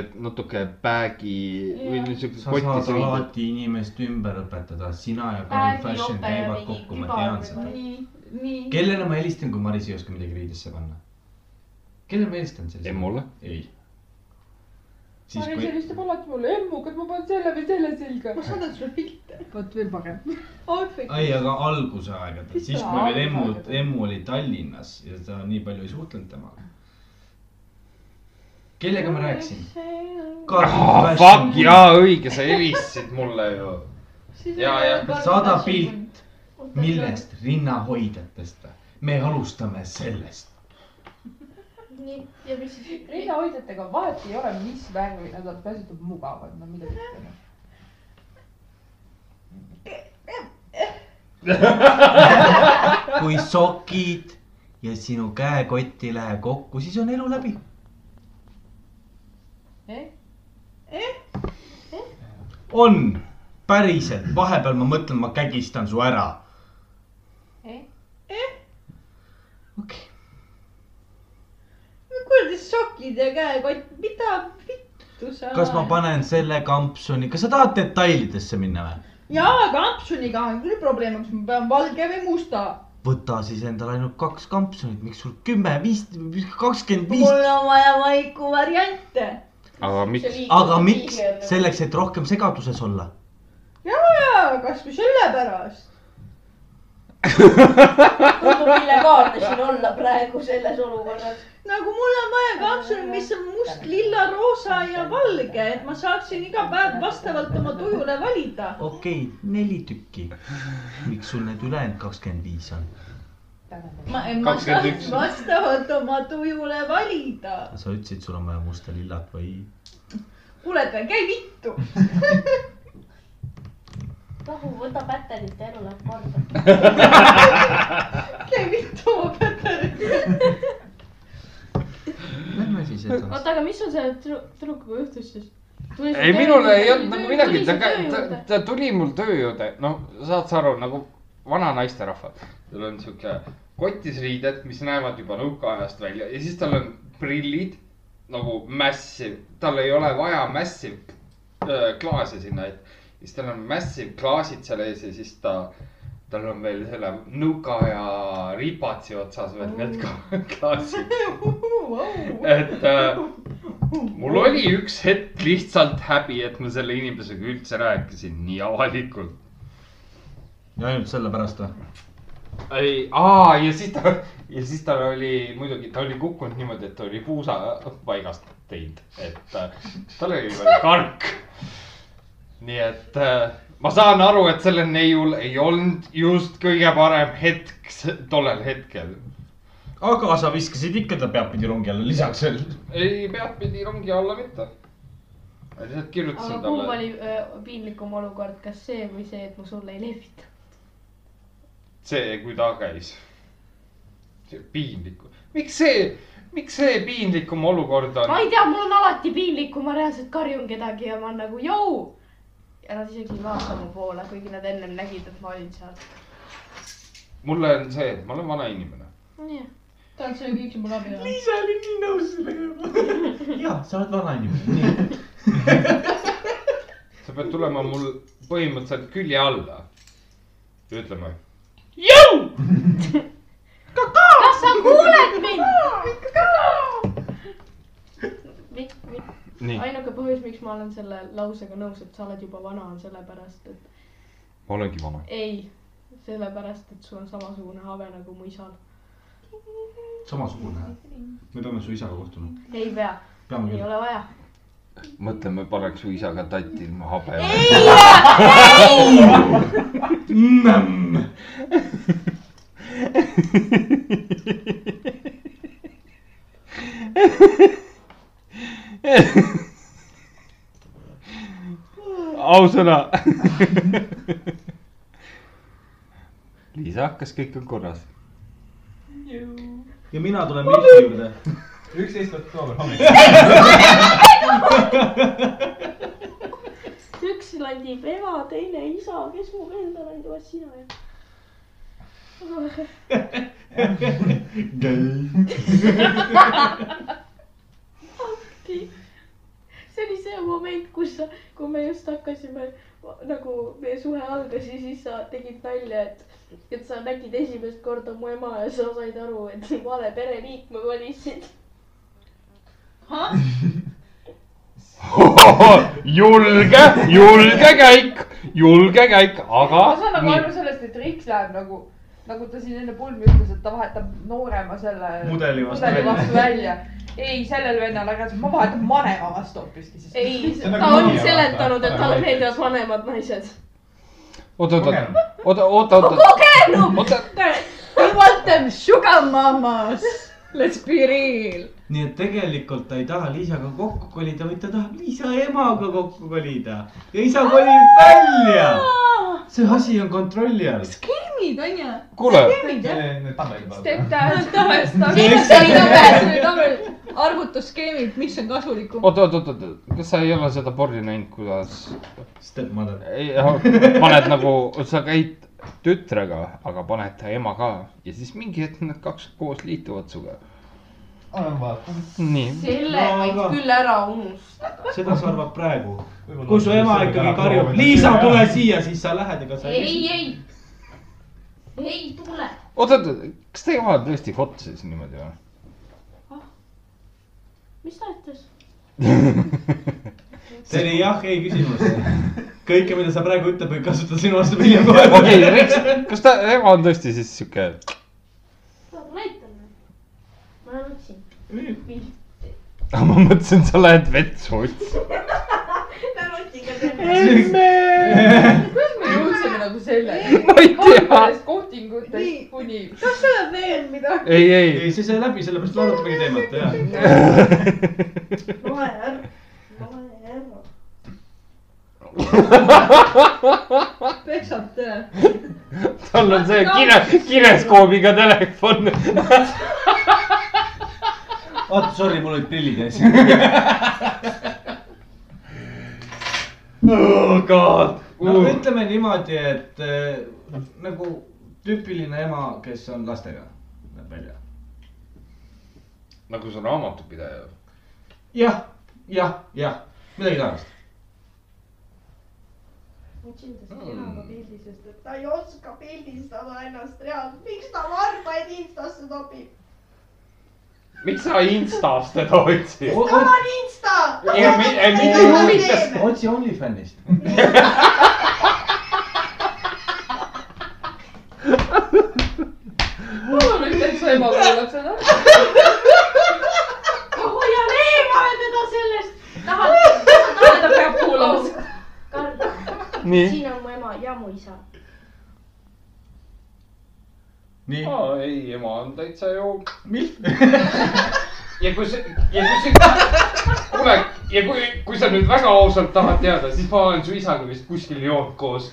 Speaker 2: et natuke bäägi või niisuguse
Speaker 3: sa saad
Speaker 2: kotti .
Speaker 3: alati inimest ümber õpetada , sina ja Colin
Speaker 5: Bändi
Speaker 3: Fashion
Speaker 5: jope ja
Speaker 3: käivad
Speaker 5: mingi
Speaker 3: kokku , ma
Speaker 5: kübar
Speaker 3: tean
Speaker 5: või
Speaker 3: seda .
Speaker 4: nii , nii .
Speaker 3: kellele ma helistan , kui Maris ei oska midagi riidesse panna ? kellele ma helistan siis ?
Speaker 2: Emmule. .
Speaker 3: ei . siis
Speaker 9: Maris
Speaker 3: kui ,
Speaker 9: helistab alati mulle , emmu , kas ma panen selle või selle selga ?
Speaker 4: ma saadan sulle pilte .
Speaker 9: vot veel parem .
Speaker 4: Outfit'i .
Speaker 3: ei , aga alguse aegadel ,
Speaker 9: Mis
Speaker 3: siis
Speaker 9: selle
Speaker 3: kui veel
Speaker 9: alguse
Speaker 3: emmu ,
Speaker 9: aegadel?
Speaker 3: emmu oli Tallinnas ja ta nii palju ei suhtlenud temaga . kellega ma rääkisin ?
Speaker 2: Oh, fuck ,. jaa , õige , sa helistasid mulle ju . Jaa, jaa.
Speaker 3: saada pilt , millest , rinnahoidjatest või ? me alustame sellest .
Speaker 5: nii , ja mis siis ?
Speaker 9: rinnahoidjatega vahet ei ole , mis värvi nad on , peaasi , et nad mugavad , no mida ütleme .
Speaker 3: kui sokid ja sinu käekott ei lähe kokku , siis on elu läbi .
Speaker 4: Eh?
Speaker 3: on , päriselt , vahepeal ma mõtlen , ma kägistan su ära .
Speaker 9: Eh?
Speaker 3: okei ,
Speaker 4: kuradi sokid ja käekott , mida vittu sa .
Speaker 3: kas ma ? panen selle kampsuni , kas sa tahad detailidesse minna või ?
Speaker 4: jaa , kampsuniga on küll probleem , kas ma pean valge või musta .
Speaker 3: võta siis endale ainult kaks kampsunit , miks sul kümme , viis , kakskümmend viis ,
Speaker 4: mul on vaja valiku variante .
Speaker 2: aga miks ?
Speaker 3: aga miks ? selleks , et rohkem segaduses olla .
Speaker 4: jaa , kasvõi sellepärast .
Speaker 5: tundub illegaalne siin olla praegu selles olukorras .
Speaker 4: nagu mul on vaja kampsunit , mis on must , lilla , roosa ja valge , et ma saaksin iga päev vastavalt oma tujule valida .
Speaker 3: okei okay, , neli tükki . miks sul need ülejäänud kakskümmend viis on ?
Speaker 4: ma , ma
Speaker 1: 21.
Speaker 4: saan vastavalt oma tujule valida .
Speaker 3: sa ütlesid , sul on vaja musta lillat või ?
Speaker 4: kuule , käi vittu .
Speaker 5: rahu , võta pätterit ja elu läheb korda .
Speaker 4: käi vittu oma pätteriga .
Speaker 3: Lähme siis edasi .
Speaker 8: oota , aga mis sul selle tru- tüdrukuga juhtus siis ?
Speaker 2: ei , minul ei olnud nagu midagi , ta , ta , ta tuli mul töö juurde , no saad sa aru , nagu vana naisterahvas . tal on sihuke kotis riided , mis näevad juba nõukaajast välja ja siis tal on prillid nagu massive , tal ei ole vaja massive äh, klaase sinna , et siis tal on massive klaasid seal ees ja siis ta , tal on veel selle nõukaaja ripatsi otsas veel need ka- klaasid . et äh, mul oli üks hetk lihtsalt häbi , et ma selle inimesega üldse rääkisin nii avalikult .
Speaker 3: ja ainult sellepärast või ?
Speaker 2: ei , aa ja siis ta ja siis tal oli muidugi , ta oli kukkunud niimoodi , et ta oli puusa paigast teinud , et äh, tal oli veel kark . nii et äh, ma saan aru , et sellel neiul ei olnud just kõige parem hetk s- tollel hetkel .
Speaker 3: aga sa viskasid ikka ta peadpidi rongi alla lisaks veel .
Speaker 2: ei peadpidi rongi alla mitte . ma lihtsalt kirjutasin
Speaker 5: aga kumb oli öö, piinlikum olukord , kas see või see , et ma sulle ei lehvita ?
Speaker 2: see , kui ta käis . see piinlikum , miks see , miks see piinlikum olukord on
Speaker 5: ma ? ei tea , mul on alati piinlik , kui ma reaalselt karjun kedagi ja ma olen nagu jõu . ja nad isegi ei vaata mu poole , kuigi nad ennem nägid , et ma olin seal .
Speaker 2: mulle on see , et ma olen vana inimene .
Speaker 4: tahad sa kõik siin mul abi anda ?
Speaker 3: Liisa oli nii nõus sellega . ja , sa oled vanainimene .
Speaker 2: sa pead tulema mul põhimõtteliselt külje alla ja ütlema .
Speaker 5: kas sa kuuled mind ?
Speaker 2: nii ,
Speaker 5: ainuke põhjus , miks ma olen selle lausega nõus , et sa oled juba vana , on sellepärast , et
Speaker 2: ma olengi vana .
Speaker 5: ei , sellepärast , et sul on samasugune habe nagu mu isal .
Speaker 3: samasugune . me peame su isaga kohtuma .
Speaker 5: ei pea ,
Speaker 3: peame
Speaker 5: ei
Speaker 3: küll .
Speaker 5: ole vaja .
Speaker 2: mõtleme , paneks su isaga tatti ilma habe .
Speaker 3: nämm .
Speaker 2: ausõna . Liisa , kas kõik on korras ?
Speaker 3: ja mina tulen Milfi juurde .
Speaker 7: üksteist oktoober hommikul .
Speaker 8: üks landib ema , teine isa , kes mu enda landib , vaat sina ju . see oli see moment , kus sa , kui me just hakkasime nagu meie suhe algas ja siis sa tegid nalja , et , et sa nägid esimest korda mu ema ja sa said aru , et sa vale pereliikme valisid .
Speaker 2: julge , julge käik , julge käik , aga
Speaker 9: ma saan nagu aru
Speaker 2: nii ,
Speaker 9: sellest , et Riks läheb nagu , nagu ta siin enne pulmi ütles , et ta vahetab noorema selle
Speaker 7: Mudeli vastu
Speaker 9: mudeli
Speaker 7: välja.
Speaker 9: vastu välja . ei , sellel vennal ära , ma vahetan vanema vastu hoopiski siis .
Speaker 8: ei ,
Speaker 7: on
Speaker 8: ta
Speaker 7: nagu
Speaker 8: on
Speaker 7: nii,
Speaker 8: seletanud , et
Speaker 7: vaata.
Speaker 8: talle meeldivad vanemad naised .
Speaker 2: oot , oot ,
Speaker 7: Kogenum.
Speaker 2: oot , oot , oot , oot ,
Speaker 11: kogenum
Speaker 2: oot ,
Speaker 11: We want them sugar mamas . Let's be real .
Speaker 3: nii et tegelikult ta ei taha Liisaga kokku kolida , vaid ta tahab Liisa emaga kokku kolida ja isa kolib välja . see asi on kontrolli all .
Speaker 11: skeemid onju .
Speaker 2: kuule ,
Speaker 11: skeemid jah .
Speaker 9: Stepdad ,
Speaker 11: arvutusskeemid , mis on kasulikum .
Speaker 2: oot , oot , oot , oot , kas sa ei ole seda porni näinud , kuidas
Speaker 3: Stepmother .
Speaker 2: ei, paned nagu , sa käid tütrega , aga paned ta ema ka ja siis mingi hetk need kaks koos liituvad sinuga . nii ,
Speaker 3: No,
Speaker 5: selle võid
Speaker 3: aga-
Speaker 5: küll ära unustada .
Speaker 3: seda sa arvad praegu . kui su ema ikkagi karjub , Liisa , tule siia , siis sa lähed , ega sa
Speaker 5: ei , ei , ei tule .
Speaker 2: oot , oot , oot , kas teie vahel tõesti hot siis niimoodi või ?
Speaker 5: mis ta ütles ?
Speaker 3: see oli jah , ei küsimus . kõike , mida sa praegu ütled , võib kasutada sinu vastu hiljem kohe .
Speaker 2: okei , Riks , kas ta ema on tõesti siis sihuke ,
Speaker 5: näita mulle . ma olen siin .
Speaker 2: ma mõtlesin , sa lähed vetsu otsima .
Speaker 9: kuidas me jõudsime nagu selleni ?
Speaker 2: ma ei tea ,
Speaker 9: kolmandast kohtingutest kuni .
Speaker 4: kas sa oled veel midagi ?
Speaker 2: ei , ei ,
Speaker 3: ei , see sai läbi , sellepärast me arutamegi teemat ja .
Speaker 8: loe ära , loe ära .
Speaker 4: peksab tõe .
Speaker 2: tal on see kire , kireskoobiga telefon .
Speaker 3: vaata , sorry , mul olid prillid ees .
Speaker 7: oh god .
Speaker 3: no ütleme niimoodi , et eh, nagu tüüpiline ema , kes on lastega , läheb välja .
Speaker 1: nagu see raamatupidaja .
Speaker 3: jah , jah , jah , midagi taolist .
Speaker 8: ma otsin tast kehaga pildi , sest et ta ei oska pildistada ennast reaalselt . miks ta varbaid instasse topib ?
Speaker 1: miks sa Instast teda otsid ?
Speaker 8: Come on Insta !
Speaker 1: ei , mind ei huvita .
Speaker 3: otsi OnlyFanist .
Speaker 9: mul oli täitsa ema kuulab seda .
Speaker 5: ma hoian eemale teda sellest . tahad , tahad , ta peab kuulama .
Speaker 2: nii ,
Speaker 5: siin on mu ema ja mu isa .
Speaker 3: nii ,
Speaker 1: ei , ema on täitsa ju .
Speaker 3: milf .
Speaker 1: ja kui see , ja kui see , kuule , ja kui , kui sa nüüd väga ausalt tahad teada , siis ma olen su isaga vist kuskil joonud koos .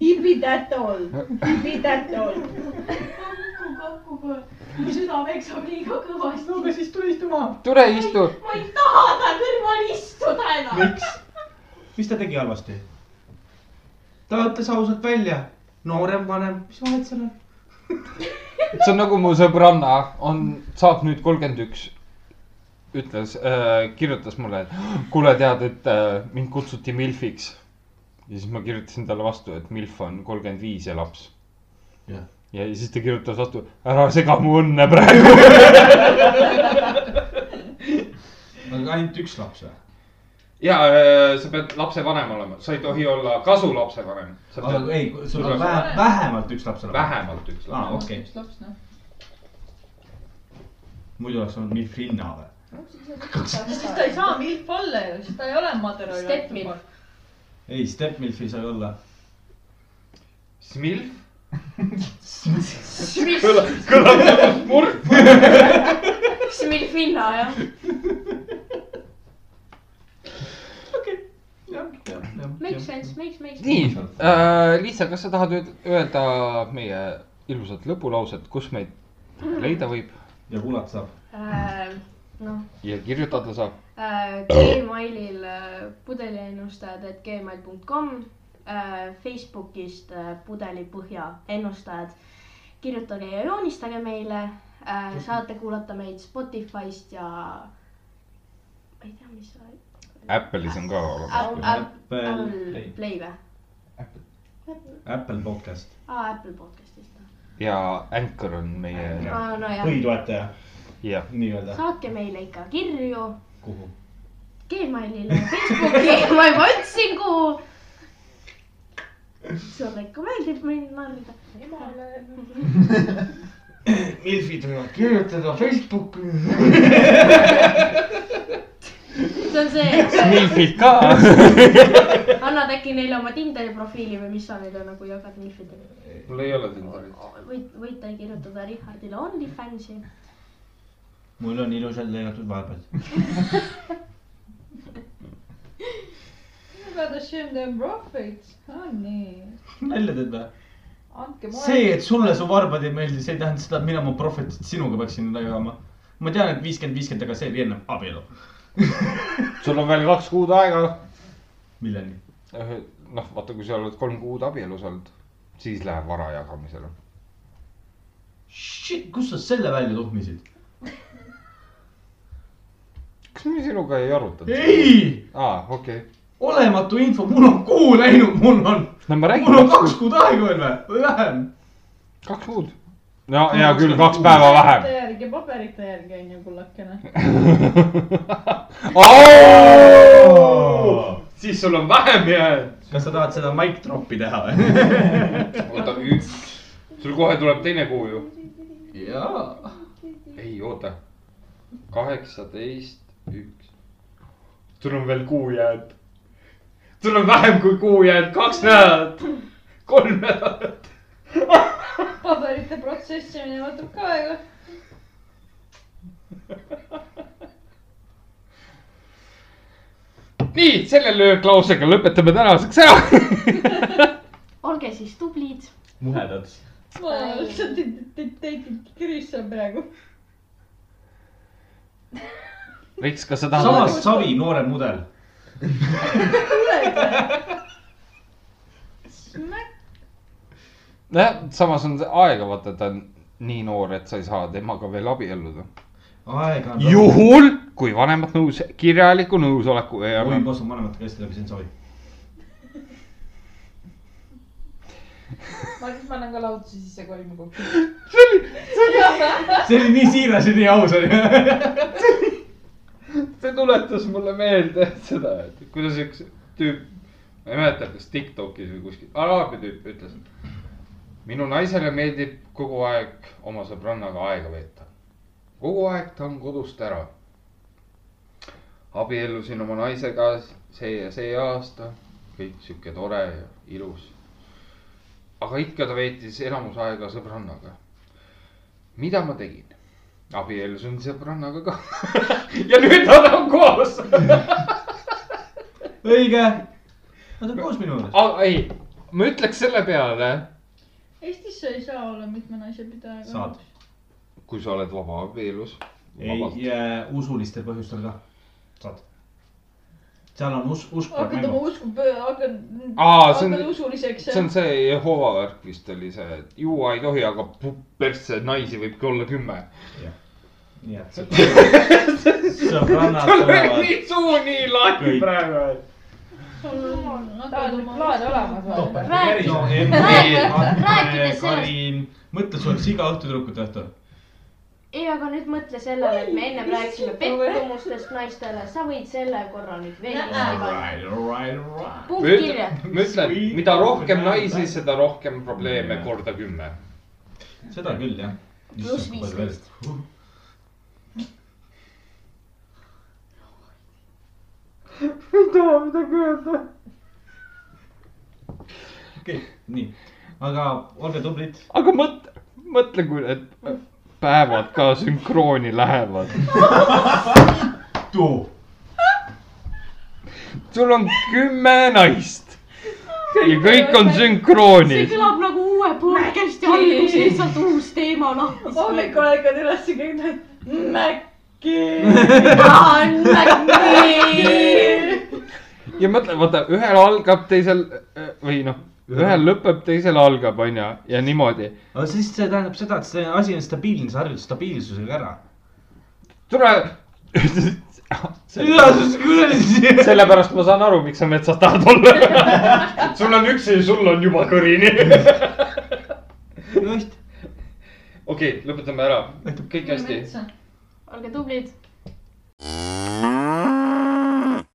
Speaker 4: He be that old , he be that old .
Speaker 5: kakku , kakku , mu süda peksab liiga kõvasti .
Speaker 3: no aga siis tule istu maha .
Speaker 2: tule istu .
Speaker 5: ma ei taha ta kõrval istuda enam .
Speaker 3: miks ? mis ta tegi halvasti ? ta ütles ausalt välja , noorem , vanem , mis vahet seal on ?
Speaker 2: see on nagu mu sõbranna on , saab nüüd kolmkümmend üks . ütles äh, , kirjutas mulle , et kuule , tead , et äh, mind kutsuti Milfiks . ja siis ma kirjutasin talle vastu , et Milf on kolmkümmend viis ja laps .
Speaker 3: Jah.
Speaker 2: ja siis ta kirjutas vastu , ära sega mu õnne praegu .
Speaker 3: aga ainult üks laps või ?
Speaker 1: ja äh, sa pead lapsevanem olema , sa ei tohi olla kasulapsevanem . sa
Speaker 3: aga
Speaker 1: pead
Speaker 3: ei , sul on
Speaker 1: Sul-
Speaker 3: vähe , vähemalt üks laps olema .
Speaker 1: vähemalt üks laps .
Speaker 3: aa , okei okay. ,
Speaker 9: üks laps noh .
Speaker 3: muidu oleks olnud milf linna või ?
Speaker 4: siis ta ei saa milf olla ju , siis ta ei ole mother .
Speaker 5: Step milf.
Speaker 3: ei , Stepmilf ei saa olla .
Speaker 2: Smilf ?
Speaker 5: Smilfina jah . Make sense , makes , makes .
Speaker 7: nii , Liisa , kas sa tahad öel- öelda meie ilusat lõpulauset , kus meid leida võib
Speaker 3: ja kuulata saab .
Speaker 5: noh ,
Speaker 7: ja kirjutada saab ?
Speaker 5: Äh,
Speaker 3: Oh.
Speaker 5: Gmailil pudeliennustajad et gmail punkt kom , Facebookist äh, pudelipõhja ennustajad . kirjutage ja joonistage meile ,
Speaker 3: Mm-hmm.
Speaker 5: saate kuulata meid Spotify'st ja ma ei tea , mis see oli .
Speaker 7: Apple'is on ka
Speaker 5: Apple ,
Speaker 7: olemas .
Speaker 3: Apple
Speaker 5: Apple
Speaker 3: Play.
Speaker 5: Play või ?
Speaker 3: Apple podcast .
Speaker 5: aa , Apple podcast'ist .
Speaker 7: ja Anchor on meie ,
Speaker 5: aa , nojah ,
Speaker 3: põhitoetaja ,
Speaker 7: jah .
Speaker 3: nii-öelda .
Speaker 5: saatke meile ikka kirju
Speaker 3: kuhu ?
Speaker 5: Gmailile , Facebooki , ma juba ütlesin , kuhu . sulle ikka meeldib mind narrida .
Speaker 3: Milfid võivad kirjutada Facebooki .
Speaker 5: see on see ,
Speaker 7: Smilfid ka .
Speaker 5: annad äkki neile oma Tinderi profiili või mis sa neile nagu jagad Milfidele .
Speaker 2: mul ei ole Tinderit .
Speaker 5: võid , võite kirjutada Richardile OnlyFansi .
Speaker 3: mul on ilusalt lõigatud vahepeal .
Speaker 4: You gotta shame them profits . aa nii .
Speaker 3: nalja teed või ?
Speaker 9: andke
Speaker 3: see ,
Speaker 9: mulle .
Speaker 3: et sulle su varbad ei meeldi , see ei tähenda seda , et mina oma prohvetit sinuga peaksin jagama . ma tean , et viiskümmend , viiskümmend , aga see oli enne abielu .
Speaker 7: sul on veel kaks kuud aega .
Speaker 3: milleni ?
Speaker 7: noh , vaata , kui sa oled kolm kuud abielus olnud , siis läheb vara jagamisele .
Speaker 3: Shit , kust sa selle välja tuhmisid ?
Speaker 7: kas me sinuga ei arutanud ?
Speaker 3: ei ,
Speaker 7: aa , okei okay. .
Speaker 3: olematu info , mul on kuu läinud , mul on ,
Speaker 7: no ma räägin
Speaker 3: mul on . kaks kuud aega veel või , või vähem .
Speaker 7: kaks kuud . no hea küll , kaks päeva vähem .
Speaker 4: paberite järgi , paberite järgi on ju kullakene .
Speaker 7: Oh!
Speaker 2: siis sul on vähem jäänud .
Speaker 3: kas sa tahad seda mic drop'i teha või ?
Speaker 2: oota , üks . sul kohe tuleb teine kuu ju .
Speaker 3: jaa .
Speaker 2: ei , oota . kaheksateist , üks . sul on veel kuu jäänud . sul on vähem kui kuu jäänud , kaks nädalat , kolm nädalat .
Speaker 4: paberite protsessimine võtab ka aega .
Speaker 7: nii , selle lööklausega lõpetame tänaseks ära .
Speaker 5: olge siis tublid .
Speaker 14: muhedad .
Speaker 4: ma lihtsalt teid kirjutan praegu .
Speaker 7: Riks , kas sa tahad
Speaker 3: samas ? savi , noorem mudel .
Speaker 7: nojah , samas on see aega , vaata , ta on nii noor , et sa ei saa temaga veel abielluda .
Speaker 3: aega on .
Speaker 7: juhul , kui vanemad nõus , kirjaliku nõusoleku ei
Speaker 3: oi ,
Speaker 7: anna .
Speaker 3: ma astun vanemate käest läbi , see on savi .
Speaker 9: ma siis panen ka lahutuse sisse , kui olime kokku .
Speaker 3: see oli nii siiras ja nii aus oli .
Speaker 2: see tuletas mulle meelde seda , et kuidas üks tüüp , ma ei mäleta , kas Tiktokis või kuskil , araabia tüüp ütles . minu naisele meeldib kogu aeg oma sõbrannaga aega veeta . kogu aeg ta on kodust ära . abiellusin oma naisega see ja see aasta , kõik sihuke tore ja ilus . aga ikka ta veetis enamus aega sõbrannaga . mida ma tegin ? abiellusin sõbrannaga ka . ja nüüd nad on koos .
Speaker 3: õige . Nad on koos minu juures .
Speaker 2: aga ei , ma ütleks selle peale ,
Speaker 4: Eestis sa ei saa olla mitme naise pidajaga .
Speaker 3: Saad. .
Speaker 2: kui sa oled vaba abielus .
Speaker 3: ei , usulistel põhjustel ka . saad . seal on usk , usk .
Speaker 4: hakkad oma usku , hakkad ,
Speaker 7: Aa, see on-
Speaker 4: hakkad usuliseks .
Speaker 7: see on see Jehova värk vist oli see , et juua ei tohi , aga pu- persse naisi võibki olla kümme .
Speaker 3: nii et sõbrannad tulevad .
Speaker 2: nii suu nii lahti
Speaker 3: Kõik.
Speaker 2: praegu .
Speaker 4: sul on , hakkad
Speaker 9: tal on
Speaker 4: oma
Speaker 9: plaan olemas või ?
Speaker 5: räägi ,
Speaker 3: no
Speaker 5: Rääkides
Speaker 3: Emme ,
Speaker 5: sellest-
Speaker 3: Karin , mõtle , sul oleks iga õhtu tüdrukute õhtu .
Speaker 5: ei , aga nüüd mõtle sellele , et me ennem rääkisime pettumustest naistele , sa võid selle korra nüüd veel
Speaker 4: Näe.
Speaker 5: kinni panna .
Speaker 3: Right , right , right .
Speaker 5: punkt kirja .
Speaker 2: ma ütlen , mida rohkem naisi , seda rohkem probleeme korda kümme .
Speaker 3: seda küll , jah .
Speaker 5: Pluss viisteist. .
Speaker 7: okei ,
Speaker 3: nii , aga olge tublid .
Speaker 2: aga mõtle , mõtle , kui need päevad ka sünkrooni lähevad .
Speaker 7: too .
Speaker 2: sul on kümme naist ja kõik on sünkroonis .
Speaker 5: kõlab nagu uue podcast'i algus , lihtsalt uus teema noh, lahti .
Speaker 4: hommikul ärkad üles ja kõik need
Speaker 2: ja mõtle , vaata , ühel algab , teisel äh, või noh , ühel lõpeb , teisel algab , onju , ja niimoodi .
Speaker 3: aga siis see tähendab seda , et see asi on stabiilne , sa harjud stabiilsusega ära .
Speaker 2: tule ,
Speaker 3: Tá üllatus kuradi .
Speaker 2: sellepärast ma saan aru , miks sa metsas tahad olla . sul on üks ja sul on juba kõrini .
Speaker 3: just ,
Speaker 1: okei , lõpetame ära , kõik hästi .
Speaker 4: metsa .
Speaker 5: olge tublid .